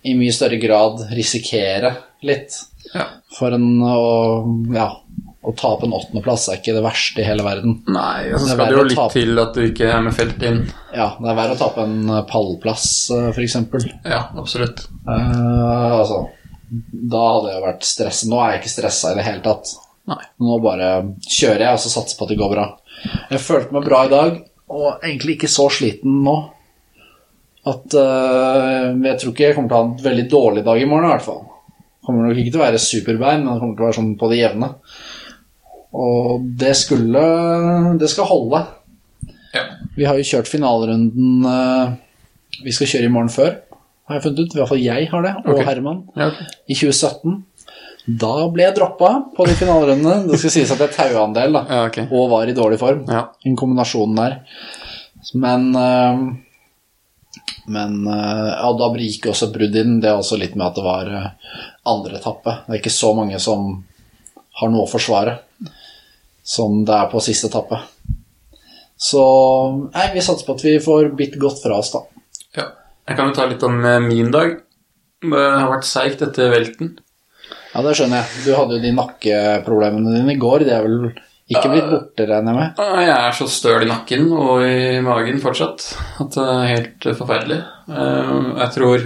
Speaker 2: i mye større grad risikere litt.
Speaker 6: Ja.
Speaker 2: For en å Ja, å tape en åttendeplass er ikke det verste i hele verden.
Speaker 6: Nei, og
Speaker 2: Det er
Speaker 6: så skal det
Speaker 2: verre
Speaker 6: jo
Speaker 2: å
Speaker 6: litt
Speaker 2: tape.
Speaker 6: til at du ikke er med felt inn.
Speaker 2: Ja, det er verre å tape en pallplass, eh, for eksempel.
Speaker 6: Ja, absolutt.
Speaker 2: Eh, altså Da hadde jeg vært stressa. Nå er jeg ikke stressa i det hele tatt.
Speaker 6: Nei.
Speaker 2: Nå bare kjører jeg og så satser på at det går bra. Jeg følte meg bra i dag, og egentlig ikke så sliten nå. At eh, Jeg tror ikke jeg kommer til å ha en veldig dårlig dag i morgen, i hvert fall. Kommer nok ikke til å være superbein, men det kommer til å være sånn på det jevne. Og det skulle Det skal holde.
Speaker 6: Ja.
Speaker 2: Vi har jo kjørt finalerunden eh, Vi skal kjøre i morgen før, har jeg funnet ut. I hvert fall jeg har det, og
Speaker 6: Ok.
Speaker 2: Herman
Speaker 6: Ja, ok.
Speaker 2: i 2017. Da ble jeg droppa på de finalerundene. Det skal sies at jeg taua en del, da.
Speaker 6: Ja, ok.
Speaker 2: Og var i dårlig form.
Speaker 6: Ja.
Speaker 2: En kombinasjon der. Men eh, Men eh, ja, da gikk også brudd inn. Det er også litt med at det var eh, andre etappe. Det er ikke så mange som har noe å forsvare som det er på siste etappe. Så nei, vi satser på at vi får bitt godt fra oss, da.
Speaker 6: Ja. Jeg kan jo ta litt om eh, min dag. Det har vært seigt etter velten.
Speaker 2: Ja, det skjønner jeg. Du hadde jo de nakkeproblemene dine i går. De er vel ikke blitt borte, regner jeg med.
Speaker 6: Ah, Jeg er så støl i nakken og i magen fortsatt at det er helt eh, forferdelig. Eh, Jeg tror,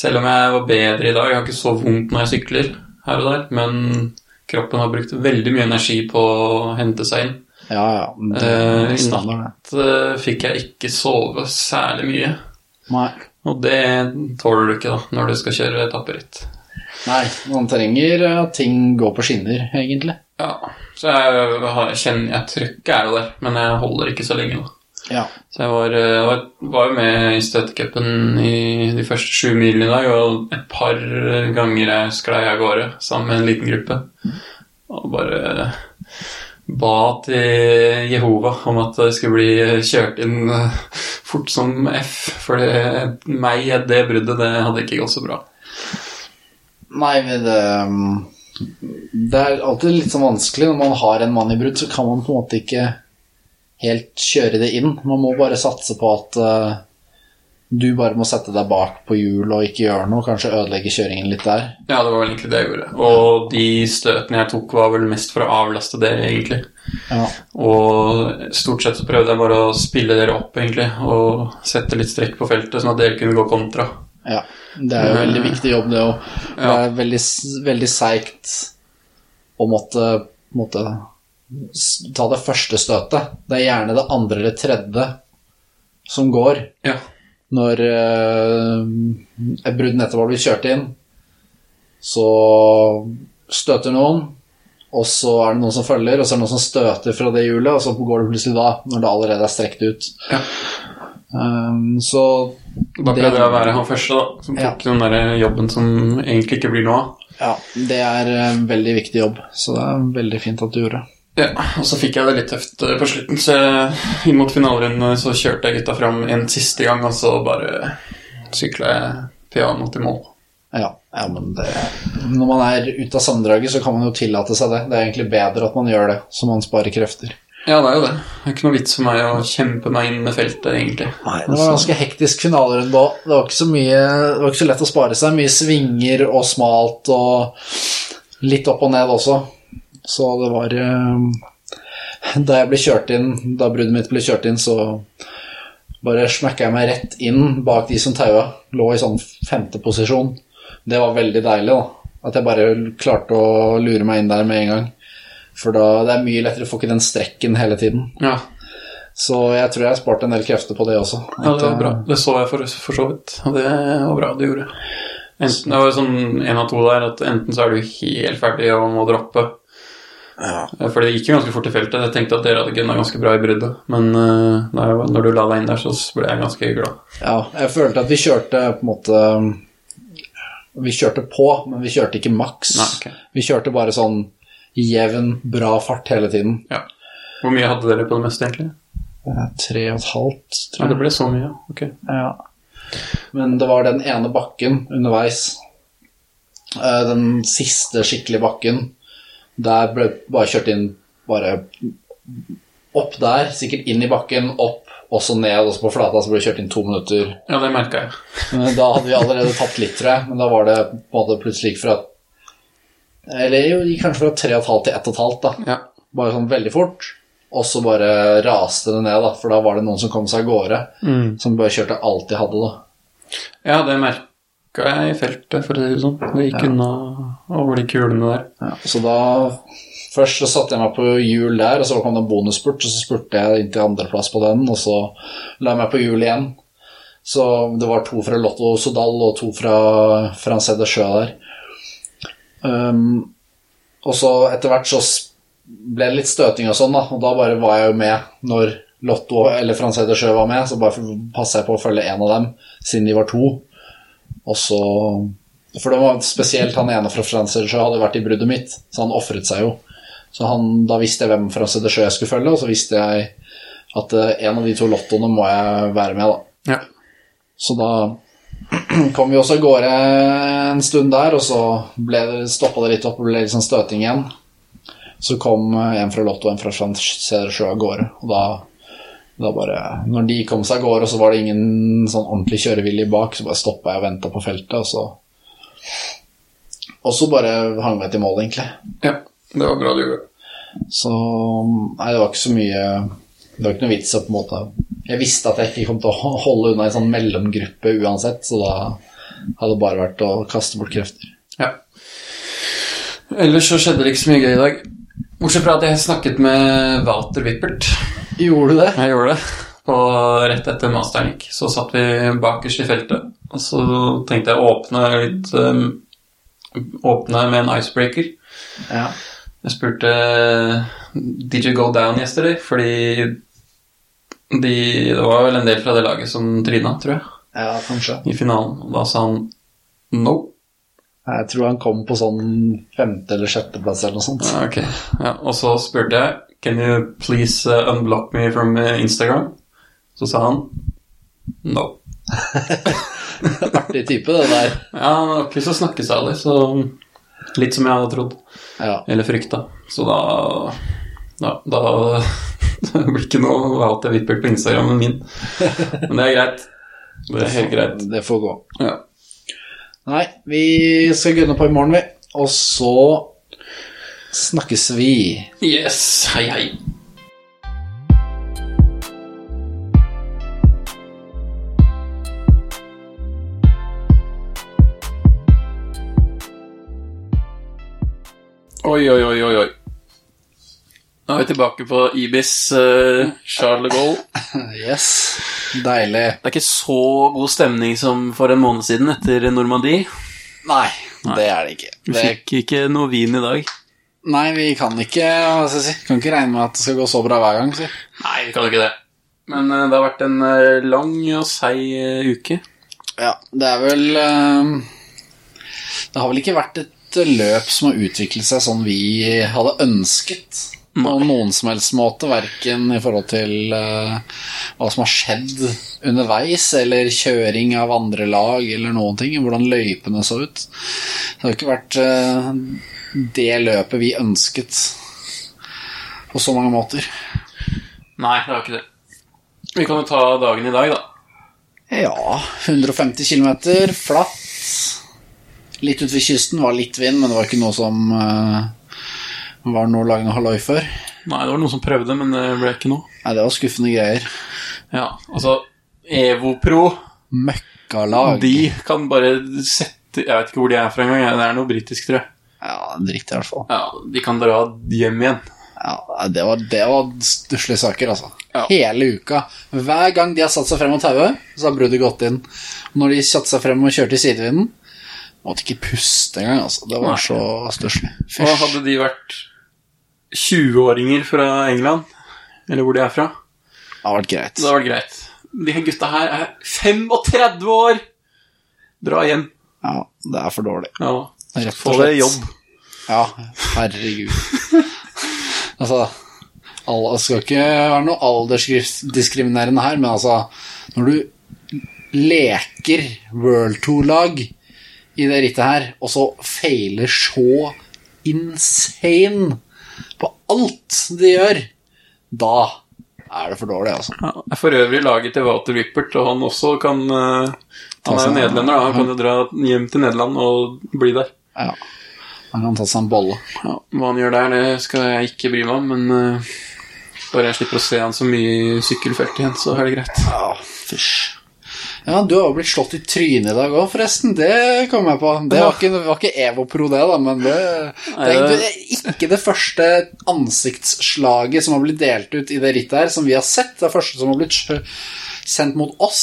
Speaker 6: selv om jeg var bedre i dag, jeg har ikke så vondt når jeg sykler her og der, men kroppen har brukt veldig mye energi på å hente seg inn.
Speaker 2: Ja, ja. men Det
Speaker 6: Eh,
Speaker 2: er
Speaker 6: I
Speaker 2: standard, det.
Speaker 6: natt eh, fikk jeg ikke sove særlig mye.
Speaker 2: Nei.
Speaker 6: Og det tåler du ikke da, når du skal kjøre etapperitt.
Speaker 2: Nei, man trenger eh, at ting går på skinner, egentlig.
Speaker 6: Ja, så jeg, har- kjenner jeg trykket er jo der, men jeg holder ikke så lenge da.
Speaker 2: Ja.
Speaker 6: Så jeg var, eh, var, var jo med i støttecupen i de første sju milene i dag, og et par ganger jeg sklei av gårde sammen med en liten gruppe. Og bare ba til Jehova om at det skulle bli kjørt inn eh, fort som F, for det, meg, det bruddet, det hadde ikke gått så bra.
Speaker 2: Nei, men det Det er alltid litt sånn vanskelig når man har en mann i brudd, så kan man på en måte ikke helt kjøre det inn. Man må bare satse på at eh, du bare må sette deg bak på hjul og ikke gjøre noe, kanskje ødelegge kjøringen litt der.
Speaker 6: Ja, det var vel egentlig det jeg gjorde. Og de støtene jeg tok, var vel mest for å avlaste dere, egentlig.
Speaker 2: Ja.
Speaker 6: Og stort sett så prøvde jeg bare å spille dere opp, egentlig, og sette litt strekk på feltet, sånn at dere kunne gå kontra.
Speaker 2: Ja, det er jo en veldig viktig jobb, det òg. Det
Speaker 6: Eh, Ja.
Speaker 2: er veldig, veldig seigt å måtte, måtte s- ta det første støtet. Det er gjerne det andre eller tredje som går
Speaker 6: Ja.
Speaker 2: når eh, et brudd nettopp har blitt kjørt inn. Så støter noen, og så er det noen som følger, og så er det noen som støter fra det hjulet, og så går det plutselig da, når det allerede er strekt ut.
Speaker 6: Ja.
Speaker 2: Um, så
Speaker 6: Da
Speaker 2: det-
Speaker 6: prøvde jeg å være han første, da, som tok den der jobben som egentlig ikke blir noe av.
Speaker 2: Ja, det er en veldig viktig jobb, så det er veldig fint at du gjorde. det.
Speaker 6: Ja, og så fikk jeg det litt tøft eh, på slutten, så jeg- inn mot finalerunden så kjørte jeg gutta fram en siste gang, og så bare sykla jeg pianoet i mål.
Speaker 2: Ja, ja men det, når man er ute av sammendraget, så kan man jo tillate seg det. Det er egentlig bedre at man gjør det, så man sparer krefter.
Speaker 6: Ja, det er jo det. Det er ikke noe vits for meg å kjempe meg inn med feltet, egentlig.
Speaker 2: Nei, det var en ganske hektisk finalerunde òg. Det, var ikke så mye- det var ikke så lett å spare seg. Mye svinger og smalt og litt opp og ned også. Så det var eh, Da jeg ble kjørt inn, da bruddet mitt ble kjørt inn, så bare smakka jeg meg rett inn bak de som taua. Lå i sånn femteposisjon. Det var veldig deilig, da. At jeg bare klarte å lure meg inn der med en gang. For da det er mye lettere å få ikke den strekken hele tiden.
Speaker 6: Ja,
Speaker 2: Så jeg tror jeg har spart en del krefter på det også. eh,
Speaker 6: ja det var bra. Det så jeg for, for så vidt, og det var bra du gjorde. Enten, det var sånn en av to der, at enten så er du helt ferdig og må droppe. Ja. For det gikk jo ganske fort i feltet. Jeg tenkte at dere hadde gunna ganske bra i bruddet. Men eh, det er jo- når du la deg inn der, så ble jeg ganske glad.
Speaker 2: Ja, jeg følte at vi kjørte på en måte Vi kjørte på, men vi kjørte ikke maks.
Speaker 6: Nei, ok.
Speaker 2: Vi kjørte bare sånn jevn, bra fart hele tiden.
Speaker 6: Hvor mye hadde dere på det meste, egentlig?
Speaker 2: Eh, Tre og et halvt,
Speaker 6: Ja,
Speaker 2: tror
Speaker 6: det
Speaker 2: jeg.
Speaker 6: ble så mye, ok.
Speaker 2: Ja. Men det var den ene bakken underveis, eh, den siste skikkelig bakken, der ble bare kjørt inn bare opp der, sikkert inn i bakken, opp, og så ned, og så på flata, så ble det kjørt inn to minutter.
Speaker 6: Ja, det merka jeg.
Speaker 2: Men Da hadde vi allerede tapt litt, tror jeg. Men da var det på en måte plutselig gikk fra Eller jo, gikk kanskje fra 3,5 til 1,5, da.
Speaker 6: Ja.
Speaker 2: Bare sånn veldig fort. Og så bare raste det ned, da, for da var det noen som kom seg av gårde. Som bare kjørte alt de hadde, da.
Speaker 6: Ja, det merka jeg i feltet, for å si det sånn. Det gikk unna over de kulene der.
Speaker 2: Så da Først så satte jeg meg på hjul der, og så kom det en bonusspurt, og så spurte jeg inn til andreplass på den, og så la jeg meg på hjul igjen. Så det var to fra Lotto Sodal og to fra Francé de Sjø der. Um, og så etter hvert så s- ble det litt støting og sånn, da, og da bare var jeg jo med når Lotto eller Francé de Sjø var med, så bare f- passet jeg på å følge en av dem, siden de var to. Og så For det var spesielt han ene fra France de Jeux hadde vært i bruddet mitt, så han ofret seg jo. Så han, da visste jeg hvem France de Jeux jeg skulle følge, og så visste jeg at eh, en av de to lottoene må jeg være med, da.
Speaker 6: Ja.
Speaker 2: Så da kom vi også av gårde en stund der, og så ble det, stoppa det litt opp og ble litt sånn støting igjen. Så kom eh, en fra Lotto og en fra France de Jeux av gårde, og da da bare, når de kom seg av gårde, og så var det ingen sånn ordentlig kjørevilje bak, så bare stoppa jeg og venta på feltet, og så Og så bare hang jeg til mål, egentlig.
Speaker 6: Ja, det var bra du gjorde.
Speaker 2: Så Nei, det var ikke så mye Det var ikke noe vits å på en måte Jeg visste at jeg ikke kom til å holde unna en sånn mellomgruppe uansett, så da hadde det bare vært å kaste bort krefter.
Speaker 6: Ja. Ellers så skjedde det ikke så mye gøy i dag. Bortsett fra at jeg snakket med Walter Wippert.
Speaker 2: Gjorde du det?
Speaker 6: Jeg gjorde det. Og rett etter masteren gikk, så satt vi bakerst i feltet. Og så tenkte jeg å åpne litt um, Åpne med en icebreaker.
Speaker 2: Ja.
Speaker 6: Jeg spurte eh, Did you go down yesterday? Fordi de, det var vel en del fra det laget som Trina, tror jeg,
Speaker 2: ja, kanskje.
Speaker 6: i finalen. Og da sa han no.
Speaker 2: Jeg tror han kom på sånn femte- eller sjetteplass eller noe sånt.
Speaker 6: Ja, Ah, ok. Ja, og så spurte jeg Can you please uh, unblock me from uh, Instagram? Så sa han no.
Speaker 2: Artig type, det der.
Speaker 6: Ja, han var ikke så snakkesalig, så litt som jeg hadde trodd.
Speaker 2: Ja.
Speaker 6: Eller frykta. Så da Da, da det blir ikke noe Walter Wippert på Instagrammen min. Men det er greit. Det er helt greit.
Speaker 2: Det får gå.
Speaker 6: Ja.
Speaker 2: Nei, vi skal gunne på i morgen, vi. Og så snakkes vi.
Speaker 6: Yes! Hei, hei. Oi, oi, oi, oi, oi. Nå er vi tilbake på Ibis eh, Charles de Gaulle.
Speaker 2: Yes. Deilig.
Speaker 7: Det er ikke så god stemning som for en måned siden etter Normandie.
Speaker 2: Nei, det er det ikke.
Speaker 7: Vi
Speaker 2: Det,
Speaker 7: fikk ikke noe vin i dag.
Speaker 2: nei, vi kan ikke hva skal jeg si, kan ikke regne med at det skal gå så bra hver gang. Si.
Speaker 7: Nei, vi kan jo ikke det. Men eh, det har vært en eh, lang og seig eh, uke.
Speaker 2: Ja, det er vel eh, Det har vel ikke vært et løp som har utviklet seg sånn vi hadde ønsket. på noen som helst måte, verken i forhold til eh, hva som har skjedd underveis, eller kjøring av andre lag, eller noen ting, hvordan løypene så ut. Det har ikke vært eh, det løpet vi ønsket på så mange måter.
Speaker 6: Nei, det var ikke det. Vi kan jo ta dagen i dag, da.
Speaker 2: Ja, 150 km flatt. Litt ut ved kysten var litt vind, men det var ikke noe som eh, var noe å lage noe halloi for.
Speaker 6: Nei, det var noen som prøvde, men det ble ikke noe.
Speaker 2: Nei, det var skuffende greier.
Speaker 6: Ja, altså EvoPro,
Speaker 2: Møkkalag.
Speaker 6: de kan bare sette Jeg vet ikke hvor de er fra engang. jeg. Det er noe britisk, tror jeg.
Speaker 2: Ja, dritt i hvert fall.
Speaker 6: Ja, De kan dra hjem igjen.
Speaker 2: Ja, nei, det var, det var stusslige saker, altså.
Speaker 6: Ja.
Speaker 2: Hele uka. Hver gang de har satt seg frem og tauet, så har bruddet gått inn. Når de satte seg frem og kjørte i sidevinden, måtte ikke puste engang, altså. Det
Speaker 6: Nei.
Speaker 2: var så stusslig.
Speaker 6: Og
Speaker 2: Fysj.
Speaker 6: hadde de vært 20-åringer fra England, eller hvor de er fra,
Speaker 2: Det har vært greit.
Speaker 6: det hadde vært greit. De her gutta her er 35 år! Dra hjem.
Speaker 2: Ja, det er for dårlig.
Speaker 6: Ja,
Speaker 2: Rett og
Speaker 6: Få deg
Speaker 2: slett.
Speaker 6: jobb.
Speaker 2: Ja, herregud. altså, alle, det skal ikke være noe aldersdiskriminerende her, men altså, når du leker World Tour-lag i det rittet her, og så feiler så insane på alt de gjør, da er det for dårlig, altså.
Speaker 6: Ja, er for øvrig laget til Walter Rippert, og han også kan eh,
Speaker 2: Ta
Speaker 6: Han er jo
Speaker 2: seg-
Speaker 6: nederlender, da. Han kan jo dra hjem til Nederland og bli der.
Speaker 2: Ja. Man kan ta seg en bolle.
Speaker 6: Ja, hva han gjør der, det skal jeg ikke bry meg om, men eh, bare jeg slipper å se han så mye i sykkelfeltet igjen, så er det greit.
Speaker 2: Ja, fysj. Ja, du har jo blitt slått i trynet i dag òg, forresten. Det kom jeg på. Det var ikke, det var ikke Evopro, det, da, men det, det er egentlig ikke det første ansiktsslaget som har blitt delt ut i det rittet her, som vi har sett. Det er første som har blitt sjø- sendt mot oss.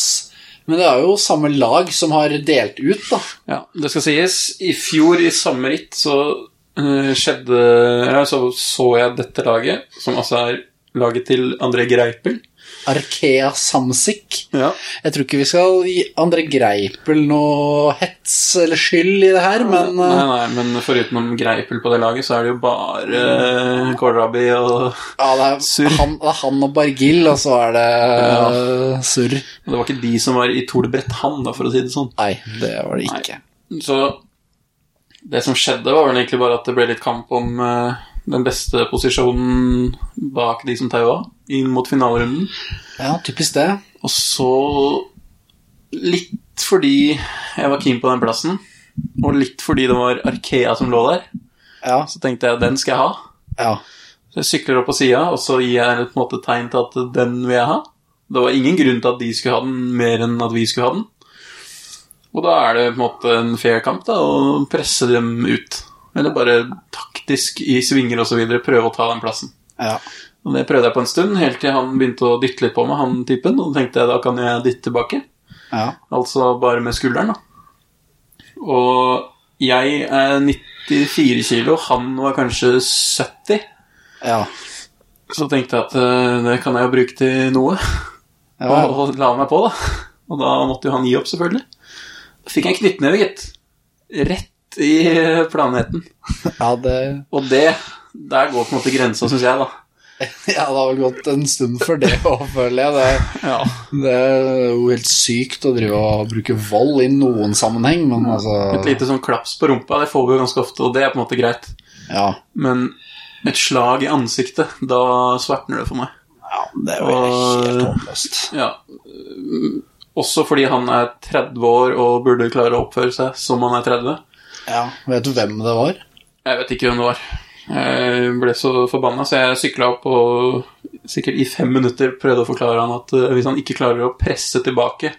Speaker 2: Men det er jo samme lag som har delt ut, da.
Speaker 6: Ja, det skal sies, i fjor i samme ritt så eh, skjedde Eller så så jeg dette laget, som altså er laget til André Greipel.
Speaker 2: Arkea Samsic.
Speaker 6: Ja.
Speaker 2: Jeg tror ikke vi skal gi André Greipel noe hets eller skyld i det her, men
Speaker 6: Nei,
Speaker 2: eh,
Speaker 6: nei, men forutenom Greipel på det laget, så er det jo bare uh, Kålrabi og
Speaker 2: Ja, det er
Speaker 6: Surr.
Speaker 2: Han, det er han og Bargill, og så er det
Speaker 6: Ja.
Speaker 2: eh, surr.
Speaker 6: Og det var ikke de som var i Tour de Bretagne, da, for å si det sånn.
Speaker 2: Nei, det var det ikke.
Speaker 6: Så det som skjedde, var vel egentlig bare at det ble litt kamp om eh, den beste posisjonen bak de som taua, inn mot finalerunden.
Speaker 2: Ja, typisk det.
Speaker 6: Og så litt fordi jeg var keen på den plassen, og litt fordi det var Arkea som lå der,
Speaker 2: Ja.
Speaker 6: så tenkte jeg den skal jeg ha.
Speaker 2: ja.
Speaker 6: Så jeg sykler opp på sida, og så gir jeg på en måte tegn til at den vil jeg ha. Det var ingen grunn til at de skulle ha den, mer enn at vi skulle ha den. Og da er det på en måte en fair kamp da, å presse dem ut. Eller bare taktisk i svinger osv. prøve å ta den plassen.
Speaker 2: ja.
Speaker 6: Og Det prøvde jeg på en stund, helt til han begynte å dytte litt på meg, han typen. Og da tenkte jeg da kan jeg dytte tilbake.
Speaker 2: ja.
Speaker 6: Altså bare med skulderen, da. Og jeg er 94 kilo, han var kanskje 70.
Speaker 2: Ja.
Speaker 6: Så tenkte jeg at eh, det kan jeg jo bruke til noe,
Speaker 2: Ja,
Speaker 6: og, og la meg på, da. Og da måtte jo han gi opp, selvfølgelig. Da fikk jeg en knyttneve, gitt. Rett i eh, planeten.
Speaker 2: ja, det,
Speaker 6: Og det Der går på en måte grensa, syns jeg, da.
Speaker 2: ja, det har vel gått en stund for det òg, føler jeg. Det,
Speaker 6: Ja.
Speaker 2: det er jo helt sykt å drive og bruke vold i noen sammenheng, men
Speaker 6: Et
Speaker 2: altså
Speaker 6: lite sånn klaps på rumpa, det får vi jo ganske ofte, og det er på en måte greit.
Speaker 2: Ja,
Speaker 6: Men et slag i ansiktet, da svartner det for meg.
Speaker 2: ja det er jo helt håpløst.
Speaker 6: Ja. Mm, Også fordi han er 30 år og burde klare å oppføre seg som han er 30.
Speaker 2: Ja. Vet du hvem det var?
Speaker 6: Jeg vet ikke hvem det var. Jeg ble så forbanna, så jeg sykla opp og sikkert i fem minutter prøvde å forklare han at eh, hvis han ikke klarer å presse tilbake,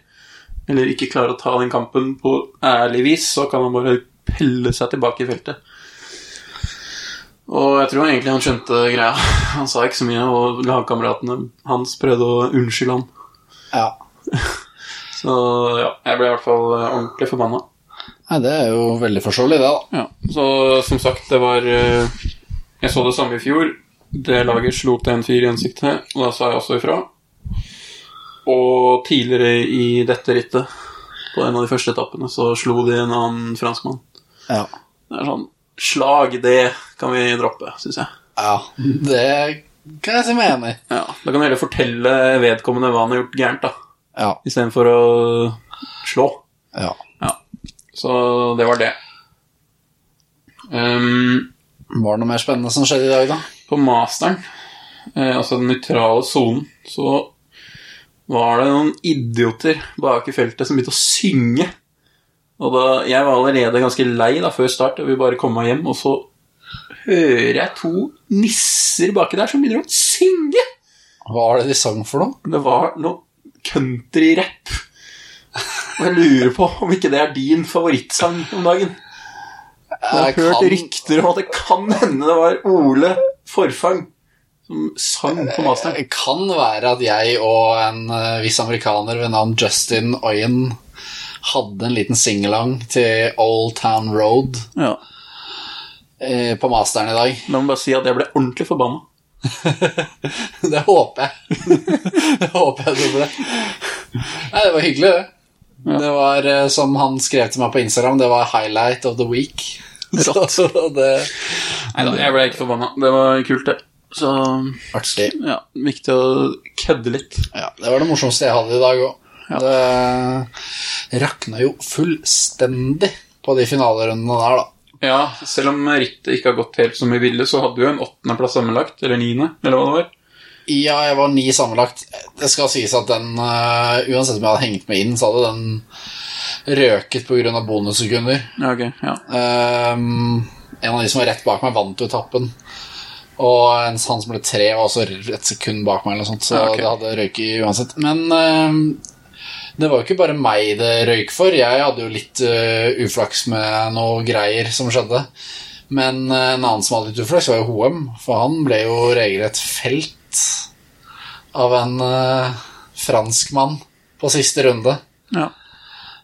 Speaker 6: eller ikke klarer å ta den kampen på ærlig vis, så kan han bare pelle seg tilbake i feltet. Og jeg tror egentlig han skjønte greia. Han sa ikke så mye, og lagkameratene hans prøvde å unnskylde han.
Speaker 2: Ja.
Speaker 6: Så ja, jeg ble i hvert fall eh, ordentlig forbanna.
Speaker 2: Nei, det er jo veldig forståelig, det, da.
Speaker 6: Ja, så som sagt, det var eh, Jeg så det samme i fjor. Det laget slo opp til en fyr i ansiktet, og da sa jeg også ifra. Og tidligere i dette rittet, på en av de første etappene, så slo de en annen franskmann.
Speaker 2: Ja.
Speaker 6: Det er sånn Slag, det kan vi droppe, syns jeg.
Speaker 2: Ja, det kan jeg si meg enig i.
Speaker 6: Ja, Da kan du heller fortelle vedkommende hva han har gjort gærent, da,
Speaker 2: Ja,
Speaker 6: istedenfor å slå.
Speaker 2: ja.
Speaker 6: Så det var det. Ehm,
Speaker 2: Var det noe mer spennende som skjedde i dag, da?
Speaker 6: på masteren, eh, altså den nøytrale sonen, så var det noen idioter bak i feltet som begynte å synge. Og da, Jeg var allerede ganske lei da, før start, jeg ville bare komme meg hjem. Og så hører jeg to nisser baki der som begynner å synge!
Speaker 2: Hva var det de sang for noe?
Speaker 6: Det var noe country-rapp. Og jeg lurer på om ikke det er din favorittsang om dagen. Jeg har hørt rykter om at det kan hende det var Ole Forfang som sang på masteren.
Speaker 2: Det kan være at jeg og en eh, viss amerikaner ved navn Justin Oyen hadde en liten singelang til Old Town Road
Speaker 6: Ja.
Speaker 2: eh, på masteren i dag.
Speaker 6: La meg bare si at jeg ble ordentlig forbanna.
Speaker 2: Det håper jeg. det håper jeg du ble. Nei, det var hyggelig, det. Det var, eh, som han skrev til meg på Instagram, det var highlight of the week. Så, så det
Speaker 6: Nei da, jeg ble ikke forbanna. Det var kult, det. Så
Speaker 2: Artig.
Speaker 6: ja, viktig å kødde litt.
Speaker 2: Ja, det var det morsomste jeg hadde i dag òg. Det rakna jo fullstendig på de finalerundene der, da.
Speaker 6: Ja, selv om rittet ikke har gått helt som vi ville, så hadde vi jo en åttendeplass sammenlagt. Eller niende, eller hva det var.
Speaker 2: Ja, jeg var ni sammenlagt. Det skal sies at den, eh, uansett om jeg hadde hengt meg inn, så hadde den røket pga. bonussekunder.
Speaker 6: Ja, ok, ja.
Speaker 2: Ehm, en av de som var rett bak meg, vant jo etappen. Og en, han som ble tre, var også et sekund bak meg, eller noe sånt, så
Speaker 6: Ja, ok.
Speaker 2: det hadde røyket uansett. Men ehm, det var jo ikke bare meg det røyk for. Jeg hadde jo litt eh, uflaks med noe greier som skjedde. Men eh, en annen som hadde litt uflaks, var jo Hoem, for han ble jo regelrett felt av en eh, franskmann på siste runde.
Speaker 6: Ja.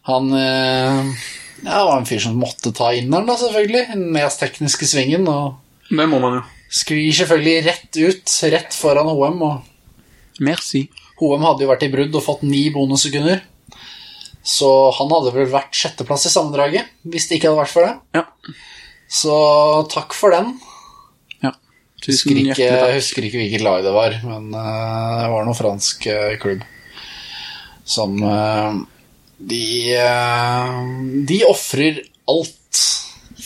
Speaker 2: Han eh, ja, det var en fyr som måtte ta inneren, da, selvfølgelig. Den mest tekniske svingen. Og
Speaker 6: Det må man jo.
Speaker 2: sklir selvfølgelig rett ut, rett foran HM. Og
Speaker 6: Merci.
Speaker 2: HM hadde jo vært i brudd og fått ni bonussekunder. Så han hadde vel vært sjetteplass i sammendraget, hvis det ikke hadde vært for det.
Speaker 6: Ja.
Speaker 2: Så takk for den.
Speaker 6: Tusen
Speaker 2: Husker ikke,
Speaker 6: hjertelig takk.
Speaker 2: jeg husker ikke hvilket lag det var, men eh, det var noen fransk eh, klubb som eh, De uh, De ofrer alt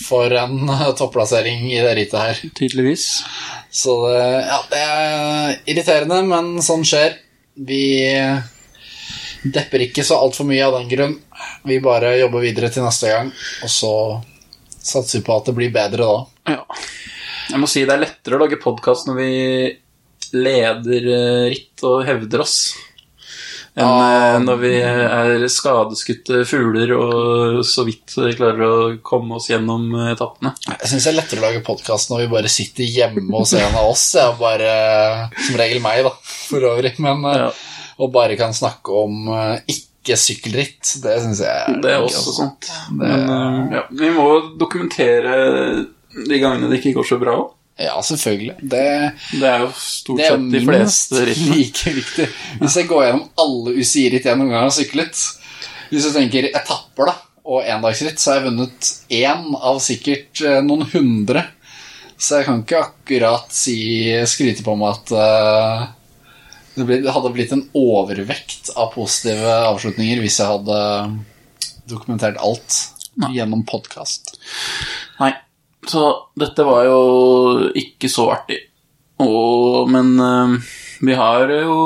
Speaker 2: for en eh, topplassering i det rittet her.
Speaker 6: Tydeligvis.
Speaker 2: Så det, ja, det er irriterende, men sånn skjer. Vi depper ikke så altfor mye av den grunn. Vi bare jobber videre til neste gang, og så satser vi på at det blir bedre da.
Speaker 6: Ja. Jeg må si det er lettere å lage podkast når vi leder eh, ritt og hevder oss, enn
Speaker 2: Ah.
Speaker 6: eh, når vi er skadeskutte fugler og så vidt eh, klarer å komme oss gjennom eh, etappene.
Speaker 2: Jeg syns det er lettere å lage podkast når vi bare sitter hjemme hos en av oss. Jeg og bare, eh, som regel meg, da, for øvrig. Men, eh,
Speaker 6: Ja.
Speaker 2: Og bare kan snakke om eh, ikke sykkelritt. Det syns jeg er
Speaker 6: Det er
Speaker 2: gøy,
Speaker 6: også sånn.
Speaker 2: altså.
Speaker 6: sant. Men eh, ja, vi må dokumentere de gangene det ikke går så bra òg.
Speaker 2: Ja, selvfølgelig. Det,
Speaker 6: Det er jo stort
Speaker 2: det er
Speaker 6: sett de
Speaker 2: minst
Speaker 6: fleste rittene.
Speaker 2: like viktig. Hvis jeg går gjennom alle UCI-ritt jeg noen gang har syklet Hvis du tenker etapper da og endagsritt, så har jeg vunnet én av sikkert eh, noen hundre. Så jeg kan ikke akkurat si, skryte på meg at eh, det, ble, det hadde blitt en overvekt av positive avslutninger hvis jeg hadde dokumentert alt gjennom podkast.
Speaker 6: Nei, så dette var jo ikke så artig. Og, men eh, vi har jo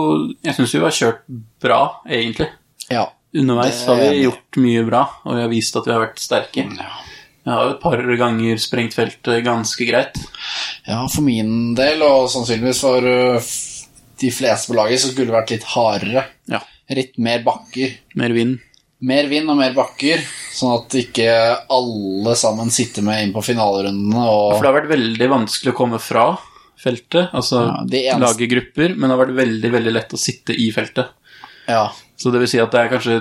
Speaker 6: Jeg syns vi har kjørt bra, egentlig.
Speaker 2: Ja.
Speaker 6: Underveis
Speaker 2: Det er
Speaker 6: har vi
Speaker 2: jeg enig i.
Speaker 6: gjort mye bra, og vi har vist at vi har vært sterke. Jeg har jo et par ganger sprengt feltet ganske greit.
Speaker 2: Ja, for min del, og sannsynligvis for øh, f- de fleste på laget, så skulle det vært litt hardere.
Speaker 6: Ja.
Speaker 2: Litt mer bakker.
Speaker 6: Mer vind.
Speaker 2: Mer vind og mer bakker, sånn at ikke alle sammen sitter med inn på finalerundene
Speaker 6: For
Speaker 2: og
Speaker 6: det har vært veldig vanskelig å komme fra feltet, altså
Speaker 2: Ja, det eneste-
Speaker 6: lage grupper, men det har vært veldig, veldig lett å sitte i feltet.
Speaker 2: Ja.
Speaker 6: Så det vil si at det er kanskje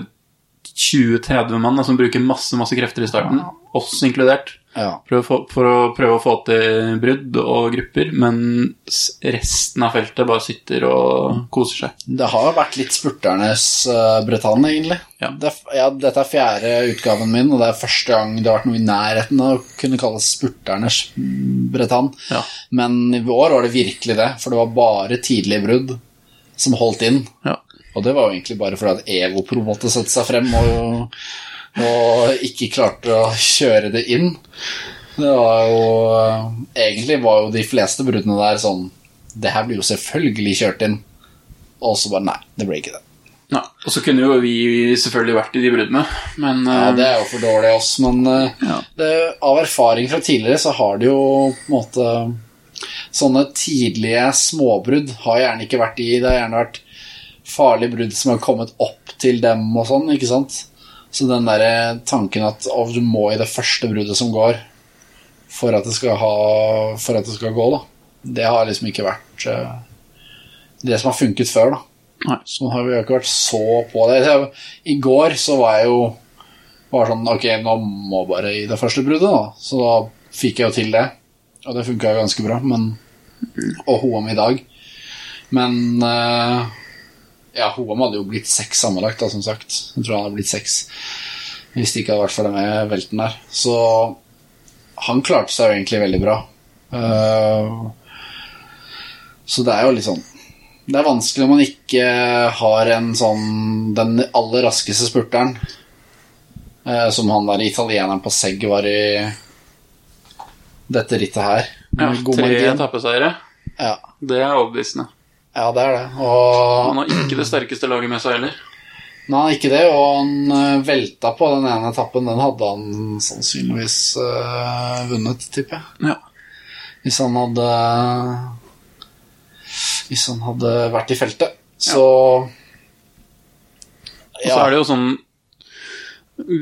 Speaker 6: 20-30 mann da, som bruker masse, masse krefter i starten, oss inkludert.
Speaker 2: ja.
Speaker 6: Prøv å få, for å prøve å få til brudd og grupper, men s- resten av feltet bare sitter og koser seg.
Speaker 2: Det har jo vært litt spurternes uh, Bretagne, egentlig.
Speaker 6: Ja.
Speaker 2: Det er, ja, dette er fjerde utgaven min, og det er første gang det har vært noe i nærheten av å kunne kalles spurternes Bretann.
Speaker 6: Ja.
Speaker 2: Men i år var det virkelig det, for det var bare tidlige brudd som holdt inn.
Speaker 6: Ja.
Speaker 2: Og det var jo egentlig bare fordi at Evopro måtte sette seg frem og, og ikke klarte å kjøre det inn. Det var jo Egentlig var jo de fleste bruddene der sånn Det her blir jo selvfølgelig kjørt inn. Og så bare Nei, det ble ikke det.
Speaker 6: Nei, og så kunne jo vi selvfølgelig vært i de bruddene, men
Speaker 2: Ja,
Speaker 6: eh,
Speaker 2: det er jo for dårlig av oss, men eh,
Speaker 6: Ja.
Speaker 2: det, av erfaring fra tidligere så har det jo på en måte Sånne tidlige småbrudd har gjerne ikke vært i. Det har gjerne vært farlige brudd som har kommet opp til dem og sånn, ikke sant? Så den derre tanken at å, du må i det første bruddet som går for at det skal, ha, for at det skal gå, da. Det har liksom ikke vært eh, det som har funket før, da.
Speaker 6: Nei.
Speaker 2: Så nå har vi jo ikke vært så på det. Jeg- I går så var jeg jo bare sånn Ok, nå må bare i det første bruddet, da. Så da fikk jeg jo til det. Og det funka jo ganske bra, men Og Hoam i dag. Men eh, Ja, Hoam hadde jo blitt seks sammenlagt, da, som sagt. Jeg tror han hadde blitt seks. Hvis det ikke hadde vært for den med velten der. Så han klarte seg jo egentlig veldig bra. Eh, så det er jo litt sånn Det er vanskelig når man ikke har en sånn Den aller raskeste spurteren. Eh, som han der italieneren på Segg var i dette rittet her.
Speaker 6: ja,
Speaker 2: Med god
Speaker 6: tre
Speaker 2: margin.
Speaker 6: etappeseiere.
Speaker 2: Ja.
Speaker 6: Det er overbevisende.
Speaker 2: ja, det er det. Og
Speaker 6: Han har ikke det sterkeste laget med seg heller.
Speaker 2: Nei, ikke det, og han eh, velta på den ene etappen. Den hadde han sannsynligvis eh, vunnet, tipper jeg.
Speaker 6: Ja.
Speaker 2: Hvis han hadde Hvis han hadde vært i feltet. Så
Speaker 6: Og så er det jo sånn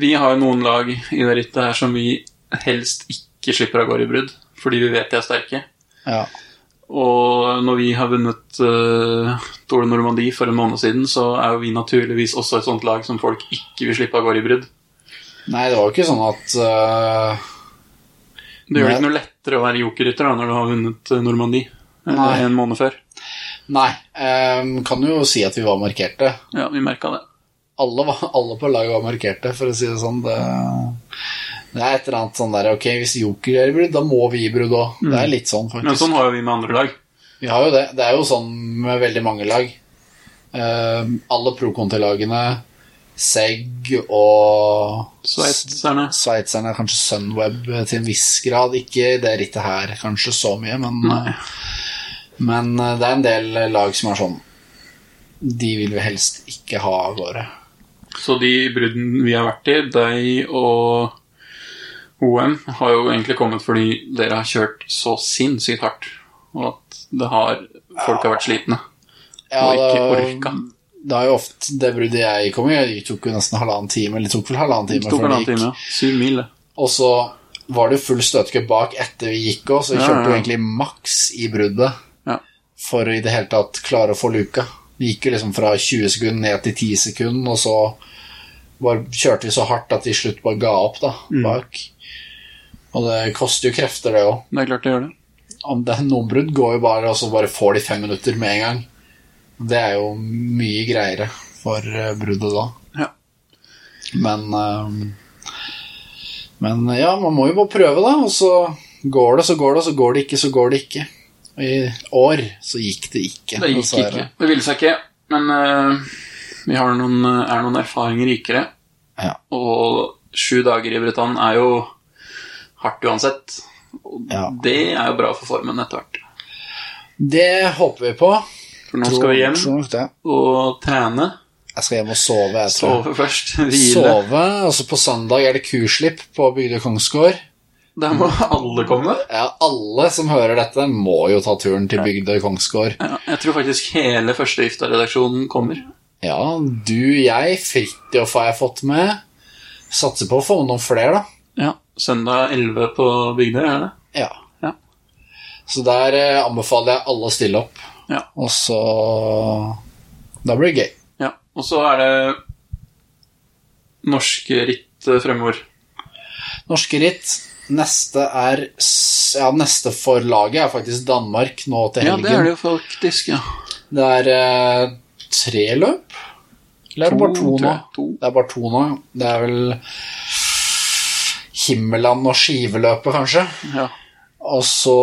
Speaker 6: Vi har jo noen lag i det rittet her som vi helst ikke slipper av gårde i brudd, fordi vi vet de er sterke.
Speaker 2: ja.
Speaker 6: Og når vi har vunnet uh, Tour de Normandie for en måned siden, så er jo vi naturligvis også et sånt lag som folk ikke vil slippe av gårde i brudd.
Speaker 2: Nei, det var jo ikke sånn at eh,
Speaker 6: Det gjør det
Speaker 2: Nei.
Speaker 6: ikke noe lettere å være jokerrytter da, når du har vunnet eh, Normandie eh,
Speaker 2: Nei.
Speaker 6: en måned før.
Speaker 2: Nei, eh, kan jo si at vi var markerte.
Speaker 6: Ja, vi merka det.
Speaker 2: alle, var, alle på laget var markerte, for å si det sånn. Det, det er et eller annet sånn der Ok, hvis Joker gjør brudd, da må vi gi brudd òg. Det er litt sånn, faktisk.
Speaker 6: Men sånn har jo vi med andre lag.
Speaker 2: Vi har jo det. Det er jo sånn med veldig mange lag. Eh, alle pro-conti-lagene, Segg og
Speaker 6: Sveitserne.
Speaker 2: Sveitserne, kanskje Sunweb til en viss grad. Ikke i det rittet her kanskje så mye, men, men eh, det er en del lag som er sånn De vil vi helst ikke ha av gårde.
Speaker 6: Så de bruddene vi har vært i, deg og OM, har jo egentlig kommet fordi dere har kjørt så sinnssykt hardt. Og at det har, folk har vært slitne
Speaker 2: Ja,
Speaker 6: og ikke
Speaker 2: det-
Speaker 6: orka.
Speaker 2: Det er jo ofte det bruddet jeg kom i, jeg tok jo nesten halvannen time, eller tok vel halvannen
Speaker 6: Det
Speaker 2: time
Speaker 6: tok
Speaker 2: før
Speaker 6: halvannen
Speaker 2: det gikk.
Speaker 6: time. ja. Syv mil, det.
Speaker 2: Og så var det jo full støtekupp bak etter vi gikk òg, så vi
Speaker 6: Ja,
Speaker 2: kjørte
Speaker 6: ja,
Speaker 2: jo
Speaker 6: ja.
Speaker 2: egentlig maks i bruddet
Speaker 6: Ja.
Speaker 2: for å i det hele tatt klare å få luka. Vi gikk jo liksom fra 20 sekunder ned til 10 sekunder, og så bare kjørte vi så hardt at de til slutt bare ga opp da,
Speaker 6: Mm.
Speaker 2: bak. Og det koster jo krefter, det òg.
Speaker 6: Det er klart det gjør det.
Speaker 2: Om det er noen brudd, går jo bare, og så bare får de fem minutter med en gang. Det er jo mye greiere for eh, bruddet da.
Speaker 6: Ja.
Speaker 2: Men eh, Men ja, man må jo bare prøve, da. Og så går det, så går det, og så går det ikke, så går det ikke. Og I år så gikk det ikke.
Speaker 6: Det gikk
Speaker 2: dessverre.
Speaker 6: ikke. Det ville seg ikke. Men eh, vi har noen, er noen erfaringer rikere.
Speaker 2: Ja.
Speaker 6: Og sju dager i Britannia er jo hardt uansett. Og
Speaker 2: Ja.
Speaker 6: det er jo bra for formen etter hvert.
Speaker 2: Det håper vi på.
Speaker 6: For nå skal vi hjem
Speaker 2: Tror nok det.
Speaker 6: og trene.
Speaker 2: Jeg skal hjem og sove, jeg tror.
Speaker 6: Sove først. Hvile.
Speaker 2: Sove, og så på søndag er det kuslipp på Bygdøy Kongsgård.
Speaker 6: Der må alle komme.
Speaker 2: Ja, alle som hører dette, må jo ta turen til Bygdøy Kongsgård.
Speaker 6: Ja, jeg tror faktisk hele første Ifta-redaksjonen kommer.
Speaker 2: Ja, du, jeg, Fridtjof har jeg fått med. Satser på å få med noen flere, da.
Speaker 6: Ja, Søndag 11 på Bygdøy, er det?
Speaker 2: Ja.
Speaker 6: Ja.
Speaker 2: Så der eh, anbefaler jeg alle å stille opp.
Speaker 6: Ja.
Speaker 2: Og så Da blir det gøy.
Speaker 6: Ja. Og så er det norske ritt eh, fremover.
Speaker 2: Norske ritt. Neste er s- Ja, neste for laget er faktisk Danmark nå til
Speaker 6: Ja,
Speaker 2: helgen.
Speaker 6: det er det jo faktisk, ja.
Speaker 2: det er eh, tre løp? Eller er det bare to
Speaker 6: tror
Speaker 2: nå?
Speaker 6: jeg. To.
Speaker 2: Det er bare to nå. Det er vel Himmeland og Skiveløpet, kanskje.
Speaker 6: Ja.
Speaker 2: Og så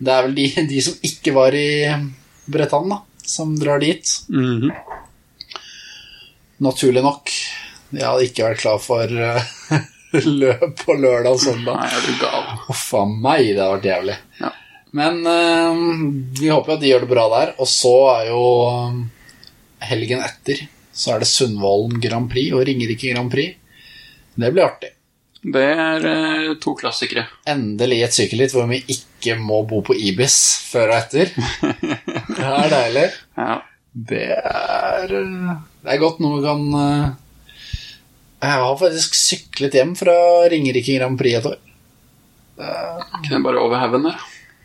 Speaker 2: Det er vel de, de som ikke var i Bretagne, da, som drar dit.
Speaker 6: Mhm.
Speaker 2: Naturlig nok. Jeg hadde ikke vært klar for eh, løp på lørdag og søndag.
Speaker 6: Nei, er du gal.
Speaker 2: Huff a meg, det har vært jævlig.
Speaker 6: Ja.
Speaker 2: Men eh, vi håper jo at de gjør det bra der. Og så er jo eh, helgen etter så er det Sundvolden Grand Prix og Ringerike Grand Prix. Det blir artig.
Speaker 6: Det er eh, to klassikere.
Speaker 2: Endelig et sykkelritt hvor vi ikke må bo på Ibis før og etter. Det er deilig.
Speaker 6: Ja.
Speaker 2: Det er eh, Det er godt noe vi kan eh, Jeg har faktisk syklet hjem fra Ringerike Grand Prix et år.
Speaker 6: Kan jeg bare over haugen der?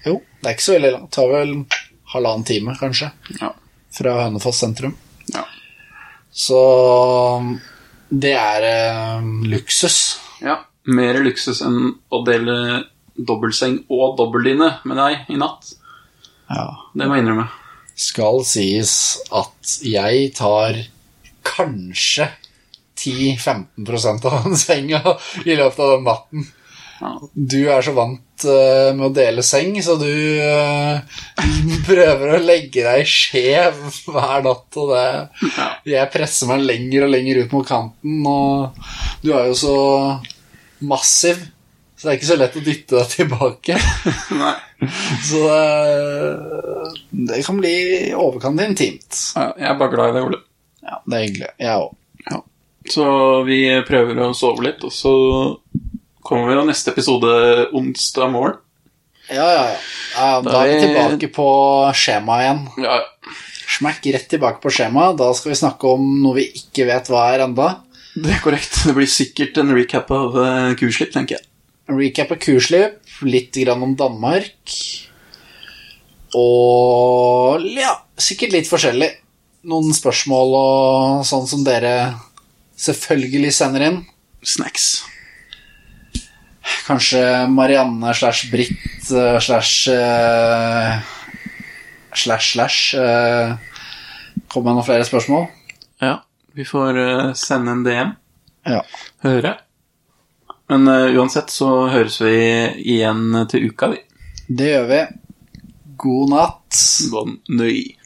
Speaker 2: Jo, det er ikke så veldig langt. Det tar vel halvannen time, kanskje,
Speaker 6: Ja.
Speaker 2: fra Hønefoss sentrum.
Speaker 6: Ja.
Speaker 2: Så um, det er eh, luksus.
Speaker 6: ja. Mer luksus enn å dele dobbeltseng og dobbeldyne med deg i natt.
Speaker 2: Ja.
Speaker 6: Det må jeg innrømme.
Speaker 2: Skal sies at jeg tar kanskje 10-15 av den senga i løpet av den natten.
Speaker 6: Ja.
Speaker 2: Du er så vant eh, med å dele seng, så du eh, prøver å legge deg skjev hver natt, og det
Speaker 6: Ja.
Speaker 2: Jeg presser meg lenger og lenger ut mot kanten, og du er jo så massiv, så det er ikke så lett å dytte deg tilbake.
Speaker 6: Nei.
Speaker 2: Så det, det kan bli i overkant intimt.
Speaker 6: Ja, jeg er bare glad i det, Ole.
Speaker 2: Ja, det er hyggelig. Jeg òg.
Speaker 6: Så vi prøver å sove litt, og så kommer vi jo neste episode onsdag morgen.
Speaker 2: Ja, ja, ja. ja. Da er vi tilbake på skjemaet igjen.
Speaker 6: Ja,
Speaker 2: Smekk rett tilbake på skjemaet. Da skal vi snakke om noe vi ikke vet hva er enda.
Speaker 6: det er korrekt. Det blir sikkert en recap av eh, kurslipp, tenker jeg.
Speaker 2: Recap av kursløp, litt grann om Danmark. Og ja, sikkert litt forskjellig. Noen spørsmål og sånn som dere selvfølgelig sender inn.
Speaker 6: Snacks.
Speaker 2: Kanskje Marianne slash Britt eh, slash eh, Slash slash eh, Kommer det noen flere spørsmål?
Speaker 6: Ja, vi får eh, sende en DM.
Speaker 2: Ja.
Speaker 6: Høre. Men eh, uansett så høres vi igjen til uka, vi.
Speaker 2: Det gjør vi. God natt.
Speaker 6: Bon nuit.